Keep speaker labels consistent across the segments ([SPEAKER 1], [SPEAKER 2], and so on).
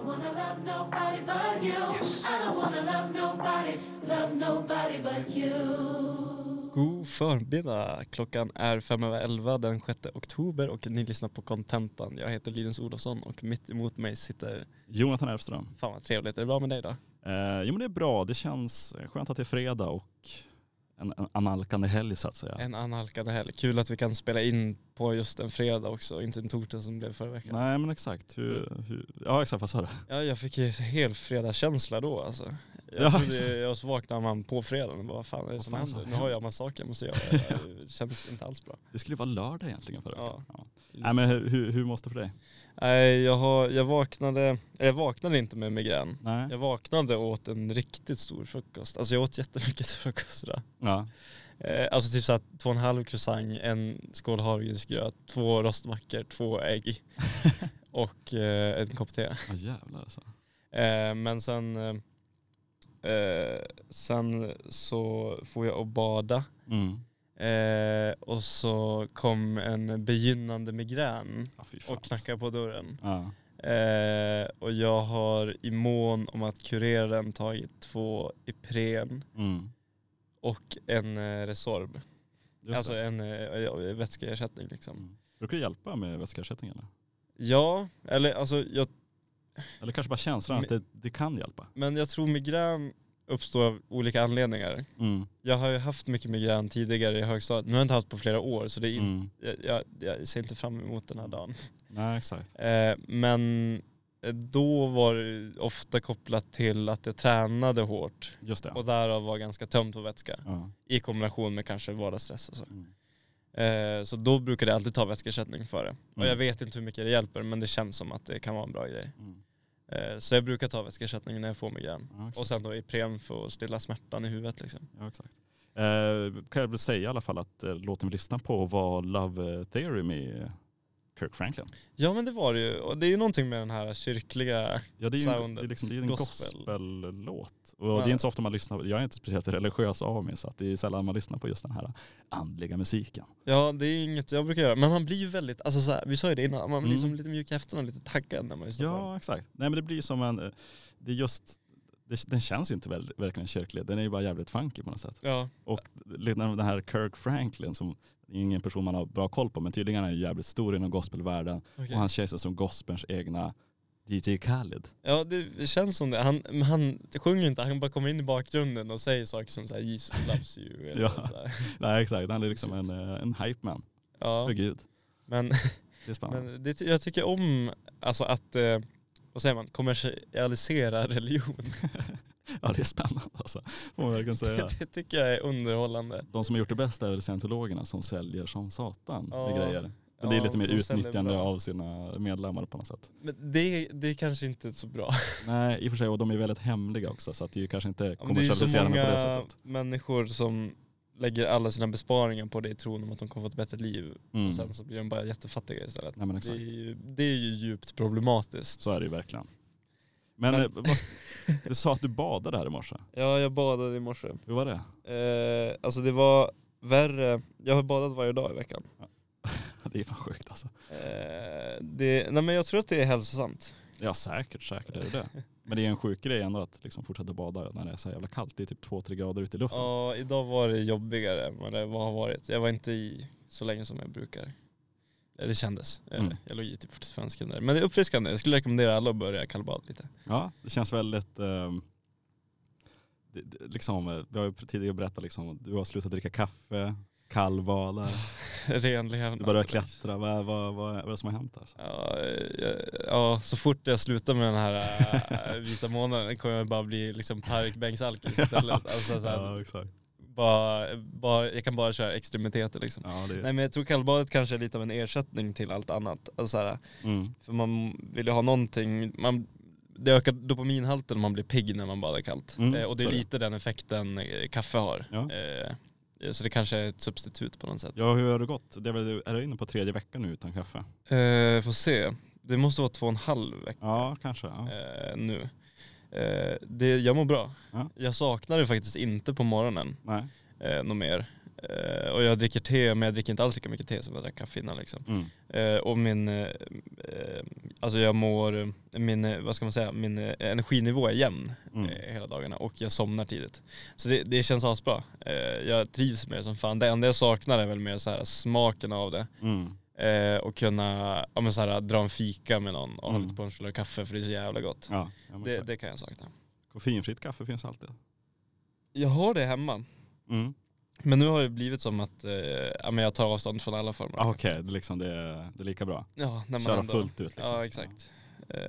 [SPEAKER 1] love nobody but you. I don't wanna love nobody, love nobody but you.
[SPEAKER 2] God förmiddag! Klockan är fem över elva den 6 oktober och ni lyssnar på Contentan. Jag heter Linus Olofsson och mitt emot mig sitter...
[SPEAKER 3] Jonathan Elfström.
[SPEAKER 2] Fan vad trevligt. Är det bra med dig då?
[SPEAKER 3] Eh, jo men det är bra, det känns skönt att det är fredag och en, en analkande helg så att säga.
[SPEAKER 2] En analkande helg. Kul att vi kan spela in på just en fredag också, inte en torsdag som blev förra veckan.
[SPEAKER 3] Nej men exakt, hur, hur, ja exakt vad sa du?
[SPEAKER 2] Ja, jag fick ju helt fredagskänsla då alltså. Jag,
[SPEAKER 3] Ja, exakt.
[SPEAKER 2] trodde, jag så vaknade man på fredagen och bara, vad fan är det
[SPEAKER 3] Vad
[SPEAKER 2] som
[SPEAKER 3] fan
[SPEAKER 2] händer?
[SPEAKER 3] som
[SPEAKER 2] Nu har
[SPEAKER 3] händer?
[SPEAKER 2] jag massa saker jag måste göra. Det känns inte alls bra.
[SPEAKER 3] Det skulle ju vara lördag egentligen förra veckan. Ja. Nej
[SPEAKER 2] Nej,
[SPEAKER 3] men hur, hur, hur måste det för dig?
[SPEAKER 2] jag, har, jag, vaknade, jag vaknade inte med migrän.
[SPEAKER 3] Nej.
[SPEAKER 2] Jag vaknade och åt en riktigt stor frukost. Alltså jag åt jättemycket till frukost idag.
[SPEAKER 3] Ja.
[SPEAKER 2] Eh, alltså typ såhär två och en halv croissant, en skål havregrynsgröt, två rostmackor, två ägg och eh, en kopp te.
[SPEAKER 3] Ja jävlar alltså.
[SPEAKER 2] Eh, men sen, eh, eh, sen så får jag och bada
[SPEAKER 3] Mm.
[SPEAKER 2] eh, och så kom en begynnande migrän
[SPEAKER 3] Ja, fy fan. alltså.
[SPEAKER 2] och knackade på dörren.
[SPEAKER 3] Ja.
[SPEAKER 2] Eh, och jag har i mån om att kurera den tagit två Ipren
[SPEAKER 3] Mm.
[SPEAKER 2] och en eh, Resorb.
[SPEAKER 3] Just
[SPEAKER 2] alltså
[SPEAKER 3] det.
[SPEAKER 2] en eh, ja, vätskeersättning liksom.
[SPEAKER 3] Mm. Brukar det hjälpa med vätskeersättning eller?
[SPEAKER 2] Ja, eller alltså jag,
[SPEAKER 3] Eller kanske bara känslan att det, det kan hjälpa?
[SPEAKER 2] men jag tror migrän uppstår av olika anledningar.
[SPEAKER 3] Mm.
[SPEAKER 2] Jag har ju haft mycket migrän tidigare i högstadiet. Nu har jag inte haft på flera år så det är in,
[SPEAKER 3] Mm.
[SPEAKER 2] jag, jag, jag ser inte fram emot den här dagen.
[SPEAKER 3] Nej exakt.
[SPEAKER 2] Eh, men eh, då var det ofta kopplat till att jag tränade hårt
[SPEAKER 3] Just det.
[SPEAKER 2] och därav var ganska tömd på vätska
[SPEAKER 3] Ja.
[SPEAKER 2] i kombination med kanske vardagsstress och så.
[SPEAKER 3] Mm.
[SPEAKER 2] Eh, så då brukar jag alltid ta vätskeersättning för det. Och
[SPEAKER 3] Mm.
[SPEAKER 2] jag vet inte hur mycket det hjälper men det känns som att det kan vara en bra grej.
[SPEAKER 3] Mm.
[SPEAKER 2] Eh, så jag brukar ta vätskeersättning när jag får migrän.
[SPEAKER 3] Ja, exakt.
[SPEAKER 2] Och sen då Ipren för att stilla smärtan i huvudet liksom.
[SPEAKER 3] Ja, exakt. Eh, kan jag väl säga i alla fall att eh, låten vi lyssnar på var Love Theory med Kirk Franklin.
[SPEAKER 2] Ja men det var det ju. Och det är ju någonting med den här kyrkliga
[SPEAKER 3] Ja, det är ju en, det
[SPEAKER 2] Soundet.
[SPEAKER 3] är liksom, det är en
[SPEAKER 2] Gospel.
[SPEAKER 3] gospellåt. Och
[SPEAKER 2] Ja.
[SPEAKER 3] det är inte så ofta man lyssnar, jag är inte speciellt religiös av mig så att det är sällan man lyssnar på just den här andliga musiken.
[SPEAKER 2] Ja, det är inget jag brukar göra. Men man blir ju väldigt, alltså så här, vi sa ju det innan, man blir
[SPEAKER 3] Mm.
[SPEAKER 2] som lite mjuk i häfterna och lite taggad när man lyssnar på den.
[SPEAKER 3] Ja, exakt. Nej men det blir som en, eh, det är just, det, den känns ju inte väl, verkligen kyrklig, den är ju bara jävligt funky på något sätt.
[SPEAKER 2] Ja,
[SPEAKER 3] Och lite den här Kirk Franklin som det är ingen person man har bra koll på men tydligen är han ju jävligt stor inom gospelvärlden
[SPEAKER 2] okej.
[SPEAKER 3] och han känns ju som gospelns egna DJ Khaled.
[SPEAKER 2] ja, det känns som det. Han, men han sjunger inte, han bara kommer in i bakgrunden och säger saker som så här, Jesus loves you. Eller
[SPEAKER 3] Ja.
[SPEAKER 2] så här.
[SPEAKER 3] Nej exakt, han är liksom en, eh, en hype man
[SPEAKER 2] ja.
[SPEAKER 3] för Gud.
[SPEAKER 2] Men,
[SPEAKER 3] Det är spännande.
[SPEAKER 2] men det, ty- jag tycker om alltså att, eh, vad säger man, kommersialisera religion.
[SPEAKER 3] Ja det är spännande alltså, får man verkligen säga.
[SPEAKER 2] det tycker jag är underhållande.
[SPEAKER 3] De som har gjort det bäst är väl scientologerna som säljer som satan
[SPEAKER 2] Ja.
[SPEAKER 3] med grejer. Men det är
[SPEAKER 2] Ja,
[SPEAKER 3] lite mer
[SPEAKER 2] de säljer
[SPEAKER 3] utnyttjande
[SPEAKER 2] bra.
[SPEAKER 3] av sina medlemmar på något sätt.
[SPEAKER 2] Men det, det är kanske inte så bra.
[SPEAKER 3] Nej i och för sig, och de är väldigt hemliga också så att det är ju kanske inte
[SPEAKER 2] Ja, men det är ju så
[SPEAKER 3] kommersialiserande på det
[SPEAKER 2] många
[SPEAKER 3] sättet.
[SPEAKER 2] människor som lägger alla sina besparingar på det i tron om att de kommer få ett bättre liv.
[SPEAKER 3] Mm.
[SPEAKER 2] Och sen så blir de bara jättefattiga istället.
[SPEAKER 3] Nej men
[SPEAKER 2] det, är
[SPEAKER 3] exakt,
[SPEAKER 2] ju, det är ju djupt problematiskt.
[SPEAKER 3] så är det ju verkligen. Men,
[SPEAKER 2] Men-
[SPEAKER 3] eh, vad, du sa att du badade här i morse,
[SPEAKER 2] Ja, jag badade i morse.
[SPEAKER 3] hur var det?
[SPEAKER 2] Eh, alltså det var värre. Jag har badat varje dag i veckan.
[SPEAKER 3] Det är fan sjukt alltså.
[SPEAKER 2] Eh, det, nej men jag tror att det är hälsosamt.
[SPEAKER 3] Ja säkert, säkert är det det. Men det är en sjuk grej ändå att liksom fortsätta bada när det är så jävla kallt. Det är typ 2-3 grader ute i luften.
[SPEAKER 2] Ja, idag var det jobbigare än vad det var- har varit. Jag var inte i så länge som jag brukar. Eh, Det kändes. Eh,
[SPEAKER 3] Mm.
[SPEAKER 2] Jag låg i typ 45 sekunder. Men det är uppfriskande. Jag skulle rekommendera alla att börja kallbada lite.
[SPEAKER 3] Ja, det känns väldigt... ehm, det, det, liksom, eh, vi har ju tidigare berättat liksom, du har slutat dricka kaffe, kallbada,
[SPEAKER 2] Ren levnad.
[SPEAKER 3] du börjar klättra. Vad, vad, vad, vad är det som har hänt? Alltså?
[SPEAKER 2] Ja, eh, ja, så fort jag slutar med den här eh, vita månaden kommer jag bara bli liksom parkbänksalkis istället. Alltså, så här,
[SPEAKER 3] ja, exakt.
[SPEAKER 2] bara, bara, jag kan bara köra extremiteter liksom.
[SPEAKER 3] Ja, det,
[SPEAKER 2] Nej men jag tror kallbadet kanske är lite av en ersättning till allt annat. Alltså, så här,
[SPEAKER 3] mm,
[SPEAKER 2] för man vill ju ha någonting, man, det ökar dopaminhalten om man blir pigg när man badar kallt.
[SPEAKER 3] Mm,
[SPEAKER 2] eh, och det
[SPEAKER 3] så
[SPEAKER 2] är
[SPEAKER 3] är det.
[SPEAKER 2] lite den effekten eh, kaffe har.
[SPEAKER 3] Ja.
[SPEAKER 2] Eh, så det kanske är ett substitut på något sätt.
[SPEAKER 3] ja, hur har det gått? Det är, väl, är du inne på tredje veckan nu utan kaffe?
[SPEAKER 2] Eh, får se, det måste vara två och en halv vecka.
[SPEAKER 3] Ja, kanske. Ja.
[SPEAKER 2] eh, nu. Eh, det, jag mår bra.
[SPEAKER 3] Ja.
[SPEAKER 2] Jag saknar det faktiskt inte på morgonen
[SPEAKER 3] Nej.
[SPEAKER 2] eh, något mer. Eh, och jag dricker te, men jag dricker inte alls lika mycket te som jag drack kaffe innan. Liksom.
[SPEAKER 3] Mm.
[SPEAKER 2] Eh, och min eh, eh, alltså jag mår, eh, min, eh, vad ska man säga, min eh, energinivå är jämn
[SPEAKER 3] Mm.
[SPEAKER 2] eh, hela dagarna och jag somnar tidigt. Så det, det känns asbra. Eh, jag trivs med det som fan. Det enda jag saknar är väl mer så här smaken av det.
[SPEAKER 3] Mm.
[SPEAKER 2] Eh, och kunna ja, men så här, dra en fika med någon och ha
[SPEAKER 3] Mm.
[SPEAKER 2] lite punschrulle och kaffe för det är så jävla gott.
[SPEAKER 3] Ja, ja men
[SPEAKER 2] det,
[SPEAKER 3] exakt.
[SPEAKER 2] det kan jag sakna.
[SPEAKER 3] Koffeinfritt kaffe finns alltid.
[SPEAKER 2] Jag har det hemma.
[SPEAKER 3] Mm.
[SPEAKER 2] Men nu har det blivit som att eh, ja, men jag tar avstånd från alla former.
[SPEAKER 3] Ah, Okej, det, är liksom, det, är- det är lika bra.
[SPEAKER 2] Ja, när man
[SPEAKER 3] Köra
[SPEAKER 2] ändå...
[SPEAKER 3] fullt ut. Liksom.
[SPEAKER 2] Ja, exakt. Eh,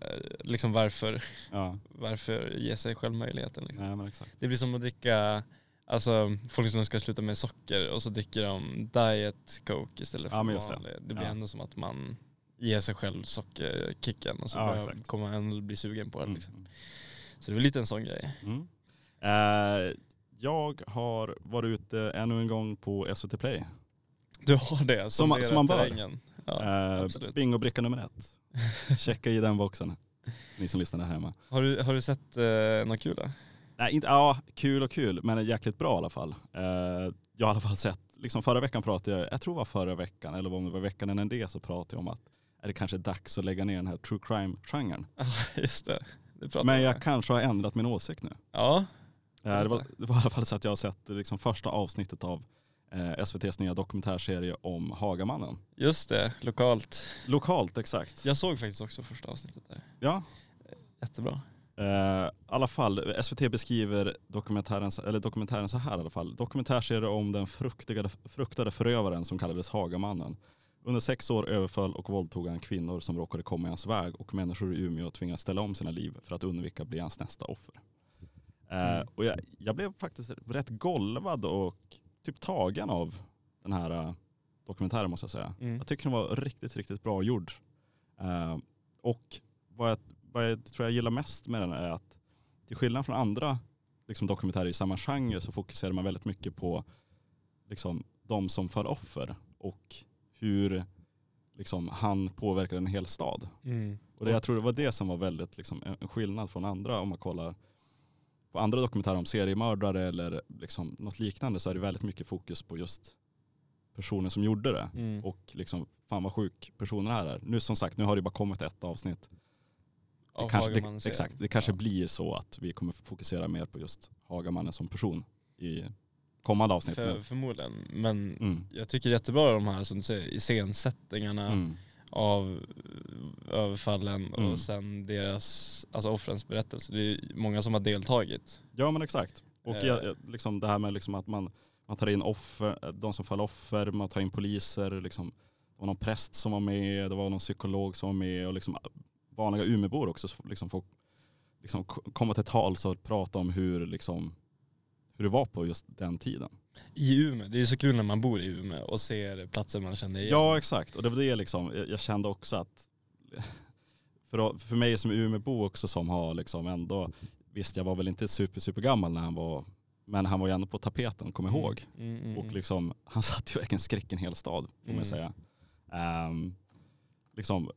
[SPEAKER 2] eh, liksom varför,
[SPEAKER 3] Ja,
[SPEAKER 2] varför ge sig själv möjligheten? Liksom.
[SPEAKER 3] nej, men exakt.
[SPEAKER 2] Det blir som att dricka, alltså folk som ska sluta med socker och så dricker de diet coke istället för
[SPEAKER 3] Ja, men just det.
[SPEAKER 2] vanlig. Det, blir
[SPEAKER 3] Ja.
[SPEAKER 2] ändå som att man ger sig själv sockerkicken och så
[SPEAKER 3] Ja,
[SPEAKER 2] börjar-
[SPEAKER 3] exakt.
[SPEAKER 2] kommer man ändå bli sugen på det.
[SPEAKER 3] Mm.
[SPEAKER 2] Liksom. Så det är väl lite en sån grej.
[SPEAKER 3] Mm. Eh, jag har varit ute ännu en gång på SVT Play.
[SPEAKER 2] Du har det
[SPEAKER 3] Som man-
[SPEAKER 2] det är
[SPEAKER 3] som man bör.
[SPEAKER 2] terrängen. Ja.
[SPEAKER 3] Eh,
[SPEAKER 2] absolut.
[SPEAKER 3] Bingobricka nummer ett. Checka i den boxen, ni som lyssnar där hemma.
[SPEAKER 2] Har, du, har du sett eh, något kul då?
[SPEAKER 3] Nej, inte, ja, kul och kul, men jäkligt bra i alla fall. Eh, jag har i alla fall sett, liksom förra veckan pratade jag, jag tror det var förra veckan, eller om det var veckan innan det, så pratade jag om att är det kanske är dags att lägga ner den här true crime-genren.
[SPEAKER 2] Just det. det pratar
[SPEAKER 3] Men
[SPEAKER 2] vi
[SPEAKER 3] jag
[SPEAKER 2] om.
[SPEAKER 3] kanske har ändrat min åsikt nu.
[SPEAKER 2] Ja,
[SPEAKER 3] Eh, det, var, det var i alla fall så att jag har sett eh, liksom, första avsnittet av eh, SVTs nya dokumentärserie om Hagamannen.
[SPEAKER 2] just det. Lokalt.
[SPEAKER 3] Lokalt, exakt.
[SPEAKER 2] Jag såg faktiskt också första avsnittet där.
[SPEAKER 3] Ja.
[SPEAKER 2] Jättebra.
[SPEAKER 3] Eh, I alla fall, SVT beskriver dokumentären, eller dokumentären så här i alla fall. Dokumentärserie om den fruktiga, fruktade förövaren som kallades Hagamannen. Under sex år överföll och våldtog han kvinnor som råkade komma i hans väg och människor i Umeå tvingas ställa om sina liv för att undvika att bli hans nästa offer. Eh,
[SPEAKER 2] Mm.
[SPEAKER 3] och jag, jag blev faktiskt rätt golvad och typ tagen av den här eh, dokumentären måste jag säga.
[SPEAKER 2] Mm.
[SPEAKER 3] Jag tycker den var riktigt, riktigt bra gjord. Eh, och vad jag, vad jag tror jag gillar mest med den är att till skillnad från andra liksom, dokumentärer i samma genre så fokuserar man väldigt mycket på liksom, de som föll offer och hur liksom, han påverkade en hel stad.
[SPEAKER 2] Mm.
[SPEAKER 3] Och det, jag tror det var det som var väldigt liksom, en en skillnad från andra om man kollar på andra dokumentärer om seriemördare eller liksom, något liknande så är det väldigt mycket fokus på just personen som gjorde det
[SPEAKER 2] Mm.
[SPEAKER 3] och liksom fan vad sjuk personen här är. Nu som sagt, nu har det bara kommit ett avsnitt. Det
[SPEAKER 2] Av
[SPEAKER 3] kanske,
[SPEAKER 2] Hagamannen
[SPEAKER 3] det,
[SPEAKER 2] serien.
[SPEAKER 3] exakt, det kanske
[SPEAKER 2] Ja.
[SPEAKER 3] blir så att vi kommer fokusera mer på just Hagamannen som person i kommande avsnitt.
[SPEAKER 2] För, förmodligen. Men
[SPEAKER 3] Mm.
[SPEAKER 2] jag tycker jättebra om de här som du säger, iscensättningarna
[SPEAKER 3] Mm.
[SPEAKER 2] av eh, överfallen
[SPEAKER 3] Mm.
[SPEAKER 2] och sen deras, alltså offrens berättelse. Det är ju många som har deltagit.
[SPEAKER 3] Ja men exakt. Och
[SPEAKER 2] Eh.
[SPEAKER 3] jag, jag- liksom det här med liksom att man, man tar in offer, eh, de som faller offer, man tar in poliser, liksom, det var någon präst som var med, det var någon psykolog som var med och liksom vanliga Umeåbor också så liksom får liksom k- komma till tals och prata om hur, liksom, hur det var på just den tiden.
[SPEAKER 2] I Umeå, det är ju så kul när man bor i Umeå och ser platser man känner igen.
[SPEAKER 3] Ja exakt, och det var det liksom, jag- jag kände också att för, för mig som Umeåbo också som har liksom ändå, visst jag var väl inte super super gammal när han var, men han var ju ändå på tapeten, kom
[SPEAKER 2] Mm.
[SPEAKER 3] ihåg.
[SPEAKER 2] Mm, mm,
[SPEAKER 3] Och
[SPEAKER 2] mm.
[SPEAKER 3] liksom, han satte ju verkligen skräck i en hel stad får man
[SPEAKER 2] Mm.
[SPEAKER 3] ju säga. Ehm, liksom,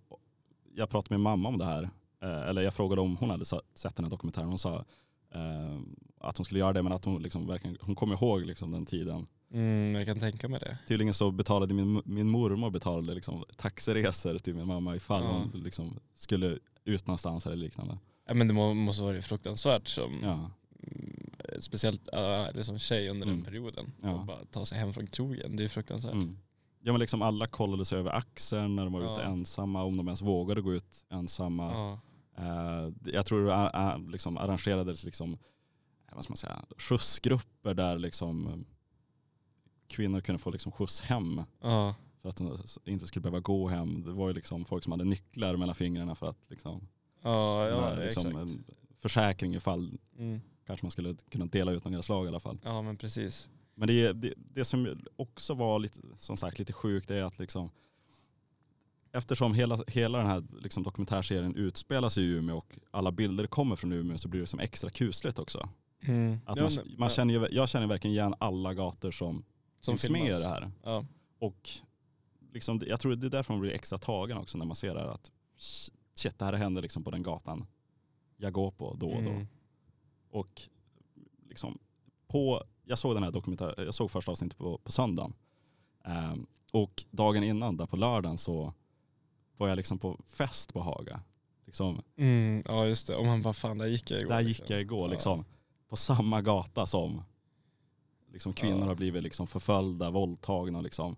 [SPEAKER 3] jag pratade med mamma om det här, eh, eller jag frågade om hon hade sa- sett den här dokumentären, hon sa ehm, att hon skulle göra det men att hon, liksom, verkligen, hon kom ihåg liksom, den tiden
[SPEAKER 2] Mm, jag kan tänka mig det.
[SPEAKER 3] Tydligen så betalade min, min mormor betalade liksom taxiresor till min mamma ifall
[SPEAKER 2] Ja. Mm.
[SPEAKER 3] hon liksom skulle ut någonstans eller liknande.
[SPEAKER 2] Ja, men det må, måste vara fruktansvärt som
[SPEAKER 3] Ja,
[SPEAKER 2] mm, speciellt äh, liksom tjej under den
[SPEAKER 3] Mm.
[SPEAKER 2] perioden.
[SPEAKER 3] Ja.
[SPEAKER 2] Och bara ta sig hem från krogen, det är fruktansvärt.
[SPEAKER 3] mm. ja men liksom alla kollade sig över axeln när de var
[SPEAKER 2] Ja.
[SPEAKER 3] ute ensamma, om de ens vågade gå ut ensamma.
[SPEAKER 2] Ja.
[SPEAKER 3] Eh, jag tror det a- a- liksom arrangerades liksom, eh, vad ska man säga, skjutsgrupper där liksom eh, kvinnor kunde få liksom skjuts hem
[SPEAKER 2] Ja.
[SPEAKER 3] för att de s- inte skulle behöva gå hem. Det var ju liksom folk som hade nycklar mellan fingrarna för att liksom,
[SPEAKER 2] Ja, ja,
[SPEAKER 3] eh, liksom eh,
[SPEAKER 2] exakt.
[SPEAKER 3] en försäkring ifall
[SPEAKER 2] Mm.
[SPEAKER 3] kanske man skulle kunna dela ut några slag i alla fall.
[SPEAKER 2] Ja, men precis.
[SPEAKER 3] Men det, det, det som också var lite, som sagt, lite sjukt är att liksom, eftersom hela, hela den här liksom dokumentärserien utspelas i Umeå och alla bilder kommer från Umeå så blir det som extra kusligt också.
[SPEAKER 2] Mm.
[SPEAKER 3] Att
[SPEAKER 2] Ja,
[SPEAKER 3] man,
[SPEAKER 2] men-
[SPEAKER 3] man
[SPEAKER 2] ja,
[SPEAKER 3] känner ju, jag känner verkligen igen alla gator som,
[SPEAKER 2] som
[SPEAKER 3] finns med i
[SPEAKER 2] filmas.
[SPEAKER 3] det här.
[SPEAKER 2] Ja.
[SPEAKER 3] Och liksom, det- jag tror det är därför man blir extra tagen också när man ser det här att shit, det här händer liksom på den gatan jag går på då och då.
[SPEAKER 2] Mm.
[SPEAKER 3] Och liksom på, jag såg den här dokumentären, jag såg första avsnittet på, på söndagen. Ehm, och dagen innan, där på lördagen, så var jag liksom på fest på Haga. Liksom,
[SPEAKER 2] Mm, ja just det, och man bara fan där gick jag igår.
[SPEAKER 3] där
[SPEAKER 2] liksom.
[SPEAKER 3] gick jag igår
[SPEAKER 2] Ja.
[SPEAKER 3] liksom. På samma gata som liksom, kvinnor
[SPEAKER 2] Ja.
[SPEAKER 3] har blivit liksom, förföljda, våldtagna. Liksom.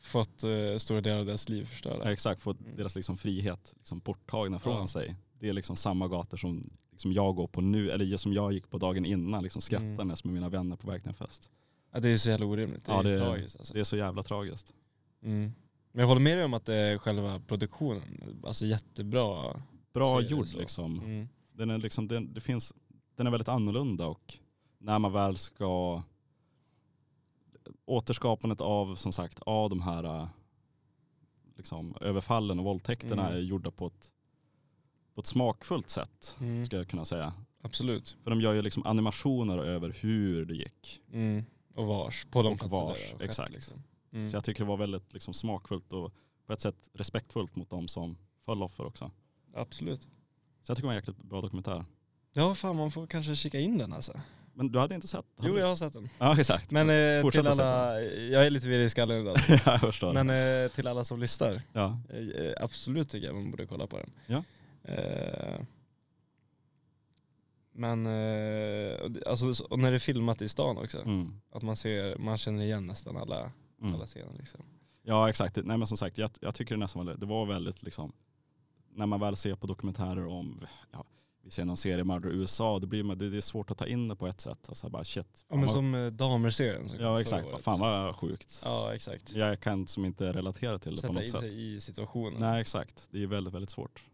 [SPEAKER 2] Fått eh, stora delar av deras liv förstörda.
[SPEAKER 3] Ja, Exakt, få
[SPEAKER 2] Mm.
[SPEAKER 3] deras liksom frihet liksom borttagna från
[SPEAKER 2] Ja.
[SPEAKER 3] sig. Det är liksom samma gator som liksom jag går på nu, eller som jag gick på dagen innan, liksom
[SPEAKER 2] Mm.
[SPEAKER 3] skrattandes med mina vänner på väg till en fest.
[SPEAKER 2] Ja, det är så jävla orimligt, det
[SPEAKER 3] Ja,
[SPEAKER 2] är
[SPEAKER 3] det-
[SPEAKER 2] tragiskt alltså.
[SPEAKER 3] Det är så jävla tragiskt.
[SPEAKER 2] Mm. Men jag håller med dig om att det är själva produktionen, alltså jättebra. Ser
[SPEAKER 3] Bra
[SPEAKER 2] det
[SPEAKER 3] gjord
[SPEAKER 2] så.
[SPEAKER 3] liksom.
[SPEAKER 2] Mm.
[SPEAKER 3] Den är, liksom den, det finns, den är väldigt annorlunda och när man väl ska återskapandet av som sagt av de här eh, liksom, överfallen och våldtäkterna
[SPEAKER 2] Mm.
[SPEAKER 3] är gjorda på ett, på ett smakfullt sätt
[SPEAKER 2] Mm.
[SPEAKER 3] ska jag kunna säga.
[SPEAKER 2] Absolut.
[SPEAKER 3] För de gör ju liksom animationer över hur det gick.
[SPEAKER 2] Mm. Och vars, på de
[SPEAKER 3] Och
[SPEAKER 2] platser där
[SPEAKER 3] vars,
[SPEAKER 2] det har skett,
[SPEAKER 3] exakt.
[SPEAKER 2] Liksom. Mm.
[SPEAKER 3] Så jag tycker det var väldigt liksom smakfullt och på ett sätt respektfullt mot de som föll offer också.
[SPEAKER 2] Absolut.
[SPEAKER 3] Så jag tycker det var en jäkligt bra dokumentär.
[SPEAKER 2] Ja fan man får kanske kika in den alltså.
[SPEAKER 3] Men du hade inte sett? hade
[SPEAKER 2] Jo
[SPEAKER 3] du?
[SPEAKER 2] jag har sett den.
[SPEAKER 3] Ja exakt.
[SPEAKER 2] Men eh,
[SPEAKER 3] Fortsätt
[SPEAKER 2] till
[SPEAKER 3] att se
[SPEAKER 2] alla, jag är lite virrig i skallen idag.
[SPEAKER 3] ja, jag förstår.
[SPEAKER 2] Men eh, till alla som lyssnar,
[SPEAKER 3] ja.
[SPEAKER 2] Eh, Absolut tycker jag man borde kolla på den.
[SPEAKER 3] Ja.
[SPEAKER 2] Eh, Men eh, och det- alltså, så- och när det är filmat i stan också,
[SPEAKER 3] Mm.
[SPEAKER 2] att man ser, man känner igen nästan alla,
[SPEAKER 3] Mm.
[SPEAKER 2] alla scener liksom.
[SPEAKER 3] ja exakt. Nej men som sagt jag, jag tycker det nästan var, det var väldigt liksom när man väl ser på dokumentärer om ja, vi ser någon seriemördare i USA, det, blir, man- det det är svårt att ta in det på ett sätt. Alltså bara shit.
[SPEAKER 2] Ja men
[SPEAKER 3] fan vad-
[SPEAKER 2] som eh, damer-serien som kom förra
[SPEAKER 3] ja exakt,
[SPEAKER 2] året.
[SPEAKER 3] fan vad sjukt.
[SPEAKER 2] Ja exakt.
[SPEAKER 3] Jag kan som inte relatera till det på
[SPEAKER 2] Sätta
[SPEAKER 3] något
[SPEAKER 2] in
[SPEAKER 3] sätt.
[SPEAKER 2] sig i situationen.
[SPEAKER 3] Nej exakt, det är väldigt väldigt svårt.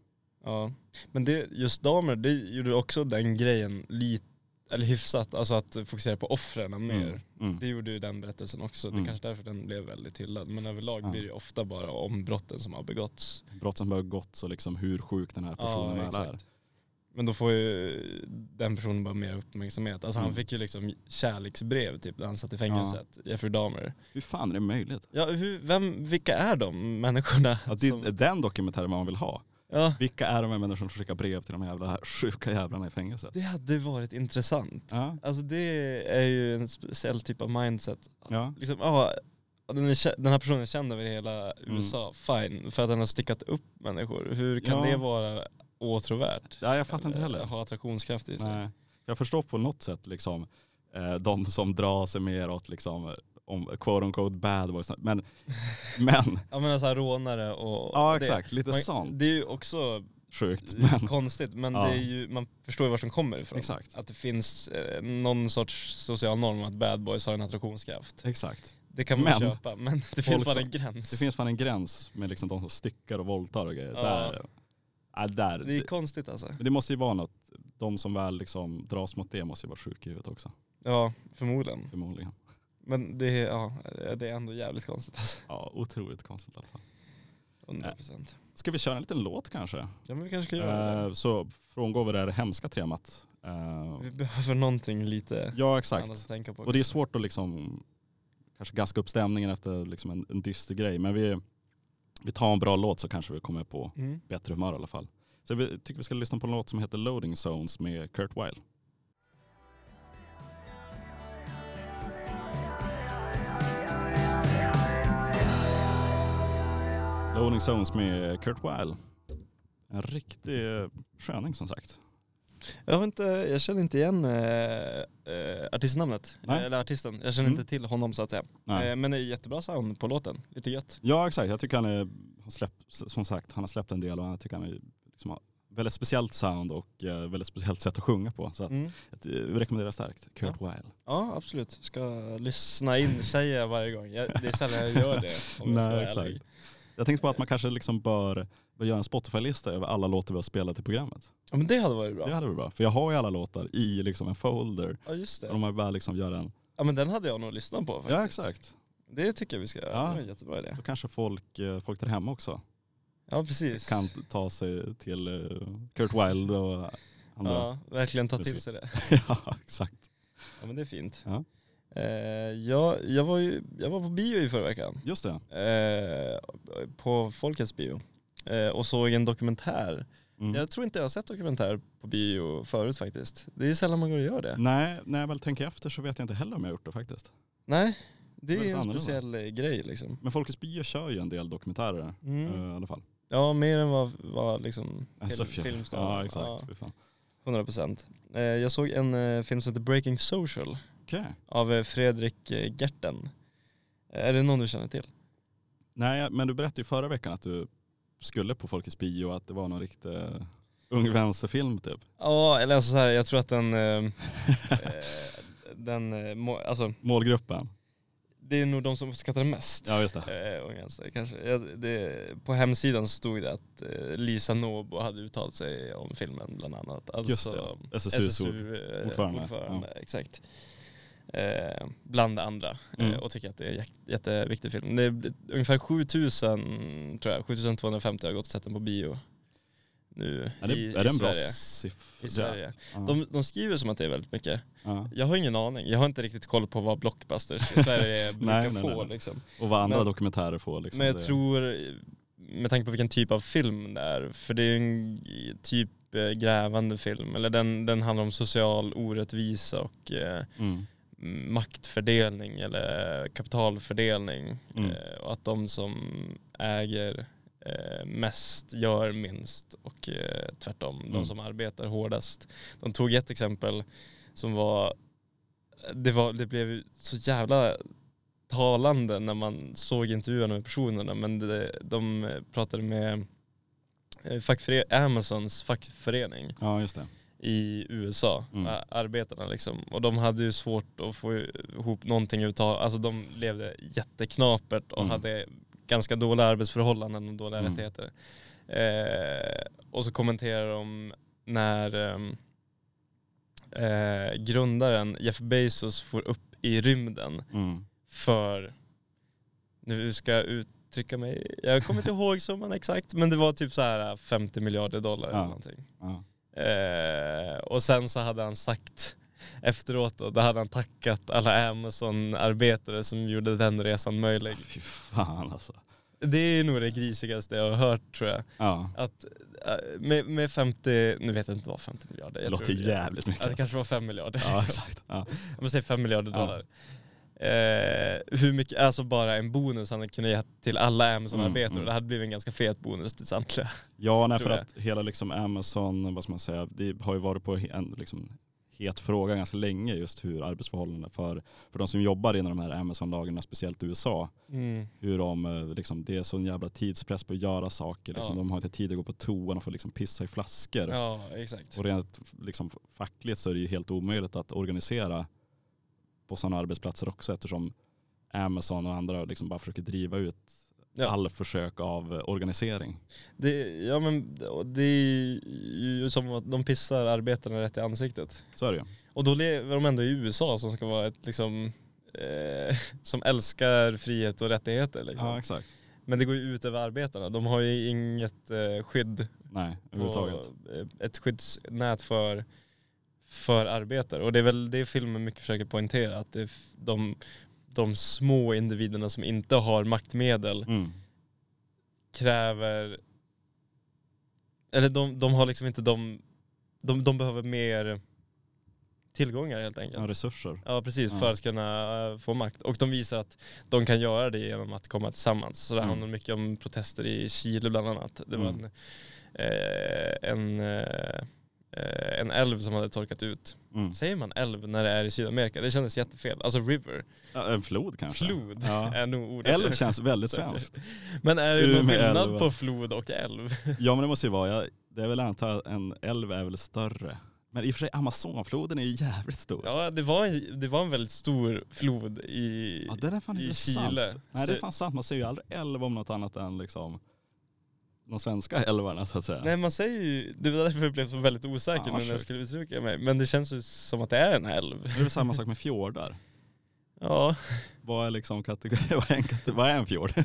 [SPEAKER 2] Ja. Men det, just damer, det gjorde också den grejen lite, eller hyfsat, alltså att fokusera på offren mer.
[SPEAKER 3] Mm. Mm.
[SPEAKER 2] Det gjorde ju den berättelsen också, det är
[SPEAKER 3] Mm.
[SPEAKER 2] kanske därför den blev väldigt hyllad. Men överlag
[SPEAKER 3] Ja.
[SPEAKER 2] blir det ju ofta bara om brotten som har begåtts.
[SPEAKER 3] Brott som har gått så liksom hur sjuk den här personen väl är.
[SPEAKER 2] Men då får ju den personen bara mer uppmärksamhet. Alltså han
[SPEAKER 3] Mm.
[SPEAKER 2] fick ju liksom kärleksbrev typ när han satt i fängelset, Jeffrey Dahmer.
[SPEAKER 3] Hur fan är det möjligt?
[SPEAKER 2] Ja, hur, vem, vilka är de människorna?
[SPEAKER 3] Ja, det är
[SPEAKER 2] som-
[SPEAKER 3] den dokumentären man vill ha.
[SPEAKER 2] ja,
[SPEAKER 3] Vilka är de här människorna som skickar brev till de jävla sjuka jävlarna i fängelset?
[SPEAKER 2] det hade varit intressant.
[SPEAKER 3] Ja,
[SPEAKER 2] Alltså det är ju en speciell typ av mindset.
[SPEAKER 3] ja,
[SPEAKER 2] Liksom, ja, den, är, kä- den här personen är känd över hela
[SPEAKER 3] Mm.
[SPEAKER 2] USA, fine, för att den har stickat upp människor. Hur kan
[SPEAKER 3] Ja.
[SPEAKER 2] det vara åtråvärt?
[SPEAKER 3] ja jag fattar inte
[SPEAKER 2] Eller
[SPEAKER 3] heller.
[SPEAKER 2] Ha attraktionskraft i sig.
[SPEAKER 3] Nej. Jag förstår på något sätt liksom eh, de som drar sig mer åt liksom om quote unquote bad boys. Men, men
[SPEAKER 2] Ja men alltså rånare och...
[SPEAKER 3] ja
[SPEAKER 2] det.
[SPEAKER 3] exakt, lite
[SPEAKER 2] Man-
[SPEAKER 3] sånt
[SPEAKER 2] Det är ju också
[SPEAKER 3] sjukt.
[SPEAKER 2] eh,
[SPEAKER 3] Men,
[SPEAKER 2] konstigt men
[SPEAKER 3] Ja.
[SPEAKER 2] det är ju, man förstår ju var som kommer ifrån.
[SPEAKER 3] exakt,
[SPEAKER 2] Att det finns eh, någon sorts social norm att bad boys har en attraktionskraft.
[SPEAKER 3] exakt.
[SPEAKER 2] Det kan man
[SPEAKER 3] Men-
[SPEAKER 2] köpa men det finns bara
[SPEAKER 3] som-
[SPEAKER 2] en gräns.
[SPEAKER 3] Det finns fan en gräns med liksom de som styckar och våldtar och grejer.
[SPEAKER 2] Ja.
[SPEAKER 3] Där, ja, där,
[SPEAKER 2] det är
[SPEAKER 3] det,
[SPEAKER 2] konstigt alltså.
[SPEAKER 3] men det måste ju vara något, de som väl liksom dras mot det måste ju vara sjuka i huvudet också.
[SPEAKER 2] Ja, förmodligen.
[SPEAKER 3] Förmodligen.
[SPEAKER 2] Men det är, ja, det är ändå jävligt konstigt alltså.
[SPEAKER 3] Ja, otroligt konstigt i alla fall.
[SPEAKER 2] 100%.
[SPEAKER 3] Ska vi köra en liten låt kanske?
[SPEAKER 2] Ja men vi kanske kan göra det.
[SPEAKER 3] Eh, så frångår vi det här hemska temat. Eh,
[SPEAKER 2] Vi behöver någonting lite
[SPEAKER 3] ja
[SPEAKER 2] annat att
[SPEAKER 3] exakt.
[SPEAKER 2] tänka på.
[SPEAKER 3] Och det är svårt att liksom kanske gaska upp stämningen efter liksom en, en dyster grej. Men vi, vi tar en bra låt så kanske vi kommer på
[SPEAKER 2] Mm.
[SPEAKER 3] bättre humör i alla fall. Så vi tycker vi ska lyssna på en låt som heter Loading Zones med Kurt Weil. Loading Zones med Kurt Weil. En riktig sköning som sagt.
[SPEAKER 2] Jag, har inte, jag känner inte igen eh, eh, artistnamnet,
[SPEAKER 3] Nej.
[SPEAKER 2] eller artisten. Jag känner
[SPEAKER 3] Mm.
[SPEAKER 2] inte till honom så att säga.
[SPEAKER 3] Nej.
[SPEAKER 2] Eh, men det är jättebra sound på låten, lite gött.
[SPEAKER 3] Ja exakt, jag tycker han är, har släppt, som sagt, han har släppt en del och jag tycker han är, liksom, har väldigt speciellt sound och eh, väldigt speciellt sätt att sjunga på. Så att,
[SPEAKER 2] Mm.
[SPEAKER 3] jag eh, rekommenderar starkt Kurt Weil.
[SPEAKER 2] Ja absolut, ska lyssna in säger jag varje gång. Jag, det är sällan jag gör det om jag ska vara ärlig.
[SPEAKER 3] Jag tänkte på att man kanske liksom bör, bör göra en Spotify-lista över alla låtar vi har spelat i programmet.
[SPEAKER 2] Ja men det hade varit
[SPEAKER 3] Det
[SPEAKER 2] bra.
[SPEAKER 3] hade varit bra, för jag har ju alla låtar i liksom en folder.
[SPEAKER 2] Ja just
[SPEAKER 3] Och om
[SPEAKER 2] det.
[SPEAKER 3] man bara liksom gör en,
[SPEAKER 2] Ja men den hade jag nog lyssnat på faktiskt.
[SPEAKER 3] ja exakt.
[SPEAKER 2] Det tycker jag vi ska göra,
[SPEAKER 3] Ja.
[SPEAKER 2] det var en jättebra idé.
[SPEAKER 3] Då kanske folk, eh, folk där hemma också
[SPEAKER 2] Ja precis.
[SPEAKER 3] kan ta sig till eh, Kurt Weil och andra. Ja,
[SPEAKER 2] Ja, verkligen ta till
[SPEAKER 3] Precis.
[SPEAKER 2] sig det.
[SPEAKER 3] exakt.
[SPEAKER 2] Ja men det är fint.
[SPEAKER 3] Ja.
[SPEAKER 2] Eh, jag, jag, var ju, jag var på bio i förra veckan.
[SPEAKER 3] Just det.
[SPEAKER 2] eh, på Folkets bio eh, och såg en dokumentär.
[SPEAKER 3] Mm.
[SPEAKER 2] Jag tror inte jag har sett dokumentär på bio förut faktiskt. Det är ju sällan man går och gör det.
[SPEAKER 3] Nej, när jag väl tänker efter så vet jag inte heller om jag har gjort det faktiskt.
[SPEAKER 2] Nej, det
[SPEAKER 3] Väldigt
[SPEAKER 2] är en
[SPEAKER 3] annorlunda.
[SPEAKER 2] speciell eh, grej liksom.
[SPEAKER 3] Men Folkets Bio kör ju en del dokumentärer
[SPEAKER 2] Mm.
[SPEAKER 3] eh, i alla fall.
[SPEAKER 2] Ja, mer än vad, vad liksom
[SPEAKER 3] SF,
[SPEAKER 2] film,
[SPEAKER 3] ja.
[SPEAKER 2] filmstaden.
[SPEAKER 3] ja exakt. Fy fan.
[SPEAKER 2] 100 procent. Jag såg en eh, film som heter Breaking Social
[SPEAKER 3] Okej.
[SPEAKER 2] av eh, Fredrik eh, Gerten. Eh, Är det någon du känner till?
[SPEAKER 3] Nej, men du berättade ju förra veckan att du skulle på Folkets bio och att det var någon riktig eh, ung vänsterfilm typ.
[SPEAKER 2] Ja, eller alltså så här, jag tror att den, eh, eh, den eh, må- alltså,
[SPEAKER 3] Målgruppen.
[SPEAKER 2] det är nog de som uppskattar det mest.
[SPEAKER 3] Ja, just det.
[SPEAKER 2] Eh, Ung Vänster kanske. Ja, det, på hemsidan så stod det att eh, Lisa Nobo hade uttalat sig om filmen bland annat. Alltså,
[SPEAKER 3] Just det. SSU-ord.
[SPEAKER 2] SSU-ordförande.
[SPEAKER 3] ordförande.
[SPEAKER 2] eh, Ordförande, exakt. Eh, bland andra.
[SPEAKER 3] Mm.
[SPEAKER 2] Eh, och tycker att det är en jäk- jätteviktig film. Det är ungefär 7000, tror jag, 7250 har gått och sett den på bio. Nu
[SPEAKER 3] Är det,
[SPEAKER 2] i,
[SPEAKER 3] är
[SPEAKER 2] i
[SPEAKER 3] det en bra
[SPEAKER 2] Sverige.
[SPEAKER 3] siffra?
[SPEAKER 2] I Sverige.
[SPEAKER 3] Ja.
[SPEAKER 2] De, de skriver som att det är väldigt mycket.
[SPEAKER 3] Ja.
[SPEAKER 2] Jag har ingen aning. Jag har inte riktigt koll på vad blockbusters i Sverige brukar
[SPEAKER 3] Nej, nej,
[SPEAKER 2] få.
[SPEAKER 3] nej, nej.
[SPEAKER 2] Liksom.
[SPEAKER 3] Och vad andra
[SPEAKER 2] Men-
[SPEAKER 3] dokumentärer får liksom.
[SPEAKER 2] Men jag
[SPEAKER 3] det-
[SPEAKER 2] tror, med tanke på vilken typ av film det är, för det är ju en g- typ eh, grävande film, eller den, den handlar om social orättvisa och eh,
[SPEAKER 3] Mm.
[SPEAKER 2] maktfördelning eller kapitalfördelning.
[SPEAKER 3] Mm.
[SPEAKER 2] Eh, och att de som äger eh, mest gör minst och eh, tvärtom,
[SPEAKER 3] Mm.
[SPEAKER 2] de som arbetar hårdast. De tog ett exempel som var, det, var, det blev ju så jävla talande när man såg intervjuerna med personerna men det, de pratade med eh, fackföre- Amazons fackförening
[SPEAKER 3] Ja, just det.
[SPEAKER 2] i USA,
[SPEAKER 3] Mm.
[SPEAKER 2] a- arbetarna liksom. Och de hade ju svårt att få ihop någonting utav, alltså de levde jätteknapert och
[SPEAKER 3] Mm.
[SPEAKER 2] hade ganska dåliga arbetsförhållanden och dåliga
[SPEAKER 3] Mm.
[SPEAKER 2] rättigheter. Eh, och så kommenterar de när ehm, eh, grundaren Jeff Bezos får upp i rymden
[SPEAKER 3] Mm.
[SPEAKER 2] för, nu ska jag uttrycka mig, jag kommer inte ihåg summan exakt, men det var typ så här 50 miljarder dollar
[SPEAKER 3] Ja.
[SPEAKER 2] eller någonting.
[SPEAKER 3] Ja.
[SPEAKER 2] Eh, och sen så hade han sagt efteråt och då hade han tackat alla Amazon-arbetare som gjorde den resan möjlig.
[SPEAKER 3] Fy fan alltså.
[SPEAKER 2] Det är nog det grisigaste jag har hört tror jag.
[SPEAKER 3] Ja.
[SPEAKER 2] Att eh, med, med 50, nu vet jag inte vad 50 miljarder
[SPEAKER 3] Det
[SPEAKER 2] jag
[SPEAKER 3] låter
[SPEAKER 2] tror
[SPEAKER 3] jävligt
[SPEAKER 2] Ja, det
[SPEAKER 3] mycket.
[SPEAKER 2] kanske var 5 miljarder.
[SPEAKER 3] Ja,
[SPEAKER 2] liksom.
[SPEAKER 3] exakt. Ja.
[SPEAKER 2] Men säg 5 miljarder
[SPEAKER 3] Ja.
[SPEAKER 2] dollar. Eh, hur mycket, alltså bara en bonus han hade kunnat ge till alla Amazon-arbetare
[SPEAKER 3] Mm, mm.
[SPEAKER 2] och det hade blivit en ganska fet bonus till samtliga.
[SPEAKER 3] Ja, nej,
[SPEAKER 2] Tror
[SPEAKER 3] för
[SPEAKER 2] jag.
[SPEAKER 3] att hela liksom Amazon, vad ska man säga, det har ju varit på en liksom, het fråga ganska länge just hur arbetsförhållandena för, för de som jobbar inom de här Amazon-lagarna, speciellt i USA, hur de, eh, liksom, det är sån jävla tidspress på att göra saker. Liksom.
[SPEAKER 2] Ja.
[SPEAKER 3] De har inte tid att gå på toan och får liksom pissa i flaskor.
[SPEAKER 2] Ja, exakt.
[SPEAKER 3] Och rent liksom, fackligt så är det ju helt omöjligt att organisera på sådana arbetsplatser också eftersom Amazon och andra liksom bara försöker driva ut
[SPEAKER 2] Ja.
[SPEAKER 3] all försök av eh, organisering.
[SPEAKER 2] Det, ja men och det är ju som att de pissar arbetarna rätt i ansiktet.
[SPEAKER 3] Så är det ju.
[SPEAKER 2] Och då lever de ändå i USA som ska vara ett liksom, eh, som älskar frihet och rättigheter liksom.
[SPEAKER 3] Ja, exakt.
[SPEAKER 2] Men det går ju ut över arbetarna. De har ju inget eh, skydd,
[SPEAKER 3] Nej, överhuvudtaget.
[SPEAKER 2] på, eh, ett skyddsnät för, för arbetare. Och det är väl det filmen mycket försöker poängtera, att det är f- de, de små individerna som inte har maktmedel
[SPEAKER 3] Mm.
[SPEAKER 2] kräver, eller de, de har liksom inte de, de, de behöver mer tillgångar helt
[SPEAKER 3] Ja,
[SPEAKER 2] enkelt.
[SPEAKER 3] resurser.
[SPEAKER 2] Ja precis, för
[SPEAKER 3] Ja.
[SPEAKER 2] att kunna eh, få makt. Och de visar att de kan göra det genom att komma tillsammans. Så det
[SPEAKER 3] Mm.
[SPEAKER 2] handlar mycket om protester i Chile bland annat. Det var
[SPEAKER 3] Mm.
[SPEAKER 2] en, eh, en, eh, eh, en älv som hade torkat ut.
[SPEAKER 3] Mm.
[SPEAKER 2] Säger man älv när det är i Sydamerika? Det kändes jättefel. Alltså river,
[SPEAKER 3] Ja, en flod kanske.
[SPEAKER 2] flod
[SPEAKER 3] Ja.
[SPEAKER 2] är nog ordet.
[SPEAKER 3] Älv känns väldigt
[SPEAKER 2] Säkert.
[SPEAKER 3] svenskt.
[SPEAKER 2] Men är det
[SPEAKER 3] Ur
[SPEAKER 2] någon
[SPEAKER 3] med
[SPEAKER 2] skillnad
[SPEAKER 3] älv.
[SPEAKER 2] på flod och älv?
[SPEAKER 3] Ja men det måste ju vara, jag, det är väl antar en älv är väl större. Men i och för sig Amazonfloden är ju jävligt stor. Ja,
[SPEAKER 2] Ja, det var, en, det var en väldigt stor flod i...
[SPEAKER 3] det är fan
[SPEAKER 2] i
[SPEAKER 3] inte
[SPEAKER 2] Chile.
[SPEAKER 3] sant. Nej det är
[SPEAKER 2] Så-
[SPEAKER 3] fan sant, man ser ju aldrig älv om något annat än liksom de svenska älvarna så att säga.
[SPEAKER 2] Nej, man säger ju... Det var därför jag blev så väldigt osäker
[SPEAKER 3] Fan, vad
[SPEAKER 2] nu när jag
[SPEAKER 3] sjukt.
[SPEAKER 2] skulle uttrycka mig. Men det känns ju som att det är en älv.
[SPEAKER 3] Det är väl samma sak med fjordar.
[SPEAKER 2] Ja,
[SPEAKER 3] Vad är liksom kategori, vad är en, kategori, vad är en fjord?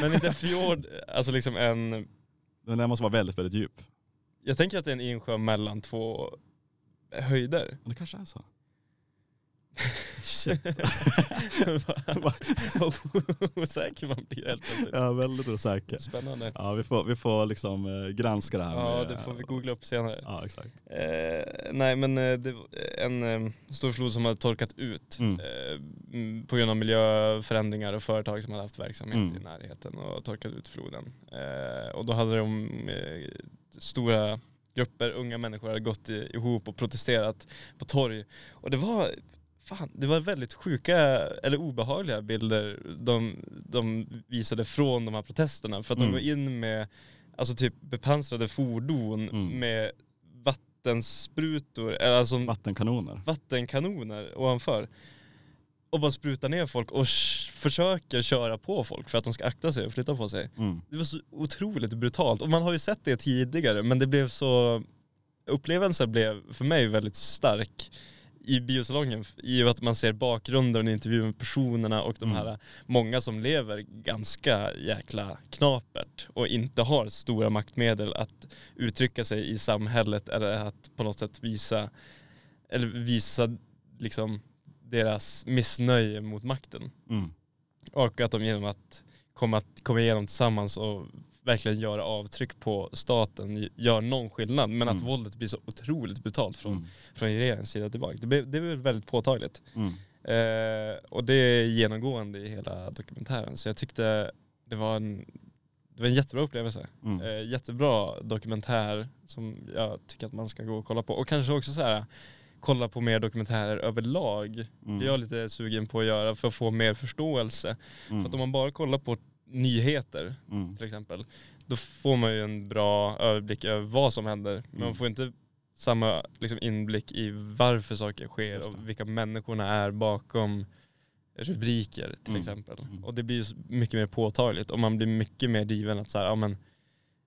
[SPEAKER 2] men inte en fjord. Alltså liksom en...
[SPEAKER 3] Den där måste vara väldigt, väldigt djup.
[SPEAKER 2] Jag tänker att det är en insjö mellan två höjder.
[SPEAKER 3] Men det kanske är så. Shit.
[SPEAKER 2] Vad- Vad osäker man blir helt plötsligt.
[SPEAKER 3] Jag är väldigt osäker.
[SPEAKER 2] Spännande.
[SPEAKER 3] Ja, vi får, vi får liksom eh, granska det här.
[SPEAKER 2] Ja,
[SPEAKER 3] med-
[SPEAKER 2] det får vi googla upp senare.
[SPEAKER 3] Ja, exakt.
[SPEAKER 2] Eh, nej men eh, det var en eh, stor flod som hade torkat ut
[SPEAKER 3] Mm.
[SPEAKER 2] eh, mm, på grund av miljöförändringar och företag som hade haft verksamhet
[SPEAKER 3] Mm.
[SPEAKER 2] i närheten och torkat ut floden. Eh, och då hade de eh, stora grupper unga människor hade gått i, ihop och protesterat på torg. Och det var Fan, det var väldigt sjuka eller obehagliga bilder de, de visade från de här protesterna. För att
[SPEAKER 3] Mm.
[SPEAKER 2] de går in med alltså typ bepansrade fordon
[SPEAKER 3] Mm.
[SPEAKER 2] med vattensprutor, eller alltså
[SPEAKER 3] Vattenkanoner.
[SPEAKER 2] vattenkanoner ovanför. Och bara sprutar ner folk och sh- försöker köra på folk för att de ska akta sig och flytta på sig.
[SPEAKER 3] Mm.
[SPEAKER 2] Det var så otroligt brutalt. Och man har ju sett det tidigare men det blev så... Upplevelsen blev för mig väldigt stark i biosalongen i och att man ser bakgrunden och intervjuer med personerna och de
[SPEAKER 3] Mm.
[SPEAKER 2] här många som lever ganska jäkla knapert och inte har stora maktmedel att uttrycka sig i samhället eller att på något sätt visa eller visa liksom deras missnöje mot makten.
[SPEAKER 3] Mm.
[SPEAKER 2] Och att de genom att komma, komma igenom tillsammans och verkligen göra avtryck på staten gör någon skillnad. Men att
[SPEAKER 3] Mm.
[SPEAKER 2] våldet blir så otroligt brutalt från,
[SPEAKER 3] Mm.
[SPEAKER 2] från regeringens sida tillbaka. Det blev, det blev väldigt påtagligt.
[SPEAKER 3] Mm.
[SPEAKER 2] Eh, och det är genomgående i hela dokumentären. Så jag tyckte det var en, det var en jättebra upplevelse.
[SPEAKER 3] Mm.
[SPEAKER 2] Eh, jättebra dokumentär som jag tycker att man ska gå och kolla på. Och kanske också så här kolla på mer dokumentärer överlag.
[SPEAKER 3] Mm.
[SPEAKER 2] Det är jag lite sugen på att göra för att få mer förståelse. För att om
[SPEAKER 3] Mm.
[SPEAKER 2] man bara kollar på nyheter
[SPEAKER 3] Mm.
[SPEAKER 2] till exempel, då får man ju en bra överblick över vad som händer. Men
[SPEAKER 3] Mm.
[SPEAKER 2] man får inte samma liksom, inblick i varför saker sker
[SPEAKER 3] Just det.
[SPEAKER 2] och vilka människorna är bakom rubriker till
[SPEAKER 3] Mm.
[SPEAKER 2] exempel.
[SPEAKER 3] Mm.
[SPEAKER 2] Och det blir ju s- mycket mer påtagligt och man blir mycket mer driven att så här, ja, men,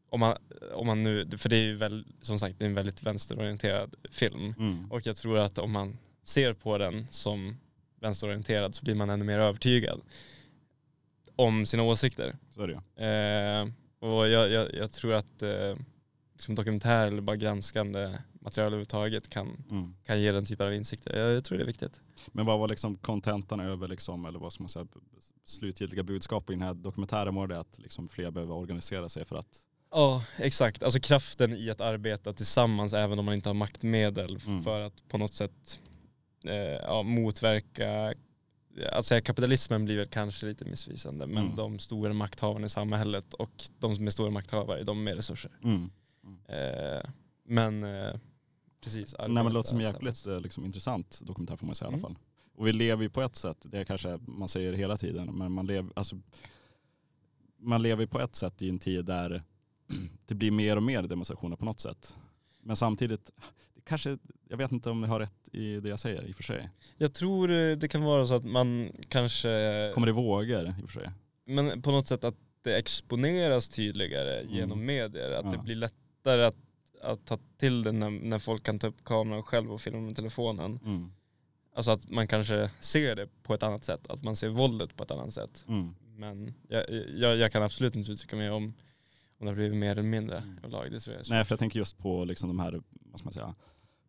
[SPEAKER 2] om man, om man nu, för det är ju väl, som sagt det är en väldigt vänsterorienterad film.
[SPEAKER 3] Mm.
[SPEAKER 2] Och jag tror att om man ser på den som vänsterorienterad så blir man ännu mer övertygad om sina åsikter.
[SPEAKER 3] Så är det ju.
[SPEAKER 2] Eh, och jag, jag, jag tror att eh, liksom dokumentär eller bara granskande material överhuvudtaget kan,
[SPEAKER 3] Mm.
[SPEAKER 2] kan ge den typen av insikter. Jag, jag tror det är viktigt.
[SPEAKER 3] Men vad var liksom kontentan över, liksom, eller vad ska man säga, b- b- slutgiltiga budskap i den här dokumentären var det att liksom fler behöver organisera sig för att,
[SPEAKER 2] Ja, exakt. Alltså kraften i att arbeta tillsammans även om man inte har maktmedel
[SPEAKER 3] Mm.
[SPEAKER 2] för att på något sätt eh, ja, motverka eh, att säga kapitalismen blir väl kanske lite missvisande men
[SPEAKER 3] Mm.
[SPEAKER 2] de stora makthavarna i samhället och de som är stora makthavare, de med resurser.
[SPEAKER 3] Mm.
[SPEAKER 2] Eh, men eh, precis.
[SPEAKER 3] Nej men det
[SPEAKER 2] arbeta
[SPEAKER 3] låter som en
[SPEAKER 2] tillsammans.
[SPEAKER 3] jäkligt eh, liksom, intressant dokumentär får man säga i alla
[SPEAKER 2] Mm.
[SPEAKER 3] fall. Och vi lever ju på ett sätt, det är kanske man säger hela tiden, men man lever, alltså, man lever ju på ett sätt i en tid där det blir mer och mer demonstrationer på något sätt. Men samtidigt, det kanske, jag vet inte om jag har rätt i det jag säger i och för sig.
[SPEAKER 2] Jag tror eh, det kan vara så att man kanske
[SPEAKER 3] Kommer det i vågor i och för sig?
[SPEAKER 2] Men på något sätt att det exponeras tydligare
[SPEAKER 3] Mm.
[SPEAKER 2] genom medier. Att det
[SPEAKER 3] Ja.
[SPEAKER 2] blir lättare att, att ta till det när, när folk kan ta upp kameran själv och filma med telefonen.
[SPEAKER 3] Mm.
[SPEAKER 2] Alltså att man kanske ser det på ett annat sätt. Att man ser våldet på ett annat sätt.
[SPEAKER 3] Mm.
[SPEAKER 2] Men jag, jag, jag kan absolut inte uttrycka mig om, om det har blivit mer eller mindre
[SPEAKER 3] Mm.
[SPEAKER 2] överlag. Det tror jag är svårt.
[SPEAKER 3] Nej, för jag tänker just på liksom de här vad ska man säga,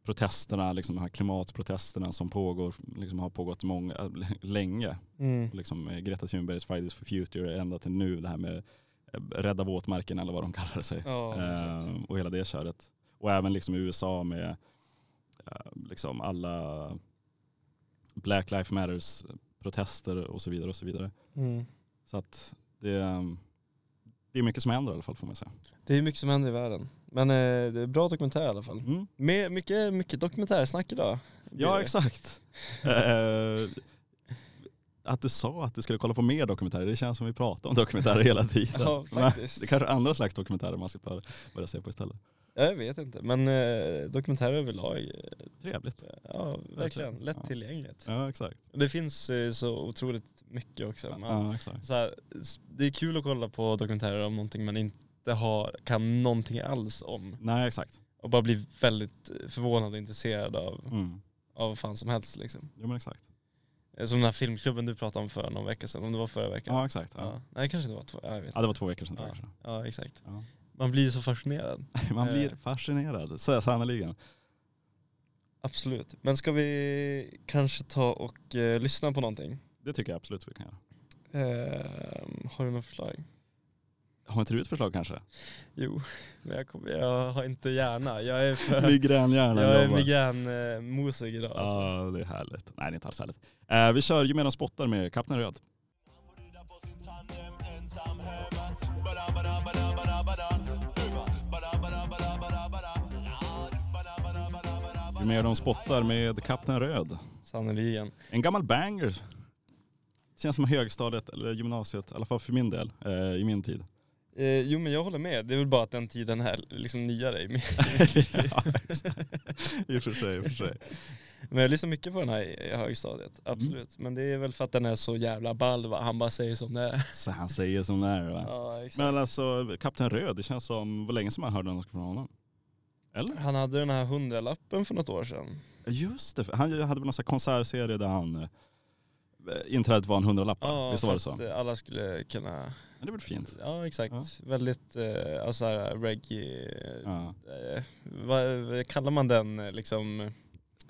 [SPEAKER 3] protesterna, liksom de här klimatprotesterna som pågår, liksom har pågått många, äh, länge.
[SPEAKER 2] Mm.
[SPEAKER 3] Liksom eh, Greta Thunbergs Fridays for Future ända till nu, det här med eh, rädda våtmarken eller vad de kallar sig.
[SPEAKER 2] Ja, exakt.
[SPEAKER 3] Ehm, och hela det köret. Och även liksom i USA med eh, liksom alla Black Lives Matters eh, protester och så vidare och så vidare.
[SPEAKER 2] Mm.
[SPEAKER 3] Så att det, eh, det är mycket som händer i alla fall får man säga.
[SPEAKER 2] Det är mycket som händer i världen. Men eh, det är bra dokumentär i alla fall.
[SPEAKER 3] Mm.
[SPEAKER 2] Med, mycket, mycket dokumentärsnack idag. blir
[SPEAKER 3] Ja
[SPEAKER 2] det.
[SPEAKER 3] exakt. Eh, att du sa att du skulle kolla på mer dokumentärer, det känns som vi pratar om dokumentärer hela tiden.
[SPEAKER 2] Ja,
[SPEAKER 3] Men
[SPEAKER 2] faktiskt.
[SPEAKER 3] det kanske är andra slags dokumentärer man ska börja- börja se på istället.
[SPEAKER 2] Ja, Jag vet inte, men eh, dokumentärer överlag, eh,
[SPEAKER 3] Trevligt.
[SPEAKER 2] ja verkligen,
[SPEAKER 3] Verkligen, ja.
[SPEAKER 2] lättillgängligt.
[SPEAKER 3] Ja exakt.
[SPEAKER 2] Det finns eh, så otroligt mycket också. Man,
[SPEAKER 3] Ja, exakt.
[SPEAKER 2] så här, s- det är kul att kolla på dokumentärer om någonting man inte har, kan någonting alls om.
[SPEAKER 3] Nej exakt.
[SPEAKER 2] Och bara bli väldigt eh, förvånad och intresserad av,
[SPEAKER 3] Mm.
[SPEAKER 2] av vad fan som helst liksom.
[SPEAKER 3] Jo men exakt.
[SPEAKER 2] Eh, Som den här filmklubben du pratade om för någon vecka sedan, om det var förra veckan.
[SPEAKER 3] Ja exakt. Ja.
[SPEAKER 2] Ja. Nej kanske det var två, ja, jag vet
[SPEAKER 3] Ja,
[SPEAKER 2] inte.
[SPEAKER 3] det var två veckor sedan. två veckor sedan.
[SPEAKER 2] Ja exakt.
[SPEAKER 3] Ja.
[SPEAKER 2] Man blir ju så fascinerad.
[SPEAKER 3] Man
[SPEAKER 2] Eh.
[SPEAKER 3] blir fascinerad, så sannerligen.
[SPEAKER 2] Absolut. Men ska vi kanske ta och eh, lyssna på någonting?
[SPEAKER 3] Det tycker jag absolut vi kan göra.
[SPEAKER 2] Ehm, har du något förslag?
[SPEAKER 3] Har inte du ett förslag kanske?
[SPEAKER 2] Jo, men jag, kommer, jag har inte hjärna. Jag är för...
[SPEAKER 3] Migränhjärnan
[SPEAKER 2] Jag är
[SPEAKER 3] jobbar.
[SPEAKER 2] migränmusik idag alltså.
[SPEAKER 3] Ja, det är härligt. Nej, det är inte alls härligt. Eh, vi kör ju medan spottar med Kapten Röd. Ju mer de spottar med Kapten Röd.
[SPEAKER 2] Sannerligen.
[SPEAKER 3] En gammal banger. Känns som högstadiet eller gymnasiet, i alla fall för min del, eh, i min tid.
[SPEAKER 2] Eh, jo men jag håller med, det är väl bara att den tiden är liksom nyare i mitt
[SPEAKER 3] Ja, I och för sig, i och för sig.
[SPEAKER 2] Men jag lyssnar mycket på den här i i högstadiet,
[SPEAKER 3] Mm.
[SPEAKER 2] absolut. Men det är väl för att den är så jävla ball va, han bara säger som det är.
[SPEAKER 3] Så han säger som det är va?
[SPEAKER 2] Ja, exakt.
[SPEAKER 3] Men alltså Kapten Röd, det känns som, vad länge som man hörde något från honom. Eller?
[SPEAKER 2] Han hade den här hundralappen för något år sedan.
[SPEAKER 3] Just det, han hade väl någon sån här konsertserie där han eh, inträdet var en hundralapp va?
[SPEAKER 2] Ja,
[SPEAKER 3] Visst var
[SPEAKER 2] för
[SPEAKER 3] det så?
[SPEAKER 2] att
[SPEAKER 3] Men
[SPEAKER 2] eh, alla skulle kunna,
[SPEAKER 3] det är väl fint?
[SPEAKER 2] ja exakt.
[SPEAKER 3] Ja.
[SPEAKER 2] Väldigt, eh, alltså här, reggae,
[SPEAKER 3] Ja.
[SPEAKER 2] eh, vad, vad kallar man den eh, liksom?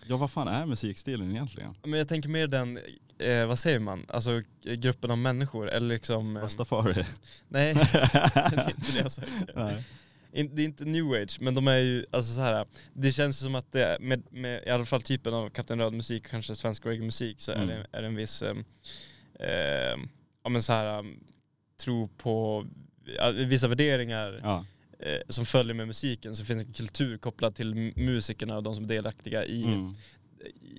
[SPEAKER 3] ja, vad fan är musikstilen egentligen?
[SPEAKER 2] Men jag tänker mer den, eh, vad säger man, alltså eh, gruppen av människor eller liksom eh,
[SPEAKER 3] Rastafari?
[SPEAKER 2] Nej, det är inte det jag söker.
[SPEAKER 3] Nej.
[SPEAKER 2] In, det är inte new age, men de är ju, alltså så här, det känns som att det, är- med, med i alla fall typen av Kapten Röd-musik, kanske svensk reggae-musik, så är,
[SPEAKER 3] Mm.
[SPEAKER 2] det, är det en viss, eh, eh, ja men så här, um, tro på ja, vissa värderingar
[SPEAKER 3] Ja.
[SPEAKER 2] eh, som följer med musiken, så finns en kultur kopplad till m- musikerna och de som är delaktiga i,
[SPEAKER 3] Mm.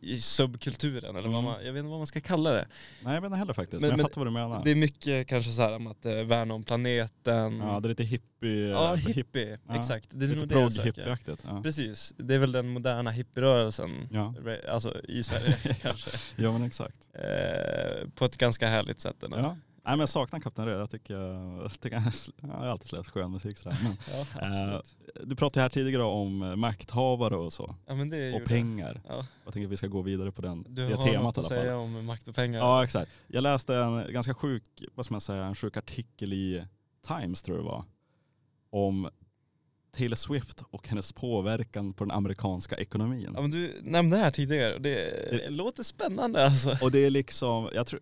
[SPEAKER 2] i subkulturen, eller vad
[SPEAKER 3] Mm.
[SPEAKER 2] man, jag vet inte vad man ska kalla det.
[SPEAKER 3] Nej jag vet inte heller faktiskt,
[SPEAKER 2] Men-
[SPEAKER 3] men, jag
[SPEAKER 2] men-
[SPEAKER 3] fattar vad du menar.
[SPEAKER 2] Det är mycket kanske så här om att eh, värna om planeten,
[SPEAKER 3] Ja, det är lite hippie,
[SPEAKER 2] Ja,
[SPEAKER 3] eh,
[SPEAKER 2] hippie.
[SPEAKER 3] ja.
[SPEAKER 2] Exakt. Det är nog
[SPEAKER 3] lite
[SPEAKER 2] det jag söker.
[SPEAKER 3] progg-hippieaktigt. Ja.
[SPEAKER 2] Precis. Det är väl den moderna hippierörelsen.
[SPEAKER 3] Ja.
[SPEAKER 2] Re- Alltså i Sverige kanske.
[SPEAKER 3] ja, men exakt.
[SPEAKER 2] Eh, på ett ganska härligt sätt ändå.
[SPEAKER 3] Ja. Nej men jag saknar Kapten Röd, jag tycker, jag, tycker, jag har alltid släppt skön musik sådär. Men,
[SPEAKER 2] Ja, absolut.
[SPEAKER 3] du pratade ju här tidigare om eh, makthavare och så,
[SPEAKER 2] ja, men det
[SPEAKER 3] och
[SPEAKER 2] gjorde jag.
[SPEAKER 3] pengar.
[SPEAKER 2] Ja.
[SPEAKER 3] Jag tänker att vi ska gå vidare på den,
[SPEAKER 2] Du
[SPEAKER 3] det
[SPEAKER 2] har
[SPEAKER 3] temat
[SPEAKER 2] något
[SPEAKER 3] i
[SPEAKER 2] att
[SPEAKER 3] alla fall.
[SPEAKER 2] säga om makt och pengar.
[SPEAKER 3] Ja exakt. Jag läste en ganska sjuk, vad ska man säga, en sjuk artikel i Times tror jag det var. Om Taylor Swift och hennes påverkan på den amerikanska ekonomin.
[SPEAKER 2] Ja, men du nämnde det här tidigare och det, det låter spännande alltså.
[SPEAKER 3] Och det är liksom, jag, tror,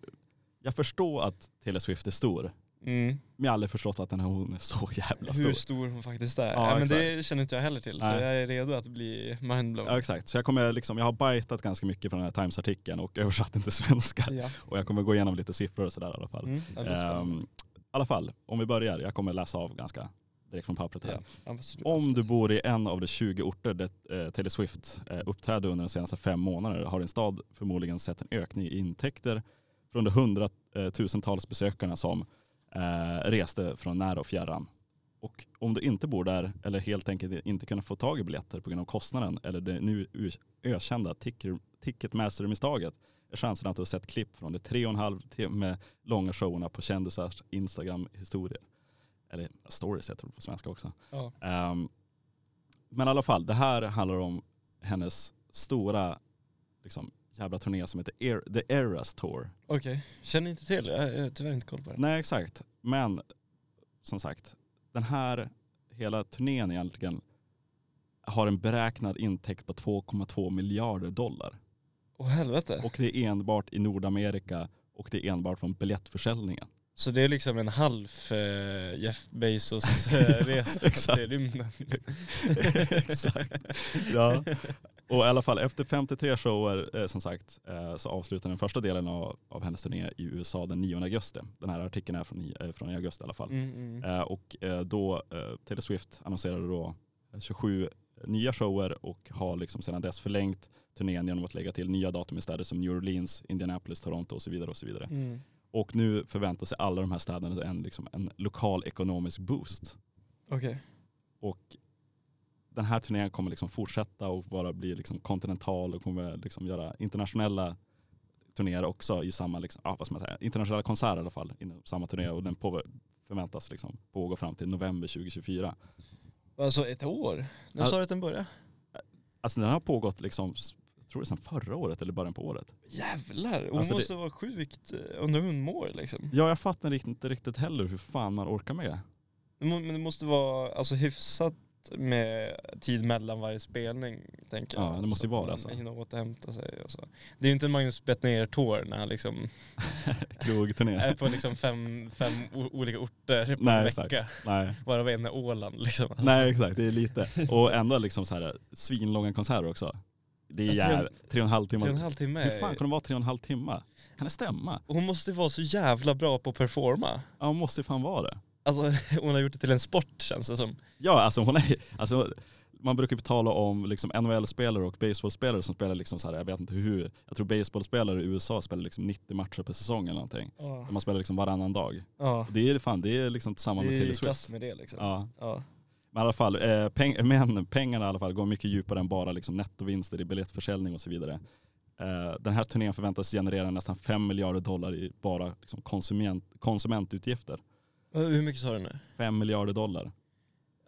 [SPEAKER 3] jag förstår att Taylor Swift är stor.
[SPEAKER 2] Mm.
[SPEAKER 3] Men jag har aldrig förstått att den här hon är så jävla
[SPEAKER 2] Hur
[SPEAKER 3] stor.
[SPEAKER 2] stor hon faktiskt är.
[SPEAKER 3] Ja,
[SPEAKER 2] Ja, men
[SPEAKER 3] exakt.
[SPEAKER 2] det känner inte jag heller till så
[SPEAKER 3] Nej.
[SPEAKER 2] jag är redo att bli mindblown.
[SPEAKER 3] Ja, exakt, så jag, kommer liksom, jag har bajtat ganska mycket från den här Times-artikeln och översatt den till svenska.
[SPEAKER 2] Ja.
[SPEAKER 3] Och jag kommer gå igenom lite siffror och sådär i alla fall.
[SPEAKER 2] Mm. Ja, det är
[SPEAKER 3] Ehm, I alla fall, om vi börjar. Jag kommer läsa av ganska direkt från pappret här.
[SPEAKER 2] spännande. ja, absolut.
[SPEAKER 3] Ehm, Om du bor i en av de 20 orter där eh, Taylor Swift eh, uppträdde under de senaste fem månaderna har din stad förmodligen sett en ökning i intäkter från de hundratusentals besökarna som eh, reste från nära och fjärran. Och om du inte bor där eller helt enkelt inte kunnat få tag i biljetter på grund av kostnaden eller det nu u- ökända ticker- Ticketmaster-misstaget är chansen att du har sett klipp från de tre och en halv timme långa showerna på kändisars Instagram-historier. Eller stories heter det på svenska också.
[SPEAKER 2] Ja.
[SPEAKER 3] Ehm, men i alla fall, det här handlar om hennes stora liksom, jävla turné som heter Air, The Eras Tour.
[SPEAKER 2] Okej, känner inte till. Jag jag har tyvärr inte koll på det.
[SPEAKER 3] Nej exakt, men som sagt, den här hela turnén egentligen har en beräknad intäkt på 2,2 miljarder dollar.
[SPEAKER 2] Åh helvete.
[SPEAKER 3] Och det är enbart i Nordamerika och det är enbart från biljettförsäljningen.
[SPEAKER 2] Så det är liksom en halv eh, Jeff Bezos eh, resa
[SPEAKER 3] Exakt.
[SPEAKER 2] till rymden.
[SPEAKER 3] Exakt. Ja. Och i alla fall efter 53 shower eh, som sagt eh, så avslutar den första delen av, av hennes turné i USA den 9 augusti. Den här artikeln är från, i- eh, från i augusti i alla fall.
[SPEAKER 2] Mm, mm.
[SPEAKER 3] Eh, och eh, då eh, Taylor Swift annonserade då 27 nya shower och har liksom sedan dess förlängt turnén genom att lägga till nya datum i städer som New Orleans, Indianapolis, Toronto och så vidare. Och så vidare.
[SPEAKER 2] Mm.
[SPEAKER 3] Och nu förväntar sig alla de här städerna en, liksom, en lokal ekonomisk boost.
[SPEAKER 2] Okej.
[SPEAKER 3] Och den här turnén kommer liksom fortsätta och bara bli liksom kontinental och kommer liksom göra internationella turnéer också i samma, liksom, ja, vad ska man säga, internationella konserter i alla fall inom samma turné och den på, förväntas liksom pågå fram till november 2024.
[SPEAKER 2] Alltså ett år? När
[SPEAKER 3] Ja.
[SPEAKER 2] sa du att den började?
[SPEAKER 3] Alltså den har pågått liksom, jag tror det är sedan förra året eller början på året.
[SPEAKER 2] Jävlar, hon
[SPEAKER 3] Alltså, det-
[SPEAKER 2] måste vara sjukt, eh, undrar hur hon mår liksom.
[SPEAKER 3] Ja jag fattar inte riktigt heller hur fan man orkar med.
[SPEAKER 2] Det må- Men det måste vara alltså, hyfsat med tid mellan varje spelning. Tänker
[SPEAKER 3] Ja,
[SPEAKER 2] jag.
[SPEAKER 3] det måste ju
[SPEAKER 2] Så
[SPEAKER 3] vara
[SPEAKER 2] att man
[SPEAKER 3] så.
[SPEAKER 2] hinner återhämta sig och så. Det är ju inte Magnus Bettner-tour när han liksom
[SPEAKER 3] Krogturné.
[SPEAKER 2] är på liksom fem, fem o- olika orter på
[SPEAKER 3] Nej,
[SPEAKER 2] en
[SPEAKER 3] exakt.
[SPEAKER 2] vecka.
[SPEAKER 3] Nej.
[SPEAKER 2] Varav en är Åland liksom. Alltså,
[SPEAKER 3] Nej exakt, det är lite. Och ändå liksom så här svinlånga konserter också. Det är
[SPEAKER 2] Ja, tre-
[SPEAKER 3] jävla, tre och en halv timme.
[SPEAKER 2] Tre och en halv timme.
[SPEAKER 3] Hur fan kan de vara tre och en halv timme? Kan det stämma?
[SPEAKER 2] Hon måste ju vara så jävla bra på att performa.
[SPEAKER 3] Ja hon måste ju fan vara det.
[SPEAKER 2] Alltså hon har gjort det till en sport känns det som.
[SPEAKER 3] Ja alltså hon är, alltså, man brukar ju tala om liksom NHL-spelare och baseballspelare som spelar liksom så här, jag vet inte hur, jag tror baseballspelare i USA spelar liksom 90 matcher per säsong eller någonting.
[SPEAKER 2] Ja.
[SPEAKER 3] Där man spelar liksom varannan dag. Det är fan, det är liksom
[SPEAKER 2] Det
[SPEAKER 3] tillsammans
[SPEAKER 2] är
[SPEAKER 3] med
[SPEAKER 2] ju
[SPEAKER 3] Taylor
[SPEAKER 2] klass
[SPEAKER 3] Swift.
[SPEAKER 2] med det liksom.
[SPEAKER 3] Ja.
[SPEAKER 2] Ja.
[SPEAKER 3] Men, i alla fall, eh, peng- men pengarna i alla fall går mycket djupare än bara liksom nettovinster i biljettförsäljning och så vidare. Eh, den här turnén förväntas generera nästan 5 miljarder dollar i bara liksom konsument, konsumentutgifter.
[SPEAKER 2] Och Hur mycket sa du nu?
[SPEAKER 3] 5 miljarder dollar.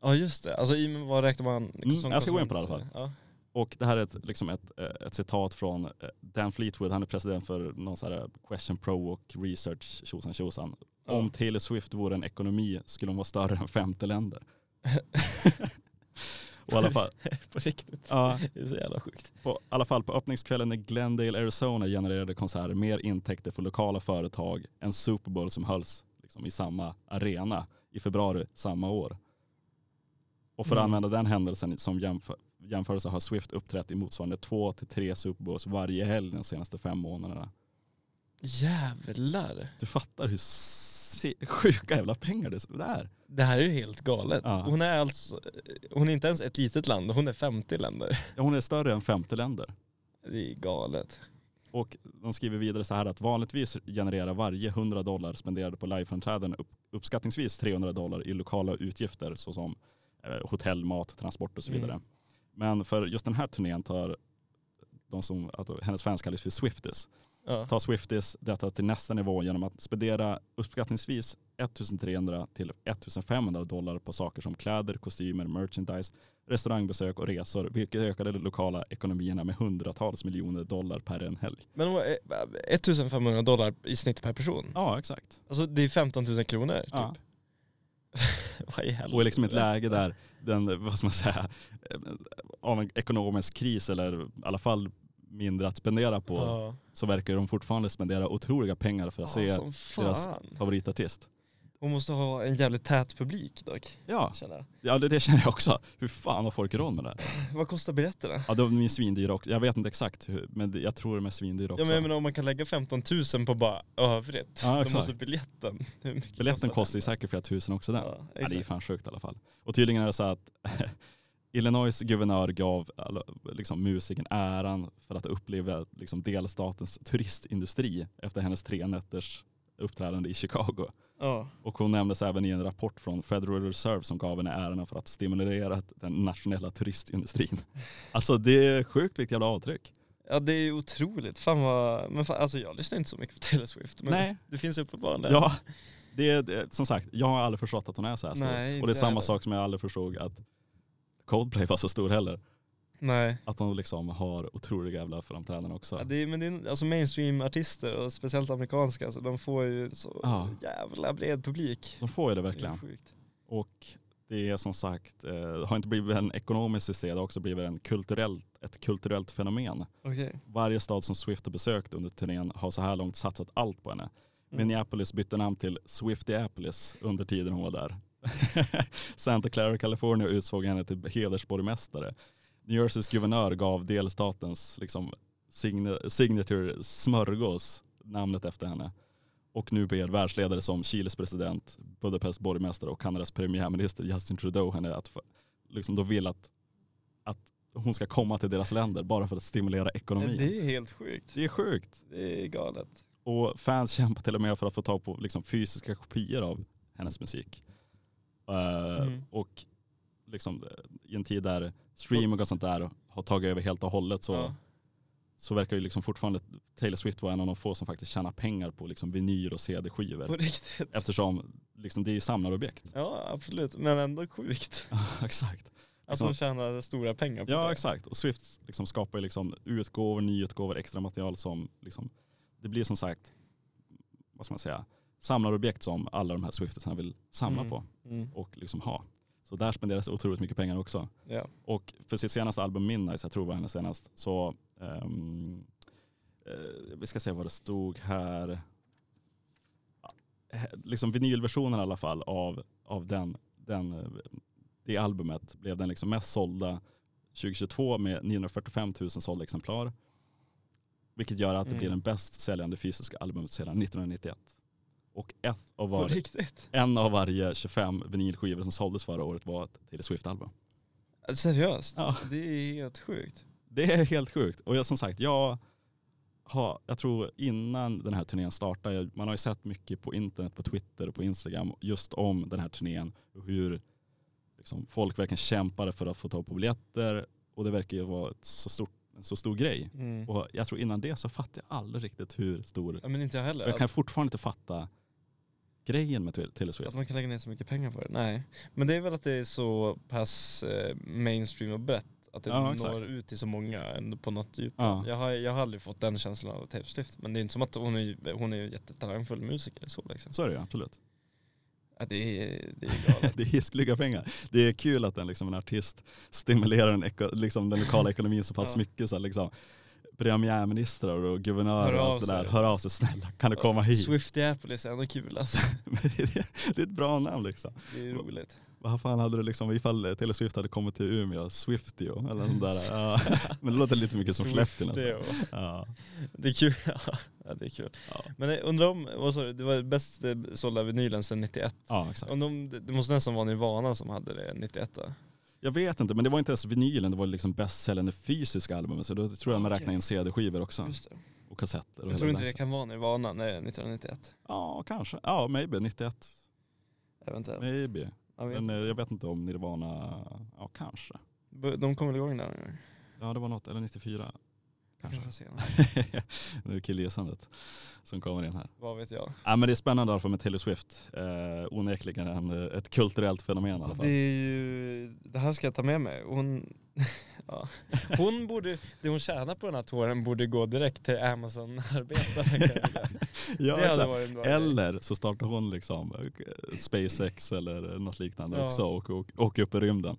[SPEAKER 2] Ja just det, alltså i men vad räknar man? som
[SPEAKER 3] Mm, jag ska gå in på
[SPEAKER 2] konsument?
[SPEAKER 3] det i alla
[SPEAKER 2] Ja.
[SPEAKER 3] Och det här är ett, liksom ett, eh, ett citat från eh, Dan Fleetwood, han är president för någon så här eh, Question Pro och Research tjosan tjosan.
[SPEAKER 2] Ja.
[SPEAKER 3] Om Taylor Swift vore en ekonomi skulle hon vara större än 50 länder. och i alla fall,
[SPEAKER 2] på riktigt.
[SPEAKER 3] ja,
[SPEAKER 2] Det är så jävla sjukt.
[SPEAKER 3] På, I alla fall på öppningskvällen i Glendale, Arizona genererade konserter mer intäkter för lokala företag än Super Bowl som hölls liksom, i samma arena i februari samma år. Och för att
[SPEAKER 2] Mm.
[SPEAKER 3] använda den händelsen som jämför, jämförelse har Swift uppträtt i motsvarande två till tre Super Bowls varje helg de senaste fem månaderna.
[SPEAKER 2] Jävlar.
[SPEAKER 3] Du fattar hur se- sjuka jävla pengar det är.
[SPEAKER 2] Det här är ju helt galet.
[SPEAKER 3] Ja.
[SPEAKER 2] Hon är alltså, hon är inte ens ett litet land, hon är 50 länder.
[SPEAKER 3] Ja, Hon är större än 50 länder.
[SPEAKER 2] Det är galet.
[SPEAKER 3] Och de skriver vidare så här att vanligtvis genererar varje 100 dollar spenderade på liveframträdanden upp, uppskattningsvis 300 dollar i lokala utgifter såsom eh, hotell, mat, transport och så vidare.
[SPEAKER 2] Mm.
[SPEAKER 3] Men för just den här turnén tar de som, alltså, hennes fans kallas för Swifties,
[SPEAKER 2] Ja.
[SPEAKER 3] tar Swifties detta till nästa nivå genom att spendera uppskattningsvis 1300 till 1500 dollar på saker som kläder, kostymer, merchandise, restaurangbesök och resor, vilket ökade de lokala ekonomierna med hundratals miljoner dollar per en helg.
[SPEAKER 2] Men hon var eh, 1500 dollar i snitt per person.
[SPEAKER 3] Ja, exakt.
[SPEAKER 2] Alltså det är 15 000 kronor typ.
[SPEAKER 3] Ja.
[SPEAKER 2] Vad i helvete.
[SPEAKER 3] Och i liksom ett läge där den, vad ska man säga, eh, av en ekonomisk kris eller i alla fall mindre att spendera på
[SPEAKER 2] Ja.
[SPEAKER 3] så verkar de fortfarande spendera otroliga pengar för
[SPEAKER 2] Ja,
[SPEAKER 3] att se
[SPEAKER 2] som
[SPEAKER 3] deras-
[SPEAKER 2] fan.
[SPEAKER 3] favoritartist.
[SPEAKER 2] Hon måste ha en jävligt tät publik dock,
[SPEAKER 3] Ja,
[SPEAKER 2] känner jag.
[SPEAKER 3] ja det, det känner jag också. Hur fan har folk råd med det här?
[SPEAKER 2] Vad kostar biljetterna?
[SPEAKER 3] Ja, de är svindyra också. Jag vet inte exakt, hur, men det- jag tror de är svindyra också.
[SPEAKER 2] Ja men jag menar om man kan lägga 15 000 på bara övrigt,
[SPEAKER 3] Ja,
[SPEAKER 2] då
[SPEAKER 3] exakt.
[SPEAKER 2] måste biljetten, hur mycket
[SPEAKER 3] Biljetten kostar ju
[SPEAKER 2] den?
[SPEAKER 3] säkert flera tusen också den.
[SPEAKER 2] Ja,
[SPEAKER 3] Ja, det är
[SPEAKER 2] exakt.
[SPEAKER 3] fan sjukt i alla fall. Och tydligen är det så att Illinois guvernör gav alla- liksom, musiken äran för att uppleva liksom, delstatens turistindustri efter hennes tre nätters uppträdande i Chicago.
[SPEAKER 2] Ja.
[SPEAKER 3] Och hon nämndes även i en rapport från Federal Reserve som gav henne äran för att stimulera den nationella turistindustrin. Alltså det är sjukt vilket jävla avtryck.
[SPEAKER 2] ja det är ju otroligt, fan vad, men fan, alltså jag lyssnar inte så mycket på Taylor Swift men
[SPEAKER 3] Nej.
[SPEAKER 2] det finns uppenbarligen där.
[SPEAKER 3] Ja, det är, det är, som sagt, jag har aldrig förstått att hon är så här stor.
[SPEAKER 2] Nej,
[SPEAKER 3] och
[SPEAKER 2] inte
[SPEAKER 3] det är
[SPEAKER 2] jag
[SPEAKER 3] samma
[SPEAKER 2] heller.
[SPEAKER 3] sak som jag aldrig förstod att Coldplay var så stor heller.
[SPEAKER 2] Nej,
[SPEAKER 3] Att de liksom har otroliga jävla framträdanden också.
[SPEAKER 2] ja, det är, men det är, alltså mainstream-artister och speciellt amerikanska, alltså, de får ju en så
[SPEAKER 3] Ja.
[SPEAKER 2] jävla bred publik.
[SPEAKER 3] De får ju det
[SPEAKER 2] Det är
[SPEAKER 3] verkligen.
[SPEAKER 2] sjukt.
[SPEAKER 3] Och det är som sagt, eh, det har inte blivit en ekonomisk succé, det har också blivit en kulturellt, ett kulturellt fenomen.
[SPEAKER 2] Okej.
[SPEAKER 3] Varje stad som Swift har besökt under turnén har så här långt satsat allt på henne.
[SPEAKER 2] Mm.
[SPEAKER 3] Minneapolis bytte namn till Swiftiapolis under tiden hon var där. Santa Clara, California utsåg henne till hedersborgmästare. New Jerseys guvernör gav delstatens liksom, sign- signature smörgås namnet efter henne. Och nu ber världsledare som Chiles president, Budapest borgmästare och Kanadas premiärminister Justin Trudeau henne att få- liksom, de vill att, att hon ska komma till deras länder bara för att stimulera ekonomin.
[SPEAKER 2] Det är helt sjukt.
[SPEAKER 3] det är sjukt.
[SPEAKER 2] Det är galet.
[SPEAKER 3] Och fans kämpar till och med för att få tag på liksom, fysiska kopior av hennes musik. Eh,
[SPEAKER 2] Mm.
[SPEAKER 3] Och liksom, eh, i en tid där streaming och sånt där har tagit över helt och hållet så,
[SPEAKER 2] Ja.
[SPEAKER 3] så verkar ju liksom fortfarande Taylor Swift vara en av de få som faktiskt tjänar pengar på liksom, vinyl och
[SPEAKER 2] På
[SPEAKER 3] CD-skivor.
[SPEAKER 2] riktigt.
[SPEAKER 3] Eftersom liksom, det är ju samlarobjekt.
[SPEAKER 2] Ja absolut, men ändå sjukt.
[SPEAKER 3] exakt.
[SPEAKER 2] Alltså de tjänar stora pengar på
[SPEAKER 3] Ja
[SPEAKER 2] det.
[SPEAKER 3] exakt. Och Swift liksom, skapar ju liksom, utgåvor, nyutgåvor, extra material som liksom, det blir som sagt, vad ska man säga, samlarobjekt som alla de här Swiftisarna vill samla
[SPEAKER 2] Mm.
[SPEAKER 3] på.
[SPEAKER 2] Mm.
[SPEAKER 3] och liksom ha. Så där spenderas det otroligt mycket pengar också.
[SPEAKER 2] Ja.
[SPEAKER 3] Och för sitt senaste album Midnights, jag tror var hennes senast, så ehm, eh, vi ska se vad det stod här. Ja, he- Liksom vinylversionen i alla fall av, av den, den, eh, det albumet blev den liksom mest sålda 2022 med 945 000 sålda exemplar. Vilket gör att det
[SPEAKER 2] Mm.
[SPEAKER 3] blir den bäst säljande fysiska albumet sedan 1991. Och ett
[SPEAKER 2] På
[SPEAKER 3] av var,
[SPEAKER 2] riktigt?
[SPEAKER 3] en av varje 25 vinylskivor som såldes förra året var ett Taylor Swift-album.
[SPEAKER 2] Seriöst?
[SPEAKER 3] Ja.
[SPEAKER 2] Det är helt sjukt.
[SPEAKER 3] Det är helt sjukt. Och jag, som sagt, jag, har, jag tror innan den här turnén startade, jag- man har ju sett mycket på internet, på Twitter och på Instagram just om den här turnén och hur liksom, folk verkligen kämpade för att få tag på biljetter och det verkar ju vara ett så stort, en så stor grej.
[SPEAKER 2] Mm.
[SPEAKER 3] Och jag tror innan det så fattade jag aldrig riktigt hur stor,
[SPEAKER 2] Ja, men inte jag heller.
[SPEAKER 3] och jag kan fortfarande inte fatta grejen med Taylor- Taylor
[SPEAKER 2] Att
[SPEAKER 3] Swift.
[SPEAKER 2] man kan lägga ner så mycket pengar på det? Nej. Men det är väl att det är så pass eh, mainstream och brett. Att det
[SPEAKER 3] Ja,
[SPEAKER 2] når
[SPEAKER 3] exakt.
[SPEAKER 2] ut till så många ändå på något djup.
[SPEAKER 3] Ja.
[SPEAKER 2] Jag, har, jag har aldrig fått den känslan av Taylor Swift. Men det är inte som att hon är, ju- hon är ju en jättetalangfull musiker. Så liksom.
[SPEAKER 3] Så är det ju absolut.
[SPEAKER 2] ja, det, är, det är galet.
[SPEAKER 3] Det är skliga pengar. Det är kul att en, liksom, en artist stimulerar den, eko, liksom, den lokala ekonomin så pass
[SPEAKER 2] Ja.
[SPEAKER 3] mycket. Så här, liksom, premiärministrar och guvernörer
[SPEAKER 2] Hör
[SPEAKER 3] och
[SPEAKER 2] av
[SPEAKER 3] allt det där,
[SPEAKER 2] sig.
[SPEAKER 3] hör av sig snälla, kan du komma hit?
[SPEAKER 2] Swiftiapolis är ändå kul alltså.
[SPEAKER 3] Men det, är- det är ett bra namn liksom.
[SPEAKER 2] Det är roligt.
[SPEAKER 3] Vad fan hade du liksom, ifall Taylor Swift hade kommit till Umeå, Swiftio eller sånt där. Ja. Men det låter lite mycket som Skellefteå nästan.
[SPEAKER 2] Swiftio.
[SPEAKER 3] Ja.
[SPEAKER 2] Det är kul. ja, det är kul.
[SPEAKER 3] Ja.
[SPEAKER 2] Men jag undrar om, vad sa du, det var bäst eh, sålda vinylen sedan 91.
[SPEAKER 3] ja, exakt.
[SPEAKER 2] Om de, det måste nästan vara Nirvana som hade det 91 då.
[SPEAKER 3] Jag vet inte, men det var inte ens vinylen, det var liksom bästsäljande fysiska albumet. Så då tror jag man räknar in CD-skivor också.
[SPEAKER 2] Ah, Just det.
[SPEAKER 3] Och kassetter. Och
[SPEAKER 2] Jag
[SPEAKER 3] hela
[SPEAKER 2] tror
[SPEAKER 3] den
[SPEAKER 2] inte
[SPEAKER 3] där.
[SPEAKER 2] det kan vara Nirvana när det är 1991.
[SPEAKER 3] Ja, kanske. Ja, maybe 91.
[SPEAKER 2] Eventuellt.
[SPEAKER 3] Maybe.
[SPEAKER 2] Jag vet.
[SPEAKER 3] Men eh, jag vet inte om Nirvana, ja kanske.
[SPEAKER 2] B- De kommer väl igång där nu?
[SPEAKER 3] Ja det var något, eller 94 kanske.
[SPEAKER 2] Kanske senare.
[SPEAKER 3] nu är killgissandet som kommer in här.
[SPEAKER 2] Vad vet jag.
[SPEAKER 3] Ja, men det är spännande i alla fall med Taylor Swift. Eh, onekligen en, eh, ett kulturellt fenomen i alla
[SPEAKER 2] Det
[SPEAKER 3] fall.
[SPEAKER 2] är ju, det här ska jag ta med mig. Hon, ja. hon borde, det hon tjänar på den här touren borde gå direkt till Amazon-arbetare. kan jag säga.
[SPEAKER 3] Ja,
[SPEAKER 2] det hade
[SPEAKER 3] exakt.
[SPEAKER 2] varit en bra grej.
[SPEAKER 3] eller så startar hon liksom eh, SpaceX eller något liknande
[SPEAKER 2] Ja.
[SPEAKER 3] också och och- och åker upp i rymden.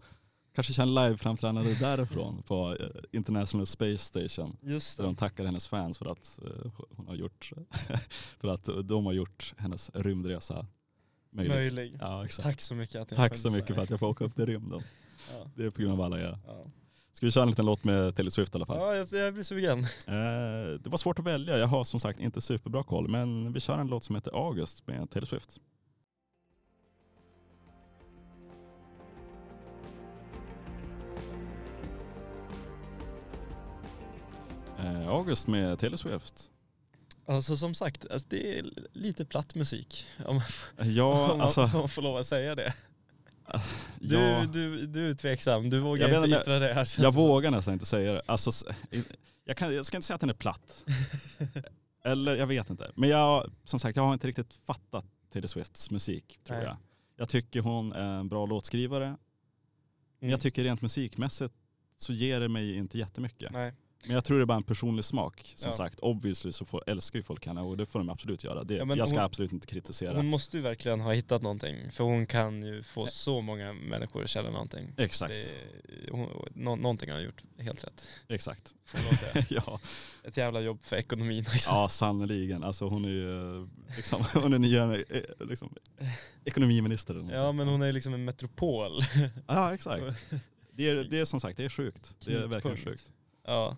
[SPEAKER 3] Kanske kör en liveframträdande därifrån på eh, International Space Station.
[SPEAKER 2] Just
[SPEAKER 3] Där
[SPEAKER 2] det.
[SPEAKER 3] de tackar hennes fans för att, eh, hon har gjort, för att de har gjort hennes rymdresa möjlig.
[SPEAKER 2] Möjlig.
[SPEAKER 3] Ja, exakt. Tack, eh.
[SPEAKER 2] Tack så mycket att jag
[SPEAKER 3] Tack
[SPEAKER 2] skämdes
[SPEAKER 3] så mycket
[SPEAKER 2] där.
[SPEAKER 3] för att jag får åka upp till rymden.
[SPEAKER 2] Ja.
[SPEAKER 3] Det är på grund av alla er.
[SPEAKER 2] Ja,
[SPEAKER 3] Ska vi köra en liten låt med Taylor Swift i alla fall?
[SPEAKER 2] ja jag, jag blir sugen.
[SPEAKER 3] Eh, det var svårt att välja. Jag har som sagt inte superbra koll. Men vi kör en låt som heter August med Taylor Swift. Eh, August med Taylor Swift.
[SPEAKER 2] Alltså som sagt, alltså, det är lite platt musik. Om man, om
[SPEAKER 3] Ja,
[SPEAKER 2] man,
[SPEAKER 3] alltså.
[SPEAKER 2] om man får lov att säga det. Du,
[SPEAKER 3] ja.
[SPEAKER 2] du, du är tveksam, du vågar
[SPEAKER 3] Jag vet
[SPEAKER 2] inte
[SPEAKER 3] inte,
[SPEAKER 2] yttra det här. känns det
[SPEAKER 3] Jag
[SPEAKER 2] som.
[SPEAKER 3] vågar nästan inte säga det. Alltså, s- jag, kan, jag ska inte säga att den är platt. Eller jag vet inte. Men jag, som sagt, jag har inte riktigt fattat Taylor Swifts musik tror
[SPEAKER 2] Nej.
[SPEAKER 3] jag. Jag tycker hon är en bra låtskrivare. Men
[SPEAKER 2] Mm.
[SPEAKER 3] jag tycker rent musikmässigt så ger det mig inte jättemycket.
[SPEAKER 2] Nej.
[SPEAKER 3] Men jag tror det är bara en personlig smak. Som
[SPEAKER 2] Ja.
[SPEAKER 3] sagt, obviously så får, älskar ju folk henne och det får de absolut göra. Det,
[SPEAKER 2] Ja, men
[SPEAKER 3] jag ska
[SPEAKER 2] hon- Mm.
[SPEAKER 3] absolut inte kritisera.
[SPEAKER 2] Hon måste ju verkligen ha hittat någonting, för hon kan ju få
[SPEAKER 3] Nej.
[SPEAKER 2] så många människor att känna någonting.
[SPEAKER 3] Exakt,
[SPEAKER 2] Det, hon, nå, någonting har hon gjort helt rätt,
[SPEAKER 3] exakt.
[SPEAKER 2] får man lov att säga.
[SPEAKER 3] ja.
[SPEAKER 2] Ett jävla jobb för ekonomin också.
[SPEAKER 3] Ja, sannerligen. Alltså hon är ju eh, liksom, hon är nya eh, liksom, ekonomiminister. Eller
[SPEAKER 2] Ja
[SPEAKER 3] någonting.
[SPEAKER 2] men hon är ju liksom en metropol.
[SPEAKER 3] ja, exakt. Det är, det är som sagt, det är sjukt. Det är verkligen
[SPEAKER 2] Knutpunkt.
[SPEAKER 3] sjukt.
[SPEAKER 2] Ja,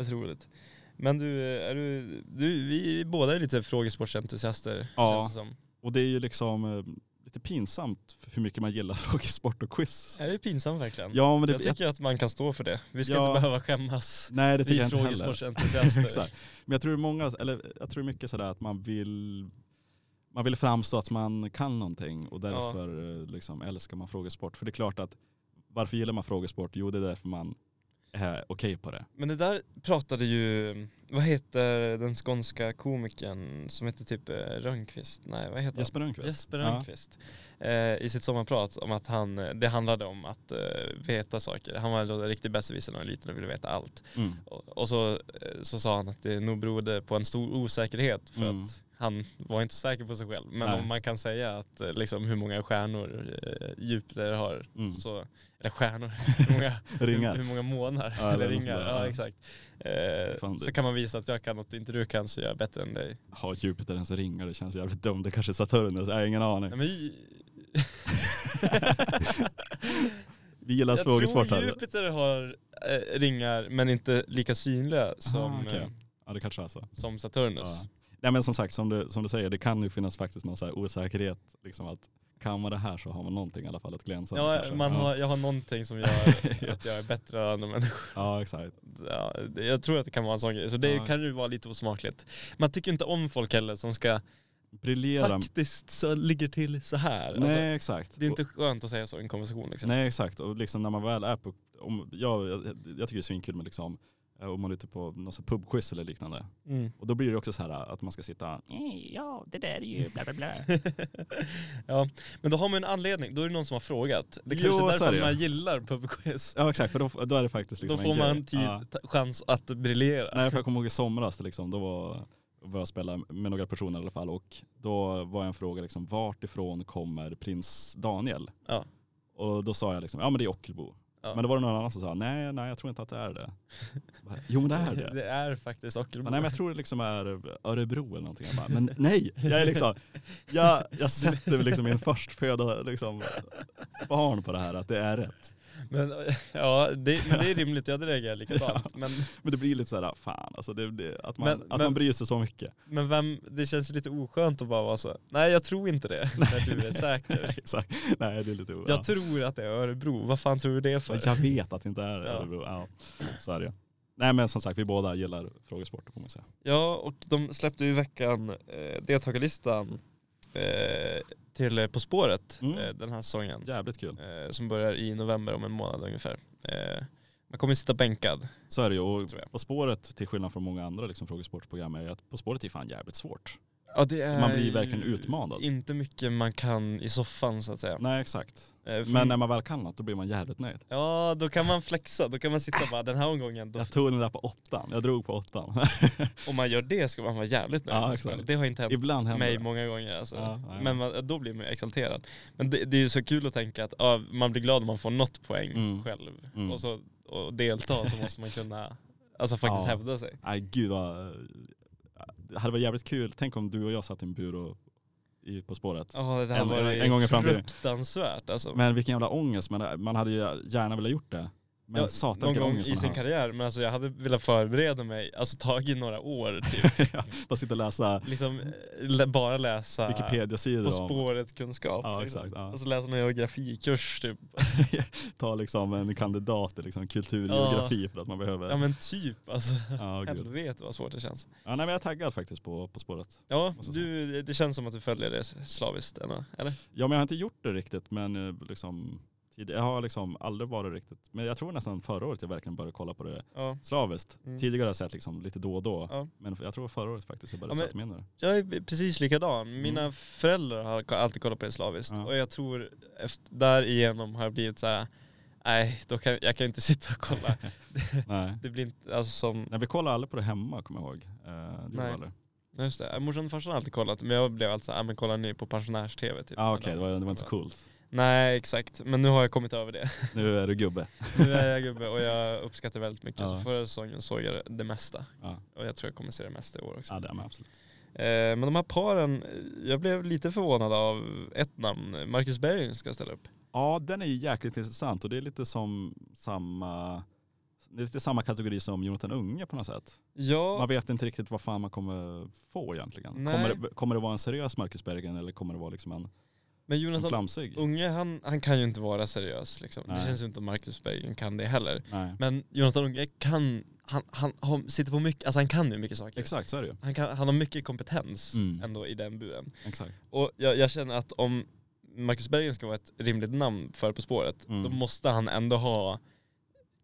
[SPEAKER 2] otroligt. Men du, är du, du vi, vi båda är lite frågesportsentusiaster
[SPEAKER 3] Ja.
[SPEAKER 2] känns det som.
[SPEAKER 3] Och det är ju liksom eh, lite pinsamt hur mycket man gillar frågesport och quiz.
[SPEAKER 2] Är det pinsamt verkligen?
[SPEAKER 3] Ja, men det,
[SPEAKER 2] jag tycker att man kan stå för det. Vi ska
[SPEAKER 3] Ja.
[SPEAKER 2] inte behöva skämmas.
[SPEAKER 3] nej,
[SPEAKER 2] Vi
[SPEAKER 3] det tycker jag inte heller.
[SPEAKER 2] frågesportsentusiaster.
[SPEAKER 3] Exakt. Men jag tror många, eller jag tror mycket sådär att man vill man vill framstå att man kan någonting och därför eh, liksom älskar man frågesport. För det är klart att varför gillar man frågesport? Jo det är därför man är okej på det.
[SPEAKER 2] Men det där pratade ju, vad heter den skånska komikern som heter typ eh, Rönnqvist? Nej vad heter han?
[SPEAKER 3] Jesper Rönnqvist.
[SPEAKER 2] Jesper Rönnqvist. Eh, I sitt sommarprat om att han, det handlade om att eh, veta saker. Han var en riktig besserwisser när han var liten och ville veta allt.
[SPEAKER 3] Mm.
[SPEAKER 2] Och, och så, eh, så sa han att det nog berodde på en stor osäkerhet för
[SPEAKER 3] Mm.
[SPEAKER 2] att han var inte säker på sig själv. Men
[SPEAKER 3] Nej.
[SPEAKER 2] om man kan säga att eh, liksom, hur många stjärnor eh, Jupiter har,
[SPEAKER 3] Mm.
[SPEAKER 2] så, eller stjärnor, hur många,
[SPEAKER 3] Ringar.
[SPEAKER 2] Hur, hur många månar
[SPEAKER 3] Ja, eller
[SPEAKER 2] eller
[SPEAKER 3] något
[SPEAKER 2] ringar,
[SPEAKER 3] sånt där,
[SPEAKER 2] ja
[SPEAKER 3] ja.
[SPEAKER 2] exakt. Eh,
[SPEAKER 3] Fan, det-
[SPEAKER 2] så kan man visa att jag kan något inte du kan så jag är bättre än dig.
[SPEAKER 3] Har Jupiter ens ringar? Det känns jävligt dumt. Det kanske är Saturnus. Jag har ingen aning.
[SPEAKER 2] Nej, men, ju-
[SPEAKER 3] Vi gillar
[SPEAKER 2] jag tror
[SPEAKER 3] frågesport här.
[SPEAKER 2] Jupiter har eh, ringar men inte lika synliga som,
[SPEAKER 3] Ah, okej.
[SPEAKER 2] eh,
[SPEAKER 3] Ja det kanske är så.
[SPEAKER 2] som Saturnus.
[SPEAKER 3] Ja. Nej men som sagt, som du, som du säger, det kan ju finnas faktiskt någon så här osäkerhet. Liksom att kan man det här så har man någonting i alla fall att glänsa med
[SPEAKER 2] Ja,
[SPEAKER 3] kanske.
[SPEAKER 2] man
[SPEAKER 3] ja.
[SPEAKER 2] har, jag har någonting som gör att jag är bättre än andra människor.
[SPEAKER 3] ja exakt.
[SPEAKER 2] Ja, det- jag tror att det kan vara en sån grej. Så det
[SPEAKER 3] Ja.
[SPEAKER 2] kan ju vara lite osmakligt. Man tycker inte om folk heller som ska,
[SPEAKER 3] Briljera.
[SPEAKER 2] faktiskt så ligger till så här. Alltså,
[SPEAKER 3] Nej exakt.
[SPEAKER 2] det är inte skönt att säga så i en konversation liksom.
[SPEAKER 3] Nej exakt, och liksom när man väl är på, om, ja, jag, jag tycker det är svinkul med liksom, eh, om man är ute på någon sån här pubquiz eller liknande.
[SPEAKER 2] Mm.
[SPEAKER 3] Och då blir det också så här att man ska sitta,
[SPEAKER 4] Nej, ja, det där är ju bla bla bla.
[SPEAKER 2] ja, men då har man en anledning. Då är det någon som har frågat. Det
[SPEAKER 3] Jo,
[SPEAKER 2] kanske
[SPEAKER 3] så
[SPEAKER 2] är därför
[SPEAKER 3] är det ju.
[SPEAKER 2] man gillar pubquiz.
[SPEAKER 3] ja exakt för då, då är det faktiskt liksom
[SPEAKER 2] Då får
[SPEAKER 3] en grej.
[SPEAKER 2] man tid,
[SPEAKER 3] Ja.
[SPEAKER 2] ta- chans att briljera.
[SPEAKER 3] Nej för jag kommer ihåg i somras liksom, då var, var jag spela med några personer i alla fall och då var en fråga liksom, vart ifrån kommer prins Daniel?
[SPEAKER 2] Ja.
[SPEAKER 3] Och då sa jag liksom, ja men det är Ockelbo.
[SPEAKER 2] Ja.
[SPEAKER 3] Men då var det någon annan som sa, nej nej jag tror inte att det är det. Så bara, jo men det är det.
[SPEAKER 2] Det är faktiskt Ockelbo.
[SPEAKER 3] Ja, nej men jag tror det liksom är Örebro eller någonting. Jag bara, men nej, jag är liksom, jag, jag sätter liksom min förstfödda liksom, barn på det här att det är rätt.
[SPEAKER 2] Men, ja, det, men det är rimligt. Jag hade reagerat likadant. Men,
[SPEAKER 3] Men det blir lite såhär, fan alltså, det, det, att, man,
[SPEAKER 2] Men-
[SPEAKER 3] att
[SPEAKER 2] men-
[SPEAKER 3] man bryr sig så mycket.
[SPEAKER 2] men vem, det känns lite oskönt att bara vara så. Nej, jag tror inte det. När du är säker.
[SPEAKER 3] Exakt. Nej det är lite
[SPEAKER 2] Jag tror att det är Örebro. Vad fan tror du det är för?
[SPEAKER 3] ja. jag vet att det inte är
[SPEAKER 2] Ja.
[SPEAKER 3] Örebro. Ja. Så är det ju. Nej men som sagt, vi båda gillar frågesport får man säga.
[SPEAKER 2] Ja, och de släppte ju i veckan eh, deltagarlistan eh, till eh, På spåret
[SPEAKER 3] Mm.
[SPEAKER 2] eh, den här säsongen.
[SPEAKER 3] Jävligt kul.
[SPEAKER 2] Eh, som börjar i november om en månad ungefär. Eh, man kommer sitta bänkad.
[SPEAKER 3] Så är det ju. Och
[SPEAKER 2] Tror jag.
[SPEAKER 3] På spåret, till skillnad från många andra liksom, frågesportprogram, är ju att På spåret är fan jävligt svårt.
[SPEAKER 2] Ja, det är
[SPEAKER 3] Man blir
[SPEAKER 2] ju
[SPEAKER 3] verkligen utmanad.
[SPEAKER 2] Inte mycket man kan i soffan så att säga.
[SPEAKER 3] Nej exakt.
[SPEAKER 2] Eh, för-
[SPEAKER 3] Men när man väl kan något då blir man jävligt nöjd.
[SPEAKER 2] Ja, då kan man flexa. Då kan man sitta bara den här omgången. Då,
[SPEAKER 3] Jag tog den där på åttan, jag drog på åttan.
[SPEAKER 2] om man gör det ska man vara jävligt nöjd.
[SPEAKER 3] Ja,
[SPEAKER 2] med sig
[SPEAKER 3] exakt.
[SPEAKER 2] själv. det har inte hänt
[SPEAKER 3] Ibland händer
[SPEAKER 2] mig
[SPEAKER 3] det.
[SPEAKER 2] många gånger. Alltså.
[SPEAKER 3] Ja, ja.
[SPEAKER 2] Men man, då blir man ju exalterad. Men det, det är ju så kul att tänka att ja, man blir glad om man får något poäng
[SPEAKER 3] Mm.
[SPEAKER 2] själv.
[SPEAKER 3] Mm.
[SPEAKER 2] Och, så, och delta så måste man kunna alltså, faktiskt
[SPEAKER 3] Ja.
[SPEAKER 2] hävda sig.
[SPEAKER 3] Nej gud vad... Det hade varit jävligt kul, tänk om du och jag satt i en bur och, i På spåret.
[SPEAKER 2] Ja, det här
[SPEAKER 3] En-
[SPEAKER 2] var ju
[SPEAKER 3] en gång i framtiden.
[SPEAKER 2] fruktansvärt alltså.
[SPEAKER 3] Men vilken jävla ångest, man, man hade ju gärna velat gjort det. Men
[SPEAKER 2] Ja,
[SPEAKER 3] satan
[SPEAKER 2] någon
[SPEAKER 3] vilken
[SPEAKER 2] gång
[SPEAKER 3] ångest
[SPEAKER 2] i
[SPEAKER 3] man
[SPEAKER 2] sin
[SPEAKER 3] har.
[SPEAKER 2] karriär, men alltså jag hade velat förbereda mig, alltså tagit några år typ.
[SPEAKER 3] Bara sitta och läsa
[SPEAKER 2] liksom eh, lä- bara läsa
[SPEAKER 3] Wikipedia-sidor
[SPEAKER 2] På
[SPEAKER 3] om-
[SPEAKER 2] spåret kunskap.
[SPEAKER 3] Ja,
[SPEAKER 2] liksom.
[SPEAKER 3] exakt, ja.
[SPEAKER 2] Och så läsa någon geografikurs typ.
[SPEAKER 3] ta liksom en kandidat i liksom kulturgeografi för att man behöver.
[SPEAKER 2] Ja men typ alltså.
[SPEAKER 3] Ja, gud.
[SPEAKER 2] Helvete vad svårt det känns.
[SPEAKER 3] ja nej men jag är taggad faktiskt på På spåret.
[SPEAKER 2] Ja,
[SPEAKER 3] Måste
[SPEAKER 2] du, det känns som att du följer det slaviskt ändå, eller?
[SPEAKER 3] Ja men jag har inte gjort det riktigt men eh, liksom, tid- jag har liksom aldrig varit riktigt, men jag tror nästan förra året jag verkligen började kolla på det
[SPEAKER 2] Ja.
[SPEAKER 3] slaviskt.
[SPEAKER 2] Mm.
[SPEAKER 3] Tidigare har jag sett liksom lite då och då.
[SPEAKER 2] Ja.
[SPEAKER 3] Men jag tror förra året faktiskt jag började
[SPEAKER 2] Ja, men-
[SPEAKER 3] sätta mig in i det.
[SPEAKER 2] Jag är precis likadan. Mina föräldrar har ko- alltid kollat på det slaviskt.
[SPEAKER 3] Mm. Ja.
[SPEAKER 2] Och jag tror efter, därigenom har jag blivit så här. nej, då kan, jag kan inte sitta och kolla.
[SPEAKER 3] Nej.
[SPEAKER 2] det blir inte, alltså som,
[SPEAKER 3] Nej vi kollade aldrig på det hemma kommer jag ihåg. Eh, det
[SPEAKER 2] Nej.
[SPEAKER 3] Nej. Aldrig.
[SPEAKER 2] nej, just det. Morsan och farsan har alltid kollat, men jag blev alltså, ja men kollar ni på pensionärs-tv typ?
[SPEAKER 3] Ah, Okej det, var, det var inte så coolt.
[SPEAKER 2] Nej, exakt. Men nu har jag kommit över det.
[SPEAKER 3] Nu är du gubbe.
[SPEAKER 2] Nu är jag gubbe och jag uppskattar väldigt mycket.
[SPEAKER 3] Ja.
[SPEAKER 2] Så förra säsongen såg jag det mesta.
[SPEAKER 3] Ja.
[SPEAKER 2] Och jag tror jag kommer se det mesta i år också.
[SPEAKER 3] Ja det är man absolut.
[SPEAKER 2] Eh, men de här paren, eh, jag blev lite förvånad av ett namn. Marcus Berggren ska ställa upp.
[SPEAKER 3] Ja den är ju jäkligt intressant och det är lite som samma, det är lite samma kategori som Jonathan Unge på något sätt. Man
[SPEAKER 2] Ja,
[SPEAKER 3] vet inte riktigt vad fan man kommer få egentligen.
[SPEAKER 2] Nej.
[SPEAKER 3] Kommer det, kommer det vara en seriös Marcus Bergen eller kommer det vara liksom en,
[SPEAKER 2] men Mm.
[SPEAKER 3] en
[SPEAKER 2] Jonathan
[SPEAKER 3] flamsig?
[SPEAKER 2] Unge, han, han kan ju inte vara seriös. Liksom. Det
[SPEAKER 3] Nej.
[SPEAKER 2] känns ju inte som Marcus Berggren kan det heller.
[SPEAKER 3] Nej.
[SPEAKER 2] Men Jonathan Unge kan, han, han, har- sitter på mycket, alltså han kan ju mycket saker.
[SPEAKER 3] Exakt så är det ju.
[SPEAKER 2] Han, kan, han har mycket kompetens
[SPEAKER 3] Mm.
[SPEAKER 2] ändå i den buren.
[SPEAKER 3] Exakt.
[SPEAKER 2] Och jag, jag känner att om Marcus Berggren ska vara ett rimligt namn för På spåret,
[SPEAKER 3] Mm.
[SPEAKER 2] då måste han ändå ha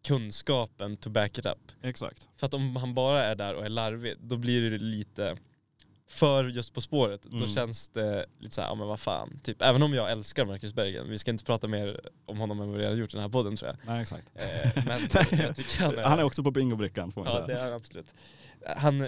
[SPEAKER 2] kunskapen to back it up.
[SPEAKER 3] Exakt.
[SPEAKER 2] För att om han bara är där och är larvig, då blir det lite för just På spåret, då
[SPEAKER 3] Mm.
[SPEAKER 2] känns det lite såhär, ja men vad fan. Typ, även om jag älskar Marcus Bergen, vi ska inte prata mer om honom än vad vi redan gjort i den här podden tror jag.
[SPEAKER 3] Nej exakt.
[SPEAKER 2] Eh, men jag tycker han är,
[SPEAKER 3] Han är också på bingobrickan får man
[SPEAKER 2] ja
[SPEAKER 3] säga.
[SPEAKER 2] det är han absolut. Han, eh,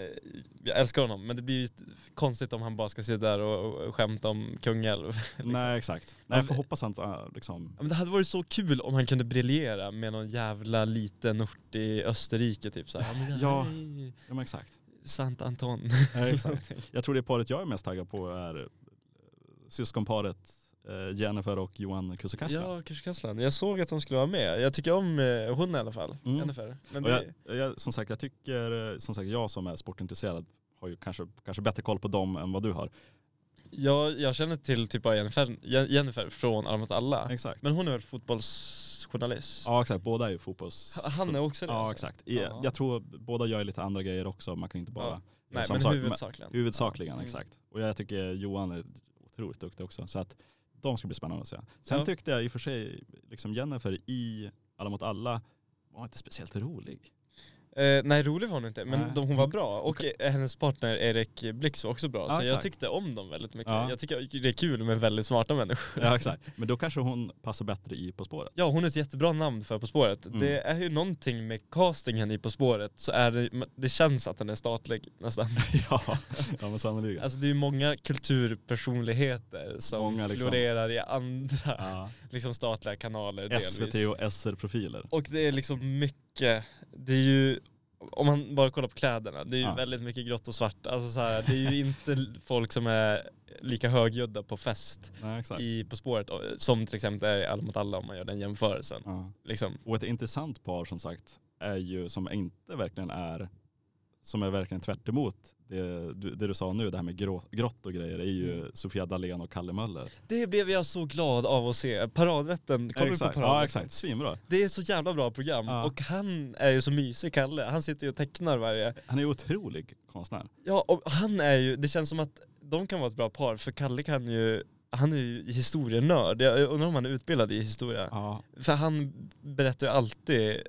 [SPEAKER 2] jag älskar honom, men det blir ju t- konstigt om han bara ska sitta där och, och skämta om Kungälv. liksom.
[SPEAKER 3] Nej exakt. Nej jag får hoppas han äh, liksom,
[SPEAKER 2] Ja, Men det hade varit så kul om han kunde briljera med någon jävla liten ort i Österrike typ såhär. Ja, men det här
[SPEAKER 3] Ja.
[SPEAKER 2] är
[SPEAKER 3] ja men exakt.
[SPEAKER 2] Sant Anton.
[SPEAKER 3] Nej, exakt. Jag tror det paret jag är mest taggad på är eh, syskonparet eh, Jennifer och Johan Kusukasa.
[SPEAKER 2] Ja, Kurskasslan. Jag såg att de skulle vara med. Jag tycker om eh, hon i alla fall,
[SPEAKER 3] Mm.
[SPEAKER 2] Jennifer. Men
[SPEAKER 3] Och
[SPEAKER 2] det,
[SPEAKER 3] jag, jag, som sagt, jag tycker, eh, som sagt, jag som är sportintresserad har ju kanske, kanske bättre koll på dem än vad du har.
[SPEAKER 2] jag, jag känner till typ bara Jennifer, Je- Jennifer från Alla mot alla.
[SPEAKER 3] Exakt.
[SPEAKER 2] Men hon är väl fotbollsjournalist?
[SPEAKER 3] Ja exakt, båda är ju fotbolls...
[SPEAKER 2] Han är också det?
[SPEAKER 3] Ja
[SPEAKER 2] alltså.
[SPEAKER 3] exakt. I,
[SPEAKER 2] Ja.
[SPEAKER 3] Jag tror båda gör lite andra grejer också, man kan inte bara...
[SPEAKER 2] Ja.
[SPEAKER 3] göra
[SPEAKER 2] Nej,
[SPEAKER 3] samma
[SPEAKER 2] men
[SPEAKER 3] sak.
[SPEAKER 2] huvudsakligen.
[SPEAKER 3] Huvudsakligen,
[SPEAKER 2] Ja. Mm.
[SPEAKER 3] exakt. Och jag tycker Johan är otroligt duktig också. Så att de ska bli spännande att se. Sen
[SPEAKER 2] Ja.
[SPEAKER 3] tyckte jag i och för sig, liksom Jennifer i Alla mot alla var inte speciellt rolig.
[SPEAKER 2] Eh, nej, rolig var hon inte, men
[SPEAKER 3] Nej. Mm.
[SPEAKER 2] de, hon var bra. Och eh, hennes partner Erik Blix var också bra.
[SPEAKER 3] Ja,
[SPEAKER 2] så jag
[SPEAKER 3] exakt.
[SPEAKER 2] tyckte om dem väldigt mycket.
[SPEAKER 3] Ja.
[SPEAKER 2] Jag tycker det är kul med väldigt smarta människor.
[SPEAKER 3] Ja exakt. Men då kanske hon passar bättre i På spåret.
[SPEAKER 2] Ja, hon är ett jättebra namn för På spåret.
[SPEAKER 3] Mm.
[SPEAKER 2] Det är ju någonting med castingen i På spåret, så är det, det känns att den är statlig nästan.
[SPEAKER 3] ja, ja men sannolikt.
[SPEAKER 2] Alltså det är ju många kulturpersonligheter som
[SPEAKER 3] Många, liksom.
[SPEAKER 2] florerar i andra
[SPEAKER 3] Ja.
[SPEAKER 2] liksom statliga kanaler
[SPEAKER 3] SVT
[SPEAKER 2] delvis.
[SPEAKER 3] och SR-profiler.
[SPEAKER 2] Och det är liksom mycket, det är ju, om man bara kollar på kläderna, det är ju
[SPEAKER 3] Ja.
[SPEAKER 2] väldigt mycket grått och svart. Alltså så här, det är ju inte folk som är lika högljudda på fest
[SPEAKER 3] Nej, exakt.
[SPEAKER 2] i På spåret och- som till exempel är i Alla mot alla om man gör den jämförelsen.
[SPEAKER 3] Ja.
[SPEAKER 2] Liksom.
[SPEAKER 3] Och ett intressant par som sagt är ju som inte verkligen är som är verkligen tvärt emot det, du- det du sa nu, det här med grå, grått och grejer, är ju
[SPEAKER 2] Mm.
[SPEAKER 3] Sofia Dalén och Kalle Möller.
[SPEAKER 2] Det blev jag så glad av att se. Paradrätten, kollar du på
[SPEAKER 3] exakt.
[SPEAKER 2] paradrätten?
[SPEAKER 3] Ja exakt, svinbra.
[SPEAKER 2] Det är så jävla bra program
[SPEAKER 3] Ja.
[SPEAKER 2] och han är ju så mysig Kalle. Han sitter ju och tecknar varje.
[SPEAKER 3] Han är ju otrolig konstnär.
[SPEAKER 2] Ja och han är ju, det känns som att de kan vara ett bra par för Kalle kan ju, han är ju historienörd. Jag undrar om han är utbildad i historia.
[SPEAKER 3] Ja.
[SPEAKER 2] För han berättar ju alltid,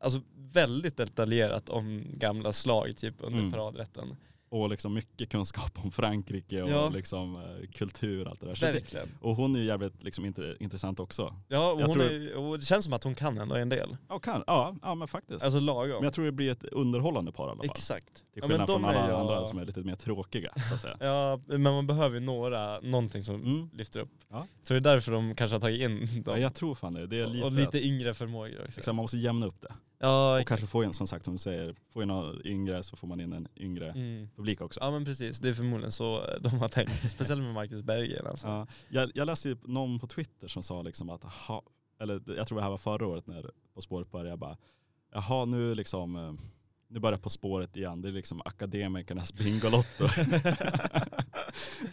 [SPEAKER 2] alltså väldigt detaljerat om gamla slag typ under
[SPEAKER 3] Mm.
[SPEAKER 2] paradrätten.
[SPEAKER 3] Och liksom mycket kunskap om Frankrike och
[SPEAKER 2] Ja.
[SPEAKER 3] liksom eh, kultur och allt det där. Så det,
[SPEAKER 2] Verkligen.
[SPEAKER 3] och hon är ju jävligt liksom, inte, intressant också.
[SPEAKER 2] Ja och,
[SPEAKER 3] Jag
[SPEAKER 2] hon
[SPEAKER 3] tror-
[SPEAKER 2] är, ju- och det känns som att hon kan ändå en del.
[SPEAKER 3] Ja, kan, ja, ja men faktiskt.
[SPEAKER 2] Alltså
[SPEAKER 3] Men
[SPEAKER 2] lagom.
[SPEAKER 3] jag tror det blir ett underhållande par i alla fall.
[SPEAKER 2] Exakt.
[SPEAKER 3] Till skillnad från alla
[SPEAKER 2] jag-
[SPEAKER 3] andra som är lite mer tråkiga så att säga.
[SPEAKER 2] Ja, men man behöver ju några, någonting som
[SPEAKER 3] Mm.
[SPEAKER 2] lyfter upp.
[SPEAKER 3] Ja.
[SPEAKER 2] Så det är därför de kanske har tagit in
[SPEAKER 3] Ja,
[SPEAKER 2] dem.
[SPEAKER 3] jag tror fan det. Det är lite,
[SPEAKER 2] och lite yngre förmågor också.
[SPEAKER 3] Exakt, man måste jämna upp det.
[SPEAKER 2] Ja,
[SPEAKER 3] Och
[SPEAKER 2] typ. exakt.
[SPEAKER 3] kanske få in, som sagt, som du säger, få in några yngre så får man in en yngre
[SPEAKER 2] Mm.
[SPEAKER 3] publik också.
[SPEAKER 2] Ja men precis, det är förmodligen så eh, de har tänkt. Speciellt med Marcus Berggren alltså.
[SPEAKER 3] Ja. Jag, jag läste ju någon på Twitter som sa liksom att, aha, eller jag tror det här var förra året när På spåret började, jag bara, jaha nu liksom, eh, nu börjar På spåret igen, det är liksom akademikernas Bingolotto.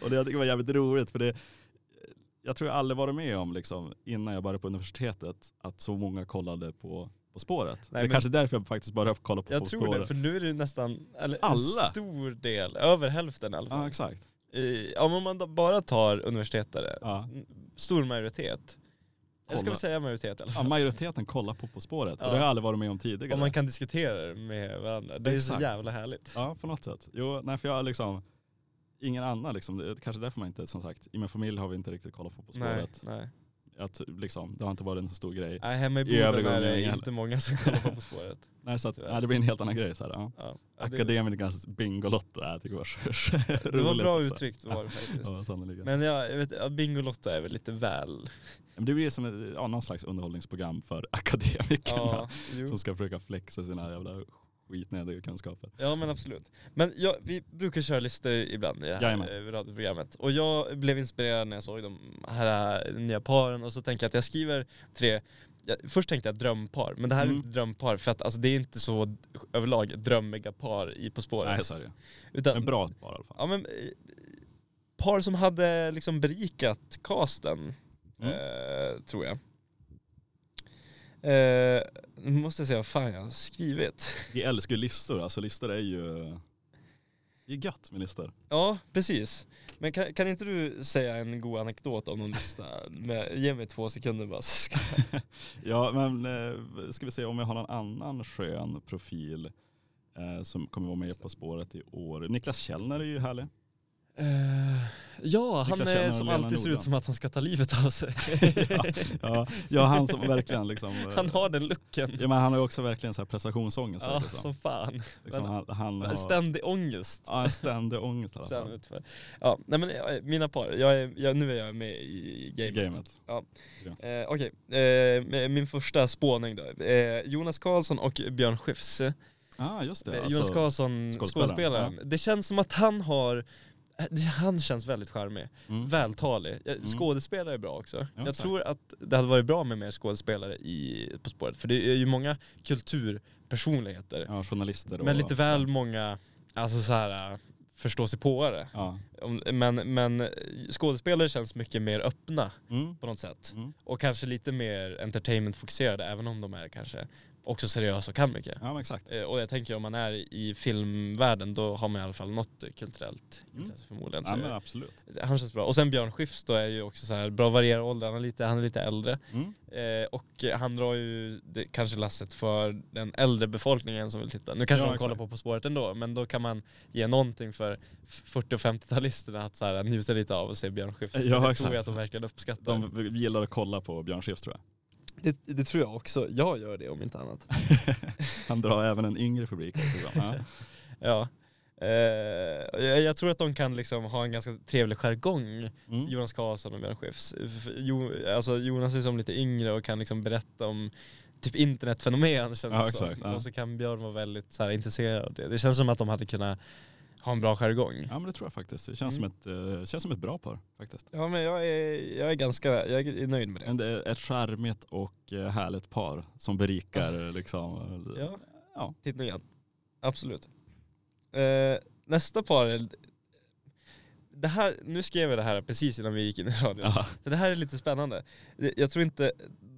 [SPEAKER 3] och det jag tycker var jävligt roligt för det, jag tror jag aldrig varit med om liksom, innan jag började på universitetet, att så många kollade på På spåret. det är
[SPEAKER 2] men-
[SPEAKER 3] kanske därför jag faktiskt började kolla på På
[SPEAKER 2] Jag tror
[SPEAKER 3] spåret.
[SPEAKER 2] det, för nu är det ju nästan, eller en
[SPEAKER 3] Alla.
[SPEAKER 2] stor del, över hälften i alla
[SPEAKER 3] Ja
[SPEAKER 2] fall.
[SPEAKER 3] exakt.
[SPEAKER 2] I- Ja, men om man då bara tar universitetare,
[SPEAKER 3] Ja.
[SPEAKER 2] stor majoritet. Eller ska
[SPEAKER 3] Kolla.
[SPEAKER 2] vi säga majoritet i alla
[SPEAKER 3] Ja,
[SPEAKER 2] fall.
[SPEAKER 3] majoriteten kollar på På spåret och
[SPEAKER 2] Ja.
[SPEAKER 3] det har jag aldrig varit med om tidigare.
[SPEAKER 2] Om man kan diskutera det med varandra. Det är så
[SPEAKER 3] Exakt.
[SPEAKER 2] jävla härligt.
[SPEAKER 3] Ja, på något sätt. Jo, nej för jag har liksom ingen annan liksom. Det är kanske därför man inte, som sagt, i min familj har vi inte riktigt kollat på På
[SPEAKER 2] nej,
[SPEAKER 3] spåret.
[SPEAKER 2] nej.
[SPEAKER 3] Att, liksom, det har inte varit en så stor grej.
[SPEAKER 2] Nej, hemma i
[SPEAKER 3] I övriga
[SPEAKER 2] Boden är det
[SPEAKER 3] umgängen.
[SPEAKER 2] inte många som kollar på På spåret.
[SPEAKER 3] Nej, så att,
[SPEAKER 2] tyvärr.
[SPEAKER 3] nej, det blir en helt annan grej. Så här, ja.
[SPEAKER 2] Ja. Ja, det,
[SPEAKER 3] Akademikernas Bingolotto, nej, jag tycker det var så, så roligt.
[SPEAKER 2] det var bra
[SPEAKER 3] alltså.
[SPEAKER 2] uttryckt var det faktiskt.
[SPEAKER 3] Ja, sannoliken. Men,
[SPEAKER 2] Men jag, jag vet, ja, Bingolotto är väl lite väl...
[SPEAKER 3] det blir som ett, ja, någon slags underhållningsprogram för akademikerna
[SPEAKER 2] Ja, jo.
[SPEAKER 3] som ska försöka flexa sina jävla skitnödiga kunskaper.
[SPEAKER 2] ja men absolut. Men jag, vi brukar köra listor ibland i det här
[SPEAKER 3] Jajamän.
[SPEAKER 2] eh, radioprogrammet. Och jag blev inspirerad när jag såg de här eh, nya paren och så tänkte jag att jag skriver tre jag, först tänkte jag drömpar, men det här är
[SPEAKER 3] Mm.
[SPEAKER 2] inte drömpar för att alltså, det är inte så d- överlag drömmiga par i På spåret.
[SPEAKER 3] Nej, så är det.
[SPEAKER 2] Utan,
[SPEAKER 3] Men bra bara i alla fall.
[SPEAKER 2] ja, men, eh, par som hade liksom berikat casten,
[SPEAKER 3] Mm.
[SPEAKER 2] eh, tror jag. Eh, nu måste jag säga vad fan jag har skrivit.
[SPEAKER 3] Vi älskar ju listor, alltså listor är ju... Det är gött med listor.
[SPEAKER 2] Ja, precis. Men kan, kan inte du säga en god anekdot om någon lista? Med, ge mig två sekunder bara så ska
[SPEAKER 3] Ja, men eh, ska vi se om jag har någon annan skön profil eh, som kommer vara med På spåret i år. Niklas Källner är ju härlig.
[SPEAKER 2] Eh, ja, han
[SPEAKER 3] Niklas
[SPEAKER 2] är,
[SPEAKER 3] Tjärner och
[SPEAKER 2] som
[SPEAKER 3] Lena
[SPEAKER 2] alltid ser ut
[SPEAKER 3] Nordgren.
[SPEAKER 2] som att han ska ta livet av sig.
[SPEAKER 3] Ja, ja han som verkligen liksom, eh,
[SPEAKER 2] Han har den looken.
[SPEAKER 3] ja, men han har ju också verkligen så här prestationsångest.
[SPEAKER 2] Ja,
[SPEAKER 3] liksom.
[SPEAKER 2] som fan.
[SPEAKER 3] liksom,
[SPEAKER 2] men-
[SPEAKER 3] han, han har
[SPEAKER 2] Ständig ångest.
[SPEAKER 3] ja, en ständig ångest alltså. i alla
[SPEAKER 2] Sen
[SPEAKER 3] fall.
[SPEAKER 2] utför. Ja, nej men eh, mina par, jag är, jag, nu är jag med i
[SPEAKER 3] I
[SPEAKER 2] gamet.
[SPEAKER 3] gamet.
[SPEAKER 2] Eh, Okej, eh, med- min första spåning då. Eh, Jonas Karlsson och Björn Skifs.
[SPEAKER 3] Ja, ah, just det.
[SPEAKER 2] Eh,
[SPEAKER 3] Alltså,
[SPEAKER 2] Jonas Karlsson, skådespelaren.
[SPEAKER 3] skådespelaren,
[SPEAKER 2] Det känns som att han har, eh, det- han känns väldigt charmig,
[SPEAKER 3] mm.
[SPEAKER 2] vältalig. Eh, Skådespelare är bra också. jag
[SPEAKER 3] tack.
[SPEAKER 2] tror att det hade varit bra med mer skådespelare i På spåret, för det är ju många kulturpersonligheter.
[SPEAKER 3] Ja, journalister och...
[SPEAKER 2] men lite väl många, alltså så här eh, förståsigpåare.
[SPEAKER 3] Ja.
[SPEAKER 2] Om- Men, men skådespelare känns mycket mer öppna
[SPEAKER 3] Mm.
[SPEAKER 2] på något sätt.
[SPEAKER 3] Mm.
[SPEAKER 2] Och kanske lite mer entertainment-fokuserade även om de är kanske också seriösa och kan mycket.
[SPEAKER 3] ja, men exakt.
[SPEAKER 2] Eh, Och jag tänker om man är i filmvärlden då har man i alla fall något kulturellt
[SPEAKER 3] Mm.
[SPEAKER 2] intresse förmodligen. Så
[SPEAKER 3] Ja, men absolut.
[SPEAKER 2] jag- Han känns bra. Och sen Björn Skifs då är ju också så här bra varierar åldern, han är lite, han är lite äldre.
[SPEAKER 3] Mm.
[SPEAKER 2] Eh, och eh, han drar ju det, kanske lasset för den äldre befolkningen som vill titta. Nu kanske
[SPEAKER 3] Ja,
[SPEAKER 2] de kollar
[SPEAKER 3] exakt.
[SPEAKER 2] på På spåret ändå, men då kan man ge någonting för f- 40 och 50-talisterna att så här, njuta lite av och se Björn Skifs.
[SPEAKER 3] Ja,
[SPEAKER 2] det tror
[SPEAKER 3] exakt.
[SPEAKER 2] jag att de verkar uppskatta.
[SPEAKER 3] De gillar att kolla på Björn Skifs tror jag.
[SPEAKER 2] Det, det tror jag också. Jag gör det om inte annat.
[SPEAKER 3] Han drar även en yngre publik. också. Ja.
[SPEAKER 2] Ja. Eh, jag, jag tror att de kan liksom ha en ganska trevlig jargong,
[SPEAKER 3] Mm.
[SPEAKER 2] Jonas Karlsson och Björn Skifs. F- Jo, alltså Jonas är som lite yngre och kan liksom berätta om typ internetfenomen känns
[SPEAKER 3] Ja,
[SPEAKER 2] det
[SPEAKER 3] exakt,
[SPEAKER 2] som.
[SPEAKER 3] ja.
[SPEAKER 2] Och så kan Björn vara väldigt så här, intresserad av det. Det känns som att de hade kunnat ha en bra jargong.
[SPEAKER 3] Ja men det tror jag faktiskt. Det känns,
[SPEAKER 2] Mm.
[SPEAKER 3] som, ett, eh, känns som ett bra par faktiskt.
[SPEAKER 2] Ja men jag är, jag är ganska jag är nöjd med det.
[SPEAKER 3] En, eh, ett charmigt och eh, härligt par som berikar eh, liksom. eh,
[SPEAKER 2] Ja.
[SPEAKER 3] Ja.
[SPEAKER 2] Tittningen. Absolut. Eh, nästa par är... Det här, nu skrev jag det här precis innan vi gick in i radion.
[SPEAKER 3] Ja.
[SPEAKER 2] Så det här är lite spännande. Jag jag tror inte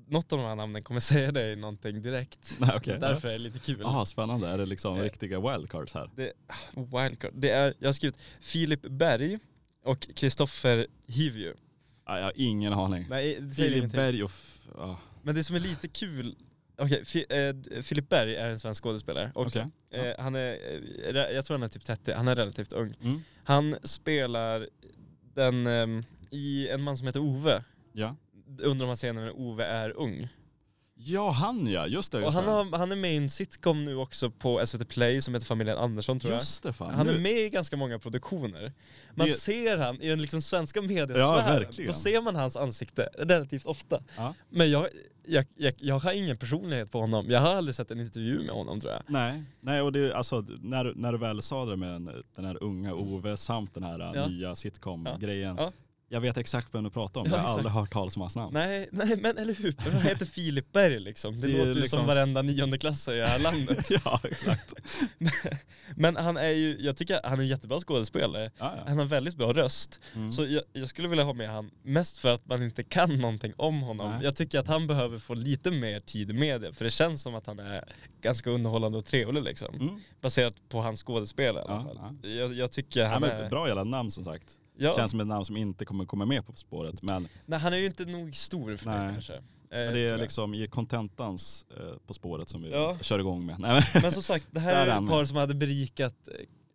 [SPEAKER 2] något av de här namnen kommer säga dig någonting direkt.
[SPEAKER 3] Nej, okej.
[SPEAKER 2] Därför är det lite kul.
[SPEAKER 3] Ah, spännande. Är det liksom
[SPEAKER 2] Eh.
[SPEAKER 3] riktiga wildcards här?
[SPEAKER 2] Wildcard. Det är, jag har skrivit Filip Berg och Kristoffer Hivju.
[SPEAKER 3] Ah, jag har ingen aning.
[SPEAKER 2] Nej, det säger
[SPEAKER 3] Filip
[SPEAKER 2] ingenting.
[SPEAKER 3] Berg och... f- ah,
[SPEAKER 2] Men det som är lite kul, okej, Fi- eh, d- Filip Berg är en svensk skådespelare också.
[SPEAKER 3] Okej. ja.
[SPEAKER 2] Eh, han är, eh, re- jag tror han är typ 30, han är relativt ung.
[SPEAKER 3] Mm.
[SPEAKER 2] Han spelar den ehm, i en man som heter Ove.
[SPEAKER 3] Ja.
[SPEAKER 2] Under de här scenerna när Ove är ung.
[SPEAKER 3] ja, han ja. Just det.
[SPEAKER 2] Och
[SPEAKER 3] Just
[SPEAKER 2] han,
[SPEAKER 3] det.
[SPEAKER 2] har, han är med i en sitcom nu också på SVT Play som heter Familjen Andersson tror jag.
[SPEAKER 3] Just det fan.
[SPEAKER 2] Han
[SPEAKER 3] Nu-
[SPEAKER 2] är med i ganska många produktioner. Man
[SPEAKER 3] Det-
[SPEAKER 2] ser han i den liksom svenska
[SPEAKER 3] Ja,
[SPEAKER 2] mediasfären.
[SPEAKER 3] verkligen.
[SPEAKER 2] Då ser man hans ansikte relativt ofta.
[SPEAKER 3] Ja.
[SPEAKER 2] Men jag, jag, jag, jag har ingen personlighet på honom. Jag har aldrig sett en intervju med honom tror jag.
[SPEAKER 3] Nej, nej och det, alltså, när, du- när du väl sa det med den- den här unga Ove samt den här äh,
[SPEAKER 2] Ja.
[SPEAKER 3] nya sitcom-grejen.
[SPEAKER 2] Ja. Ja.
[SPEAKER 3] Jag vet exakt vem du pratar om,
[SPEAKER 2] Ja,
[SPEAKER 3] jag har
[SPEAKER 2] exakt.
[SPEAKER 3] aldrig hört talas om hans namn.
[SPEAKER 2] Nej, nej men eller hur? Men han heter Filip Berg liksom. Det,
[SPEAKER 3] Det är
[SPEAKER 2] låter ju
[SPEAKER 3] liksom-
[SPEAKER 2] som varenda niondeklassare i det här landet.
[SPEAKER 3] ja, exakt.
[SPEAKER 2] Men han är ju, jag tycker han är en jättebra skådespelare.
[SPEAKER 3] Ja, ja.
[SPEAKER 2] Han har väldigt bra röst.
[SPEAKER 3] Mm.
[SPEAKER 2] Så jag, jag skulle vilja ha med han mest för att man inte kan någonting om honom.
[SPEAKER 3] Nej.
[SPEAKER 2] Jag tycker att han behöver få lite mer tid i media. För det känns som att han är ganska underhållande och trevlig liksom.
[SPEAKER 3] Mm.
[SPEAKER 2] Baserat på hans skådespel i alla
[SPEAKER 3] Ja,
[SPEAKER 2] fall. Jag, jag tycker
[SPEAKER 3] Ja,
[SPEAKER 2] han
[SPEAKER 3] men,
[SPEAKER 2] är...
[SPEAKER 3] bra jävla namn som sagt.
[SPEAKER 2] Ja, Eh,
[SPEAKER 3] Känns som ett namn som inte kommer komma med på På spåret. Men,
[SPEAKER 2] nej, han är ju inte nog stor för det
[SPEAKER 3] Nej.
[SPEAKER 2] kanske. Eh,
[SPEAKER 3] men
[SPEAKER 2] tror
[SPEAKER 3] det är
[SPEAKER 2] jag.
[SPEAKER 3] liksom i kontentans eh, På spåret som vi
[SPEAKER 2] Ja.
[SPEAKER 3] kör igång med. Nej, men,
[SPEAKER 2] Men som sagt, det
[SPEAKER 3] Där
[SPEAKER 2] här
[SPEAKER 3] är
[SPEAKER 2] är
[SPEAKER 3] han
[SPEAKER 2] ett
[SPEAKER 3] med.
[SPEAKER 2] par som hade berikat,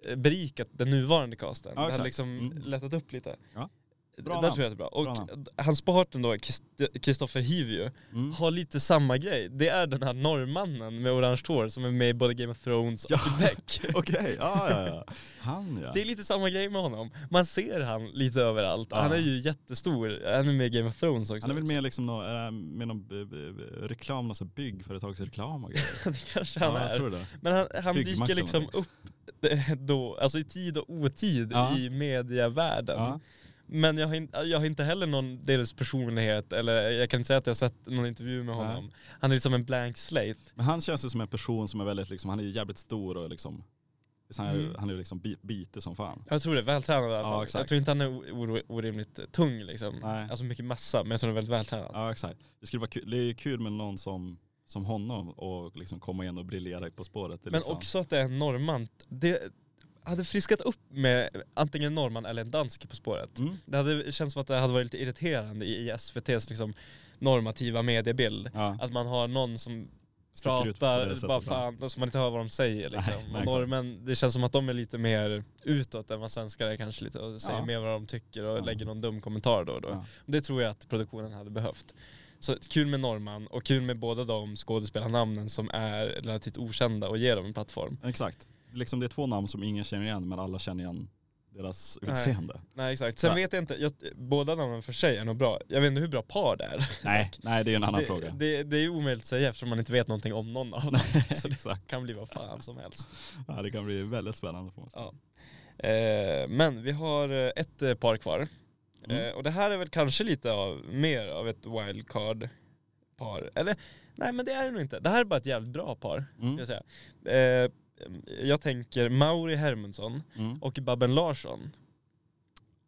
[SPEAKER 2] eh, berikat den nuvarande casten. det
[SPEAKER 3] Ja,
[SPEAKER 2] hade
[SPEAKER 3] exakt.
[SPEAKER 2] liksom
[SPEAKER 3] Mm.
[SPEAKER 2] lättat upp lite.
[SPEAKER 3] Ja. Bra
[SPEAKER 2] Bra Där
[SPEAKER 3] namn.
[SPEAKER 2] tror jag det är bra.
[SPEAKER 3] Bra
[SPEAKER 2] Och d- hans partner då, Krist- Kristoffer Hivju,
[SPEAKER 3] mm.
[SPEAKER 2] har lite samma grej. Det är den här norrmannen med orange hår som är med i både Game of Thrones och
[SPEAKER 3] Ja.
[SPEAKER 2] Beck.
[SPEAKER 3] Okej, ja, ja, ja. Han ja.
[SPEAKER 2] Det är lite samma grej med honom. Man ser han lite överallt.
[SPEAKER 3] Ja.
[SPEAKER 2] Han är ju jättestor. Han är med i Game of Thrones också.
[SPEAKER 3] Han är väl med liksom någon, är han med någon b- b- b- reklam, någon sån här byggföretagsreklam och grejer.
[SPEAKER 2] det kanske han
[SPEAKER 3] ja, jag
[SPEAKER 2] är. Mm.
[SPEAKER 3] tror det.
[SPEAKER 2] Men han, han
[SPEAKER 3] Byggmax
[SPEAKER 2] dyker
[SPEAKER 3] eller
[SPEAKER 2] liksom
[SPEAKER 3] någonting.
[SPEAKER 2] upp eh, då, alltså i tid och otid
[SPEAKER 3] Ja.
[SPEAKER 2] i medievärlden.
[SPEAKER 3] Ja.
[SPEAKER 2] Men jag har, in, jag har inte heller någon deras personlighet, eller jag kan inte säga att jag har sett någon intervju med
[SPEAKER 3] Nej.
[SPEAKER 2] honom. Han är liksom en blank slate.
[SPEAKER 3] Men han känns ju som en person som är väldigt, liksom, han är ju jävligt stor och liksom, visst, han är ju
[SPEAKER 2] Mm.
[SPEAKER 3] han är ju liksom bi, bitig som fan.
[SPEAKER 2] Jag tror det, vältränad i alla
[SPEAKER 3] Ja,
[SPEAKER 2] fall.
[SPEAKER 3] exakt.
[SPEAKER 2] jag tror inte han är o- orimligt tung liksom.
[SPEAKER 3] Nej.
[SPEAKER 2] Alltså mycket massa, men jag tror han är väldigt vältränad.
[SPEAKER 3] Ja exakt. Det skulle vara kul, det är ju kul med någon som, som honom och liksom komma in och briljera På spåret. Det är
[SPEAKER 2] men
[SPEAKER 3] liksom,
[SPEAKER 2] också att det är en norrman. Det hade friskat upp med antingen en norrman eller en dansk På spåret.
[SPEAKER 3] Mm.
[SPEAKER 2] Det hade känts som att det hade varit lite irriterande i i SVTs liksom, normativa mediebild.
[SPEAKER 3] Ja.
[SPEAKER 2] Att man har någon som
[SPEAKER 3] sticker ut på det
[SPEAKER 2] pratar,
[SPEAKER 3] sättet
[SPEAKER 2] bara
[SPEAKER 3] ibland.
[SPEAKER 2] fan, så man inte hör vad de säger liksom.
[SPEAKER 3] Nej,
[SPEAKER 2] och
[SPEAKER 3] exakt.
[SPEAKER 2] norrmän, det känns som att de är lite mer utåt än vad svenskar är kanske lite och säger
[SPEAKER 3] Ja.
[SPEAKER 2] mer vad de tycker och
[SPEAKER 3] Ja.
[SPEAKER 2] lägger någon dum kommentar då och då.
[SPEAKER 3] Ja.
[SPEAKER 2] Det tror jag att produktionen hade behövt. Så kul med norrman och kul med båda de skådespelarnamnen som är relativt okända och ger dem en plattform.
[SPEAKER 3] Exakt. Liksom det är två namn som ingen känner igen men alla känner igen deras utseende.
[SPEAKER 2] Nej exakt, sen
[SPEAKER 3] Ja.
[SPEAKER 2] vet jag inte, jag, båda namnen för sig är nog bra. Jag vet inte hur bra par det är.
[SPEAKER 3] Nej, nej det är en annan
[SPEAKER 2] det,
[SPEAKER 3] fråga.
[SPEAKER 2] Det, det är ju omöjligt att säga eftersom man inte vet någonting om någon av dem. Så det
[SPEAKER 3] Exakt.
[SPEAKER 2] kan bli vad fan som helst.
[SPEAKER 3] Ja, det kan bli väldigt spännande. Får man säga.
[SPEAKER 2] Ja. Eh, men vi har eh, ett eh, par kvar.
[SPEAKER 3] Mm.
[SPEAKER 2] Eh, och det här är väl kanske lite av, mer av ett wildcard-par. Eller nej men det är det nog inte. Det här är bara ett jävligt bra par. Ska
[SPEAKER 3] Mm.
[SPEAKER 2] jag, säga. Eh, jag tänker Mauri Hermansson
[SPEAKER 3] Mm.
[SPEAKER 2] och Babben Larsson.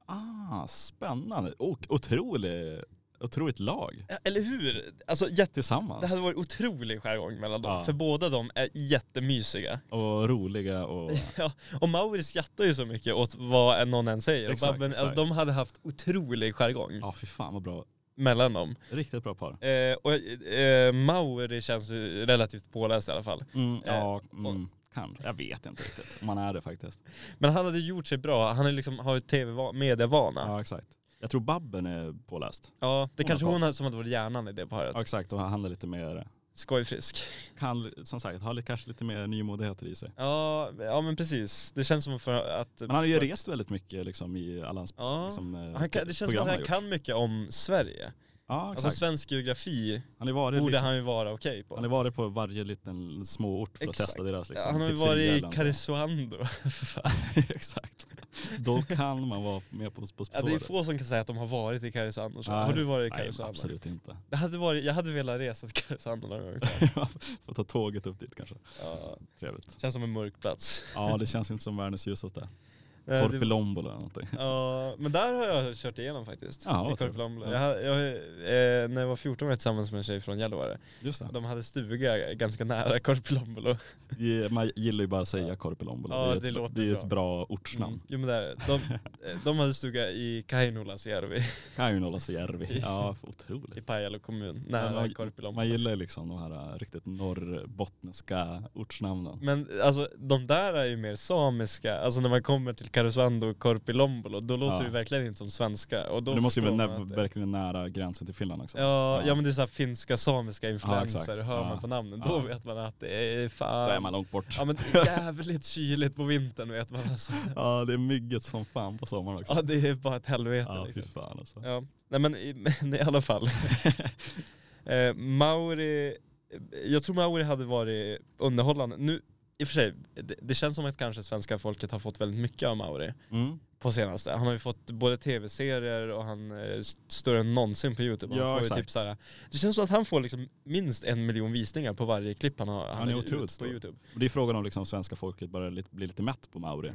[SPEAKER 3] Ah, spännande. Och otrolig, otroligt lag
[SPEAKER 2] Ja, Eller hur? Alltså jätte... Det
[SPEAKER 3] tillsammans.
[SPEAKER 2] hade varit otrolig skärgång mellan dem.
[SPEAKER 3] Ja.
[SPEAKER 2] För båda de är jättemysiga.
[SPEAKER 3] Och roliga och...
[SPEAKER 2] Ja, och Mauri skrattar ju så mycket åt vad någon än säger.
[SPEAKER 3] Exakt,
[SPEAKER 2] och Babben,
[SPEAKER 3] exakt.
[SPEAKER 2] Alltså, de hade haft otrolig skärgång
[SPEAKER 3] Ja, fy fan vad bra.
[SPEAKER 2] mellan dem.
[SPEAKER 3] Riktigt bra par.
[SPEAKER 2] Eh, och eh, Mauri känns ju relativt påläst i alla fall.
[SPEAKER 3] Mm, ja, mm, kan. Jag vet inte riktigt om man är det faktiskt.
[SPEAKER 2] Men han hade gjort sig bra, han är liksom, har ju tv-medievana. Ja.
[SPEAKER 3] Ja, exakt. Jag tror Babben är påläst.
[SPEAKER 2] det
[SPEAKER 3] Hon
[SPEAKER 2] kanske
[SPEAKER 3] har
[SPEAKER 2] hon hade som hade varit hjärnan i det paret.
[SPEAKER 3] Ja, exakt, och han är lite mer,
[SPEAKER 2] Skojfrisk.
[SPEAKER 3] kan, som sagt, har li- kanske lite mer nymodigheter i sig.
[SPEAKER 2] Ja, ja men precis. Det känns som för att...
[SPEAKER 3] Men han har ju rest väldigt mycket liksom i alla hans
[SPEAKER 2] Ja.
[SPEAKER 3] liksom, eh,
[SPEAKER 2] Han kan, det känns som
[SPEAKER 3] program
[SPEAKER 2] att han
[SPEAKER 3] gjort.
[SPEAKER 2] kan mycket om Sverige.
[SPEAKER 3] Ja, exakt.
[SPEAKER 2] Alltså svensk geografi
[SPEAKER 3] han har ju varit,
[SPEAKER 2] borde
[SPEAKER 3] liksom,
[SPEAKER 2] han ju vara okej på.
[SPEAKER 3] han har varit på varje liten småort för att
[SPEAKER 2] Exakt.
[SPEAKER 3] testa deras liksom,
[SPEAKER 2] Ja, han har ju
[SPEAKER 3] pizzeria
[SPEAKER 2] varit
[SPEAKER 3] eller
[SPEAKER 2] i
[SPEAKER 3] något.
[SPEAKER 2] Karesuando. För fan.
[SPEAKER 3] Exakt. Då kan man vara med på, på, på
[SPEAKER 2] ja, det är
[SPEAKER 3] spåret.
[SPEAKER 2] få som kan säga att de har varit i Karesuando. Så,
[SPEAKER 3] Nej.
[SPEAKER 2] Har du varit i
[SPEAKER 3] Nej,
[SPEAKER 2] Karesuando?
[SPEAKER 3] absolut inte.
[SPEAKER 2] Det hade varit, jag hade velat resa till Karesuando någon gång.
[SPEAKER 3] Får ta tåget upp dit kanske.
[SPEAKER 2] Ja,
[SPEAKER 3] Trevligt.
[SPEAKER 2] känns som en mörk plats.
[SPEAKER 3] Ja, det känns inte som världens ljusaste.
[SPEAKER 2] Nej, det-
[SPEAKER 3] Korpilombo eller någonting.
[SPEAKER 2] Ja, men där har jag kört igenom faktiskt.
[SPEAKER 3] Ja, vad
[SPEAKER 2] I Korpilombolo.
[SPEAKER 3] trevligt.
[SPEAKER 2] Jag, hade- jag, eh, när jag var 14 var jag tillsammans med en tjej från Gällivare.
[SPEAKER 3] Just det.
[SPEAKER 2] De hade stuga ganska nära Mm, Korpilombolo.
[SPEAKER 3] Ge- Man gillar ju bara att säga Korpilombo.
[SPEAKER 2] Ja,
[SPEAKER 3] det är,
[SPEAKER 2] det
[SPEAKER 3] ett,
[SPEAKER 2] låter
[SPEAKER 3] det är ett
[SPEAKER 2] bra.
[SPEAKER 3] bra ortsnamn.
[SPEAKER 2] Mm. Jo men där, de, eh, de hade stuga i Kainulaisjärvi
[SPEAKER 3] Kaunolasjärvi. Ja, för otroligt.
[SPEAKER 2] i Pajala kommun,
[SPEAKER 3] Men
[SPEAKER 2] nära
[SPEAKER 3] man- Man
[SPEAKER 2] Korpilombolo.
[SPEAKER 3] gillar ju liksom de här äh, riktigt norrbottniska ortsnamnen.
[SPEAKER 2] Men alltså de där är ju mer samiska, alltså när man kommer till Karesuando och Korpilombolo då låter
[SPEAKER 3] Ja.
[SPEAKER 2] det verkligen inte som svenska. Och då
[SPEAKER 3] Du måste ju
[SPEAKER 2] förstår
[SPEAKER 3] vara
[SPEAKER 2] man
[SPEAKER 3] nä-
[SPEAKER 2] att det-
[SPEAKER 3] verkligen nära gränsen till Finland också.
[SPEAKER 2] Ja,
[SPEAKER 3] Ja.
[SPEAKER 2] ja. men det är såhär finska samiska influenser,
[SPEAKER 3] exakt.
[SPEAKER 2] hör
[SPEAKER 3] Ja.
[SPEAKER 2] man på namnen.
[SPEAKER 3] Ja.
[SPEAKER 2] Då vet man att det är fan...
[SPEAKER 3] Där är man långt bort.
[SPEAKER 2] Ja men jävligt kyligt på vintern vet man alltså.
[SPEAKER 3] Ja, det är mygget som fan på sommaren också.
[SPEAKER 2] Ja det är bara ett helvete
[SPEAKER 3] Ja, fy
[SPEAKER 2] liksom.
[SPEAKER 3] fan alltså.
[SPEAKER 2] Ja. Nej men i, men i alla fall. eh, Mauri, jag tror Mauri hade varit underhållande. Nu, i och för sig, det, det känns som att kanske svenska folket har fått väldigt mycket av Mauri
[SPEAKER 3] Mm.
[SPEAKER 2] på senaste. Han har ju fått både tv-serier och han är större än någonsin på youtube. Han
[SPEAKER 3] Ja,
[SPEAKER 2] får ju
[SPEAKER 3] exakt.
[SPEAKER 2] typ så här, det känns som att han får liksom minst en miljon visningar på varje klipp han har.
[SPEAKER 3] Han är
[SPEAKER 2] lägger ut
[SPEAKER 3] otroligt
[SPEAKER 2] på
[SPEAKER 3] stor.
[SPEAKER 2] youtube.
[SPEAKER 3] Och det är frågan om liksom svenska folket börjar lite, bli lite mätt på Mauri.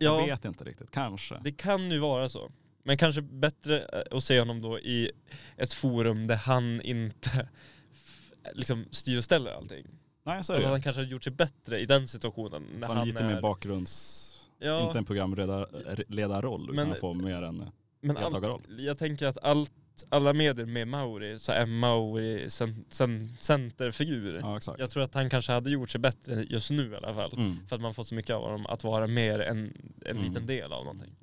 [SPEAKER 3] Jag
[SPEAKER 2] Ja,
[SPEAKER 3] vet inte riktigt, kanske.
[SPEAKER 2] det kan ju vara så. Men kanske bättre eh, att se honom då i ett forum där han inte f- liksom styr och ställer allting.
[SPEAKER 3] Nej, så är
[SPEAKER 2] Alltså
[SPEAKER 3] det
[SPEAKER 2] han
[SPEAKER 3] ju.
[SPEAKER 2] kanske har gjort sig bättre i den situationen. När
[SPEAKER 3] Han
[SPEAKER 2] han
[SPEAKER 3] är lite mer
[SPEAKER 2] är,
[SPEAKER 3] bakgrunds...
[SPEAKER 2] ja,
[SPEAKER 3] Inte en programledarroll, utan
[SPEAKER 2] Men-
[SPEAKER 3] han får mer en...
[SPEAKER 2] men allt-
[SPEAKER 3] deltagarroll.
[SPEAKER 2] jag tänker att allt, alla medier med Mauri så är Mauri cen, cen, centerfigur.
[SPEAKER 3] Ja, exakt.
[SPEAKER 2] Jag tror att han kanske hade gjort sig bättre just nu i alla fall.
[SPEAKER 3] Mm.
[SPEAKER 2] För att man fått så mycket av honom att vara mer en, en
[SPEAKER 3] Mm.
[SPEAKER 2] liten del av någonting.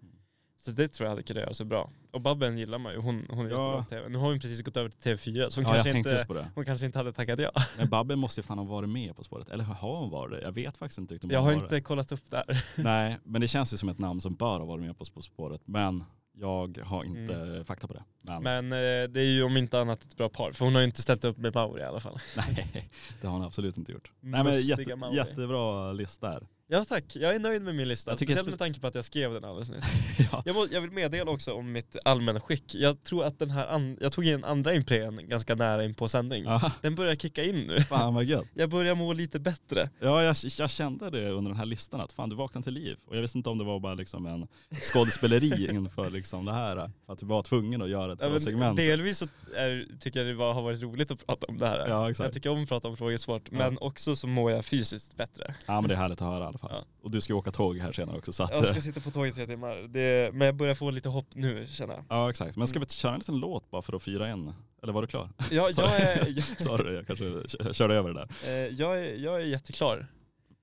[SPEAKER 2] Så det tror jag hade kunnat göra sig bra. Och Babben gillar man ju, hon, hon är
[SPEAKER 3] Ja.
[SPEAKER 2] jättebra på TV. Nu har hon precis gått över till TV4 så hon,
[SPEAKER 3] Ja, jag
[SPEAKER 2] kanske,
[SPEAKER 3] tänkte
[SPEAKER 2] inte,
[SPEAKER 3] just på det.
[SPEAKER 2] hon kanske inte hade tackat ja.
[SPEAKER 3] Men Babben måste ju fan ha varit med På spåret. Eller har hon varit det? Jag vet faktiskt inte riktigt om
[SPEAKER 2] Jag
[SPEAKER 3] hon
[SPEAKER 2] har
[SPEAKER 3] var
[SPEAKER 2] inte kollat upp där.
[SPEAKER 3] det. Nej, men det känns ju som ett namn som bör ha varit med på På spåret. Men jag har inte fakta på det. Men,
[SPEAKER 2] Mm. Men eh, det är ju om inte annat ett bra par, för hon har ju inte ställt upp med Mauri i alla fall.
[SPEAKER 3] nej, det har hon absolut inte gjort. Nej, men
[SPEAKER 2] Mustiga
[SPEAKER 3] jätte,
[SPEAKER 2] Mauri.
[SPEAKER 3] jättebra lista här.
[SPEAKER 2] Ja tack, jag är nöjd med min lista.
[SPEAKER 3] Jag tycker
[SPEAKER 2] Speciellt
[SPEAKER 3] spe-
[SPEAKER 2] med tanke på att jag skrev den alldeles nyss.
[SPEAKER 3] ja.
[SPEAKER 2] Jag, må, jag vill meddela också om mitt allmänna skick. Jag tror att den här, an, jag tog in andra imprén ganska nära in på sändning.
[SPEAKER 3] Ja,
[SPEAKER 2] Den börjar kicka in nu.
[SPEAKER 3] fan vad gött.
[SPEAKER 2] Jag börjar må lite bättre.
[SPEAKER 3] Ja, jag, jag kände det under den här listan att fan du vaknade till liv. Och jag visste inte om det var bara liksom en skådespeleri inför liksom det här. För att du var tvungen att göra ett
[SPEAKER 2] Ja,
[SPEAKER 3] bra
[SPEAKER 2] men
[SPEAKER 3] segment.
[SPEAKER 2] delvis så är, tycker jag det var, har varit roligt att prata om det här.
[SPEAKER 3] Ja, exakt.
[SPEAKER 2] Jag tycker om att prata om frågor svårt, men också så mår jag fysiskt bättre.
[SPEAKER 3] Ja men det är härligt att höra i alla alla fall.
[SPEAKER 2] Ja.
[SPEAKER 3] Och du ska ju åka tåg här senare också. Så att,
[SPEAKER 2] Jag
[SPEAKER 3] eh,
[SPEAKER 2] ska sitta på tåg i tre timmar. Det, men jag börjar få lite hopp nu känner jag.
[SPEAKER 3] ja exakt. Men ska vi köra en liten låt bara för att fira en? Eller var du klar?
[SPEAKER 2] Jag,
[SPEAKER 3] Sorry.
[SPEAKER 2] jag, är, jag,
[SPEAKER 3] Sorry, jag kanske k- körde över det där.
[SPEAKER 2] eh, jag, är, jag är jätteklar.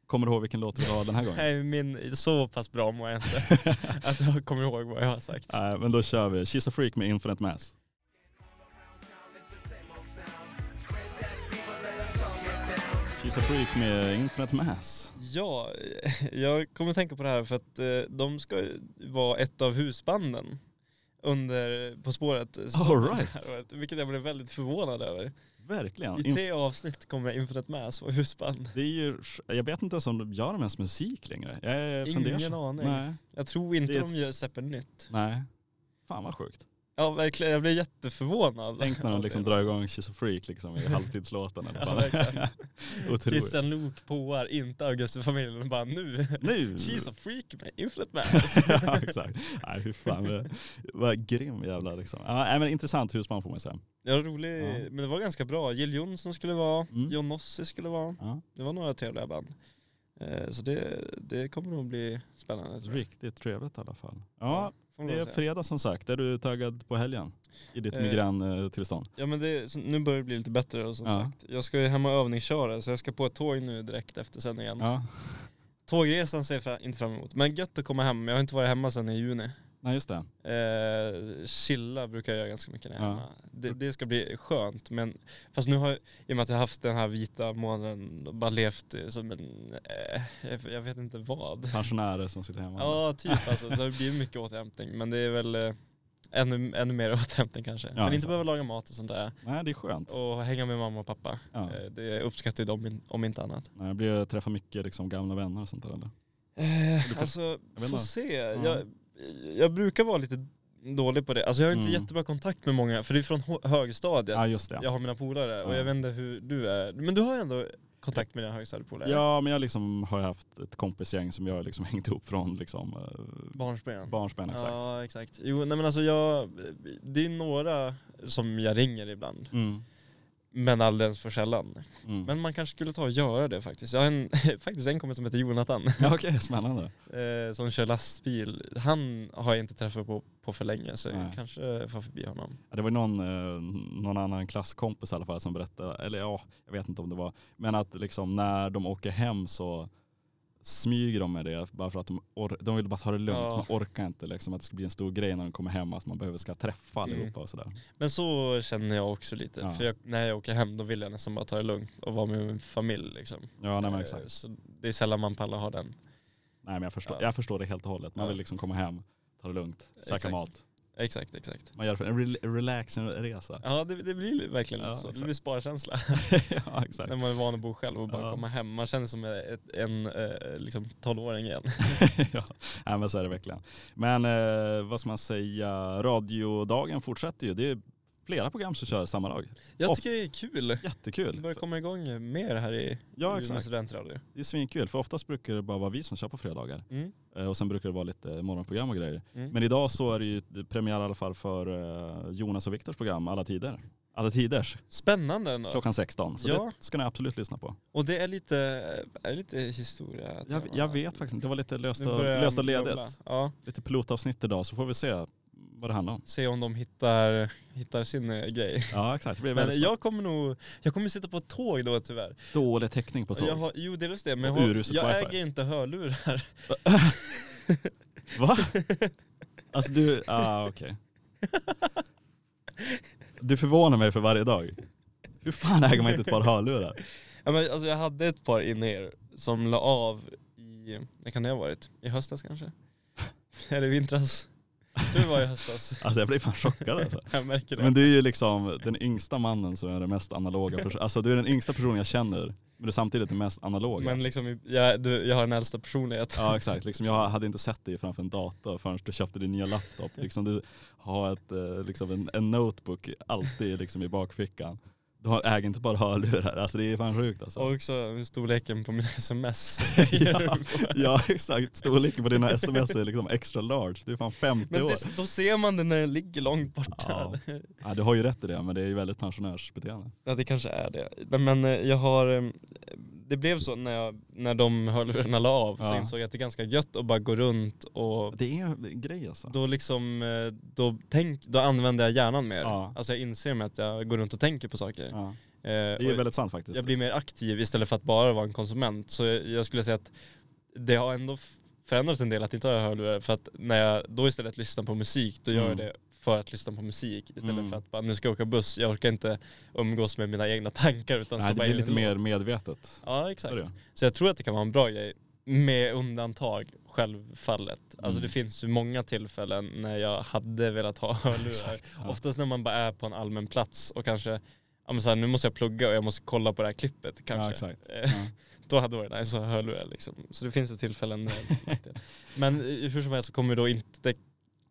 [SPEAKER 3] Kommer du ihåg vilken låt vi har den här gången?
[SPEAKER 2] Nej, min, så pass bra mår jag inte att jag kommer ihåg vad jag har sagt.
[SPEAKER 3] Nej, men då kör vi She's a Freak med Infinite Mass. She's a Freak med Infinite Mass.
[SPEAKER 2] Ja, jag kommer att tänka på det här för att eh, de ska ju vara ett av husbanden under På spåret.
[SPEAKER 3] All
[SPEAKER 2] det
[SPEAKER 3] right.
[SPEAKER 2] här året, vilket jag blev väldigt förvånad över.
[SPEAKER 3] Verkligen.
[SPEAKER 2] I tre avsnitt kommer Infinite Mass och husband.
[SPEAKER 3] Det är ju, jag vet inte ens om de gör de ens musik längre. Jag är
[SPEAKER 2] Ingen
[SPEAKER 3] fundersam.
[SPEAKER 2] aning.
[SPEAKER 3] Nej.
[SPEAKER 2] Jag tror inte
[SPEAKER 3] Det är
[SPEAKER 2] de
[SPEAKER 3] ett-
[SPEAKER 2] gör släpper nytt.
[SPEAKER 3] Nej. Fan vad sjukt.
[SPEAKER 2] Ja, verkligen. Jag blev jätteförvånad.
[SPEAKER 3] Tänk när de liksom drar igång She's a Freak liksom i halvtidslåten. eller
[SPEAKER 2] Ja,
[SPEAKER 3] vad.
[SPEAKER 2] verkligen.
[SPEAKER 3] Otroligt.
[SPEAKER 2] Christian Luuk påar inte Augustifamiljen bara nu.
[SPEAKER 3] Nu!
[SPEAKER 2] She's a freak med Infinite Mass.
[SPEAKER 3] ja, exakt. Nej, fy fan. vad- Vad grym jävla liksom. Ja, nej, men intressant husman får man säga.
[SPEAKER 2] Ja, rolig.
[SPEAKER 3] Ja.
[SPEAKER 2] Men det var ganska bra. Jill Johnson skulle vara,
[SPEAKER 3] Mm.
[SPEAKER 2] John Nossi skulle vara.
[SPEAKER 3] Ja.
[SPEAKER 2] Det var några trevliga band. Eh, Så det, det kommer nog bli spännande. tror jag.
[SPEAKER 3] Riktigt trevligt i alla fall. Ja,
[SPEAKER 2] Får man
[SPEAKER 3] det är
[SPEAKER 2] säga.
[SPEAKER 3] fredag som sagt. Är du taggad på helgen? I ditt
[SPEAKER 2] Eh.
[SPEAKER 3] migräntillstånd?
[SPEAKER 2] Ja men det, så nu börjar det bli lite bättre och som
[SPEAKER 3] Ja.
[SPEAKER 2] sagt. Jag ska ju hem och övningsköra så jag ska på ett tåg nu direkt efter sändningen.
[SPEAKER 3] Ja.
[SPEAKER 2] Tågresan ser jag fra- inte fram emot. Men gött att komma hem. Jag har inte varit hemma sedan i juni.
[SPEAKER 3] Nej, just det.
[SPEAKER 2] Eh, chilla brukar jag göra ganska mycket när jag är
[SPEAKER 3] Ja.
[SPEAKER 2] hemma. Det, det ska bli skönt men fast nu har jag, i och med att jag haft den här vita månaden och bara levt eh, som en, eh, jag- jag vet inte vad.
[SPEAKER 3] Pensionärer som sitter hemma.
[SPEAKER 2] Ja typ alltså, det har blivit mycket återhämtning men det är väl eh, ännu, ännu mer återhämtning kanske. men inte
[SPEAKER 3] exakt.
[SPEAKER 2] behöva laga mat och sånt där
[SPEAKER 3] Nej, det är skönt.
[SPEAKER 2] och hänga med mamma och pappa.
[SPEAKER 3] Ja.
[SPEAKER 2] Eh, Det uppskattar ju de in- om inte annat.
[SPEAKER 3] Nej, jag blir träffa mycket liksom, gamla vänner och sånt där eller?
[SPEAKER 2] Eh,
[SPEAKER 3] kan-
[SPEAKER 2] alltså,
[SPEAKER 3] vet
[SPEAKER 2] få
[SPEAKER 3] inte.
[SPEAKER 2] se.
[SPEAKER 3] Ja.
[SPEAKER 2] Jag, jag brukar vara lite dålig på det. Alltså jag har inte
[SPEAKER 3] Mm. Ah,
[SPEAKER 2] jättebra kontakt med många, för det är från hö- högstadiet
[SPEAKER 3] Ja, Ah. just det.
[SPEAKER 2] jag har mina polare och
[SPEAKER 3] Ja.
[SPEAKER 2] jag vet inte hur du är. Men du har ju ändå kontakt med dina högstadiepolare.
[SPEAKER 3] Ja, men jag liksom har haft ett kompisgäng som jag har liksom hängt ihop från liksom,
[SPEAKER 2] Barnsben.
[SPEAKER 3] barnsben exakt.
[SPEAKER 2] Ja exakt. Jo nej men alltså jag, det är ju några som jag ringer ibland.
[SPEAKER 3] Mm.
[SPEAKER 2] Men alldeles för sällan.
[SPEAKER 3] Mm.
[SPEAKER 2] Men man kanske skulle ta och göra det faktiskt. Jag har en, faktiskt en kompis som heter Jonathan.
[SPEAKER 3] Ja, Okej, spännande.
[SPEAKER 2] eh, som kör lastbil. Han har jag inte träffat på, på för länge så
[SPEAKER 3] Nej.
[SPEAKER 2] jag kanske får förbi honom.
[SPEAKER 3] Ja, Det var någon, eh, någon annan klasskompis i alla fall som berättade, eller ja, jag vet inte om det var, men att liksom när de åker hem så smyger de med det bara för att de, or- de vill bara ta det lugnt.
[SPEAKER 2] Ja.
[SPEAKER 3] Man orkar inte liksom att det ska bli en stor grej när de kommer hem att man behöver ska träffa
[SPEAKER 2] Mm.
[SPEAKER 3] allihopa och sådär.
[SPEAKER 2] Men så känner jag också lite.
[SPEAKER 3] Ja.
[SPEAKER 2] För jag, när jag åker hem då vill jag nästan bara ta det lugnt och vara med min familj liksom.
[SPEAKER 3] Ja, nej, men
[SPEAKER 2] Eh,
[SPEAKER 3] exakt.
[SPEAKER 2] Så det är sällan man pallar ha den.
[SPEAKER 3] Nej, men jag förstår,
[SPEAKER 2] Ja.
[SPEAKER 3] jag förstår det helt och hållet. Man
[SPEAKER 2] Ja.
[SPEAKER 3] vill liksom komma hem, ta det lugnt, käka
[SPEAKER 2] Exakt.
[SPEAKER 3] mat.
[SPEAKER 2] Exakt, exakt.
[SPEAKER 3] Man gör en rel- relaxing-resa.
[SPEAKER 2] Ja det, det blir verkligen
[SPEAKER 3] Ja,
[SPEAKER 2] lite så.
[SPEAKER 3] exakt.
[SPEAKER 2] Det blir sparkänsla.
[SPEAKER 3] ja, exakt.
[SPEAKER 2] när man är van att bo själv och bara
[SPEAKER 3] Ja.
[SPEAKER 2] komma hem. Man känner sig som ett, en eh, liksom, 12-åring igen.
[SPEAKER 3] ja, nej, men så är det verkligen. Men eh, vad ska man säga, radiodagen fortsätter ju. Det är flera program som kör samma dag.
[SPEAKER 2] Jag
[SPEAKER 3] Och-
[SPEAKER 2] tycker det är kul. Det
[SPEAKER 3] Jättekul.
[SPEAKER 2] börjar komma igång mer här i
[SPEAKER 3] Ja
[SPEAKER 2] Umeå
[SPEAKER 3] exakt,
[SPEAKER 2] studentradio.
[SPEAKER 3] det är svinkul för oftast brukar det bara vara vi som kör på fredagar.
[SPEAKER 2] Mm.
[SPEAKER 3] Eh, Och sen brukar det vara lite morgonprogram och grejer.
[SPEAKER 2] Mm.
[SPEAKER 3] Men idag så är det ju premiär i alla fall för eh, Jonas och Viktors program Alla Tider. Alla Tiders,
[SPEAKER 2] Spännande ändå.
[SPEAKER 3] klockan 16. Så
[SPEAKER 2] Ja.
[SPEAKER 3] det ska ni absolut lyssna på.
[SPEAKER 2] Och det är lite, är det lite historia?
[SPEAKER 3] Jag, jag vet faktiskt inte, det var lite löst och,
[SPEAKER 2] börjar
[SPEAKER 3] löst och
[SPEAKER 2] jag grubbla.
[SPEAKER 3] ledigt.
[SPEAKER 2] Ja,
[SPEAKER 3] Lite pilotavsnitt idag så får vi se vad det handlar om.
[SPEAKER 2] se om de hittar, hittar sin eh, grej.
[SPEAKER 3] Ja exakt, det blir
[SPEAKER 2] Men
[SPEAKER 3] väldigt
[SPEAKER 2] jag kommer nog, jag kommer sitta på ett tåg då tyvärr.
[SPEAKER 3] spännande. dålig täckning på tåg.
[SPEAKER 2] Jag har, jo delvis det, men jag,
[SPEAKER 3] Och
[SPEAKER 2] har,
[SPEAKER 3] uruset
[SPEAKER 2] jag
[SPEAKER 3] wifi.
[SPEAKER 2] äger inte hörlurar.
[SPEAKER 3] Va? Alltså du, ah, okej. Du förvånar mig för varje dag. Hur fan äger man inte ett par hörlurar?
[SPEAKER 2] Ja, men, alltså, jag hade ett par in er som la av i, när kan det ha varit? I höstas kanske? Eller i vintras? Jag tror det var i höstas.
[SPEAKER 3] Alltså jag blir fan chockad alltså.
[SPEAKER 2] Jag märker det.
[SPEAKER 3] Men du är ju liksom den yngsta mannen som är den mest analoga personen. Alltså du är den yngsta personen jag känner, men du är samtidigt den mest analoga.
[SPEAKER 2] men liksom, jag, du, jag har den äldsta personligheten.
[SPEAKER 3] Ja exakt, liksom, jag hade inte sett dig framför en dator förrän du köpte din nya laptop. Liksom, du har ett, eh, liksom, en, en notebook alltid liksom, i bakfickan. Du har, äger inte bara hörlurar, alltså det är fan sjukt alltså.
[SPEAKER 2] Och också storleken på mina sms.
[SPEAKER 3] ja, ja exakt, storleken på dina sms är liksom extra large. Du är fan 50
[SPEAKER 2] Men
[SPEAKER 3] år.
[SPEAKER 2] det, då ser man det när den ligger långt borta. Ja.
[SPEAKER 3] Ja, du har ju rätt i det men det är ju väldigt pensionärsbeteende.
[SPEAKER 2] det kanske är det. Nej, Men eh, jag har, eh, det blev så när, jag, när de hörlurarna la av så
[SPEAKER 3] Ja.
[SPEAKER 2] insåg jag att det är ganska gött att bara gå runt och
[SPEAKER 3] Det är en grej alltså.
[SPEAKER 2] då liksom, eh, då, tänk, då använder jag hjärnan mer.
[SPEAKER 3] Ja.
[SPEAKER 2] Alltså jag inser med att jag går runt och tänker på saker.
[SPEAKER 3] Ja.
[SPEAKER 2] Eh,
[SPEAKER 3] Det är
[SPEAKER 2] och-
[SPEAKER 3] väldigt sant faktiskt.
[SPEAKER 2] jag blir mer aktiv istället för att bara vara en konsument. Så jag, jag skulle säga att det har ändå f- förändrats en del att inte ha hörlurar. För att när jag då istället lyssnar på musik, då gör jag
[SPEAKER 3] Mm.
[SPEAKER 2] det för att lyssna på musik istället
[SPEAKER 3] Mm.
[SPEAKER 2] för att bara, nu ska jag åka buss. Jag orkar inte umgås med mina egna tankar utan
[SPEAKER 3] Nej,
[SPEAKER 2] ska bara
[SPEAKER 3] det blir
[SPEAKER 2] in i
[SPEAKER 3] lite
[SPEAKER 2] en
[SPEAKER 3] mer
[SPEAKER 2] låt.
[SPEAKER 3] medvetet.
[SPEAKER 2] Ja,
[SPEAKER 3] Så är
[SPEAKER 2] exakt.
[SPEAKER 3] det ju.
[SPEAKER 2] Så jag tror att det kan vara en bra grej. Med undantag, självfallet. Alltså
[SPEAKER 3] Mm.
[SPEAKER 2] det finns ju många tillfällen när jag hade velat ha hörlurar.
[SPEAKER 3] Exakt, ja.
[SPEAKER 2] Oftast när man bara är på en allmän plats och kanske, ja men så här, nu måste jag plugga och jag måste kolla på det här klippet kanske.
[SPEAKER 3] Ja, exakt.
[SPEAKER 2] Eh,
[SPEAKER 3] Ja.
[SPEAKER 2] Då hade det varit nice att ha hörlurar liksom. Så det finns ju tillfällen när Men eh, hur som helst så kommer jag då inte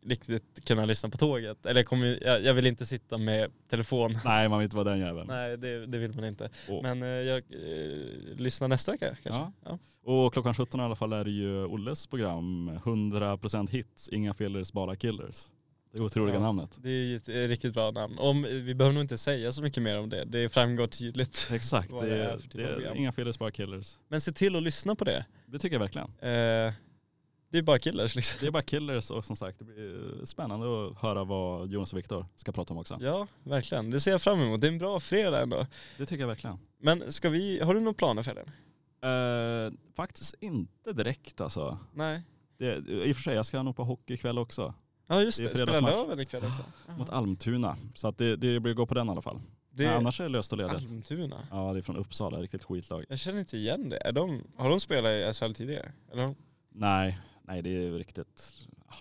[SPEAKER 2] riktigt kunna lyssna på tåget. Eller jag, kommer, ju- jag, jag vill inte sitta med telefon.
[SPEAKER 3] Nej, man vill inte vara den jäveln.
[SPEAKER 2] Nej, det, det vill man inte.
[SPEAKER 3] Och,
[SPEAKER 2] Men eh, jag eh, lyssnar nästa vecka kanske.
[SPEAKER 3] ja. och klockan 17 i alla fall är det ju Olles program 100% hits, inga fillers, bara killers. Det otroliga
[SPEAKER 2] Ja.
[SPEAKER 3] namnet.
[SPEAKER 2] Det är ju ett eh, riktigt bra namn. Om, eh, vi behöver nog inte säga så mycket mer om det. Det framgår tydligt.
[SPEAKER 3] Exakt,
[SPEAKER 2] Vad
[SPEAKER 3] det
[SPEAKER 2] det är
[SPEAKER 3] är,
[SPEAKER 2] för typ
[SPEAKER 3] det
[SPEAKER 2] av
[SPEAKER 3] är
[SPEAKER 2] program.
[SPEAKER 3] inga fillers, bara killers.
[SPEAKER 2] Men se till att lyssna på det.
[SPEAKER 3] Det tycker jag verkligen.
[SPEAKER 2] Eh, det är bara killers liksom.
[SPEAKER 3] Det är bara killers och som sagt det blir spännande att höra vad Jonas och Viktor ska prata om också.
[SPEAKER 2] Ja, verkligen. Det ser jag fram emot. Det är en bra fredag ändå.
[SPEAKER 3] Det tycker jag verkligen.
[SPEAKER 2] Men ska vi, har du några planer för helgen?
[SPEAKER 3] Eh, faktiskt inte direkt alltså.
[SPEAKER 2] Nej.
[SPEAKER 3] Det, I och för sig, jag ska nog på hockey ikväll också.
[SPEAKER 2] Ja just
[SPEAKER 3] Det är
[SPEAKER 2] det, spelar
[SPEAKER 3] fredagsmatch.
[SPEAKER 2] Löven ikväll också.
[SPEAKER 3] Mot Almtuna. Så att det, det blir gå på den i alla fall.
[SPEAKER 2] Det
[SPEAKER 3] Men
[SPEAKER 2] är
[SPEAKER 3] annars är det löst och ledigt.
[SPEAKER 2] Almtuna.
[SPEAKER 3] Ja, det är från Uppsala, riktigt skitlag.
[SPEAKER 2] Jag känner inte igen det. Är de, har de spelat i SHL tidigare? Eller? har de-
[SPEAKER 3] Nej, nej det är ju riktigt ah,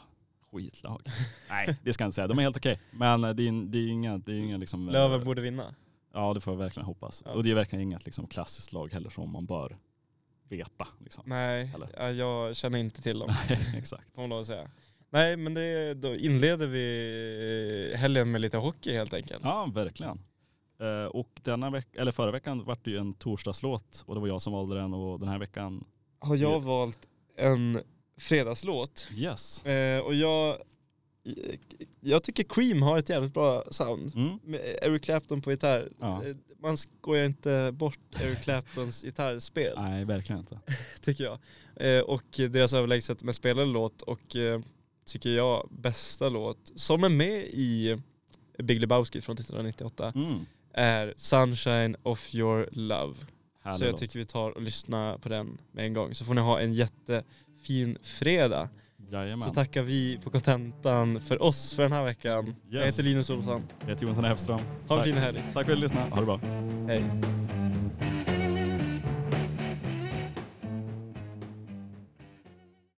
[SPEAKER 3] skitlag. nej, det ska jag inte säga. De är helt okej. Men eh, det är, in- det är ingen, det är ingen liksom... eh,
[SPEAKER 2] Löven borde vinna.
[SPEAKER 3] Ja, det får jag verkligen hoppas.
[SPEAKER 2] Ja.
[SPEAKER 3] Och det är verkligen inget liksom, klassiskt lag heller som man bör veta. Liksom.
[SPEAKER 2] Nej,
[SPEAKER 3] Eller?
[SPEAKER 2] ja, jag känner inte till dem.
[SPEAKER 3] Nej, exakt.
[SPEAKER 2] Får man lov att säga. Nej men det, då inleder vi eh, helgen med lite hockey helt enkelt.
[SPEAKER 3] Ja, verkligen. Eh, och denna veck- eller förra veckan var det ju en torsdagslåt och det var jag som valde den och den här veckan,
[SPEAKER 2] Har jag valt en fredagslåt
[SPEAKER 3] yes.
[SPEAKER 2] eh, och jag, eh, jag tycker Cream har ett jävligt bra sound.
[SPEAKER 3] Mm.
[SPEAKER 2] Med Eric Clapton på gitarr.
[SPEAKER 3] Ja.
[SPEAKER 2] Eh, Man skojar inte bort Eric Claptons gitarrspel.
[SPEAKER 3] Nej, verkligen inte.
[SPEAKER 2] tycker jag. Eh, och deras överlägset med spelade låt och eh, tycker jag bästa låt som är med i Big Lebowski från 1998
[SPEAKER 3] Mm.
[SPEAKER 2] är Sunshine of your love.
[SPEAKER 3] Härlig
[SPEAKER 2] så jag
[SPEAKER 3] låt.
[SPEAKER 2] tycker vi tar och lyssnar på den med en gång så får ni ha en jättefin fredag.
[SPEAKER 3] Jajamän.
[SPEAKER 2] Så tackar vi på kontentan för oss för den här veckan. Jag
[SPEAKER 3] Yes.
[SPEAKER 2] heter Linus Olsson.
[SPEAKER 3] Jag heter Jonathan Hellström.
[SPEAKER 2] Ha en
[SPEAKER 3] Tack.
[SPEAKER 2] fin helg.
[SPEAKER 3] Tack för att du lyssnade. Ha det bra.
[SPEAKER 2] Hej.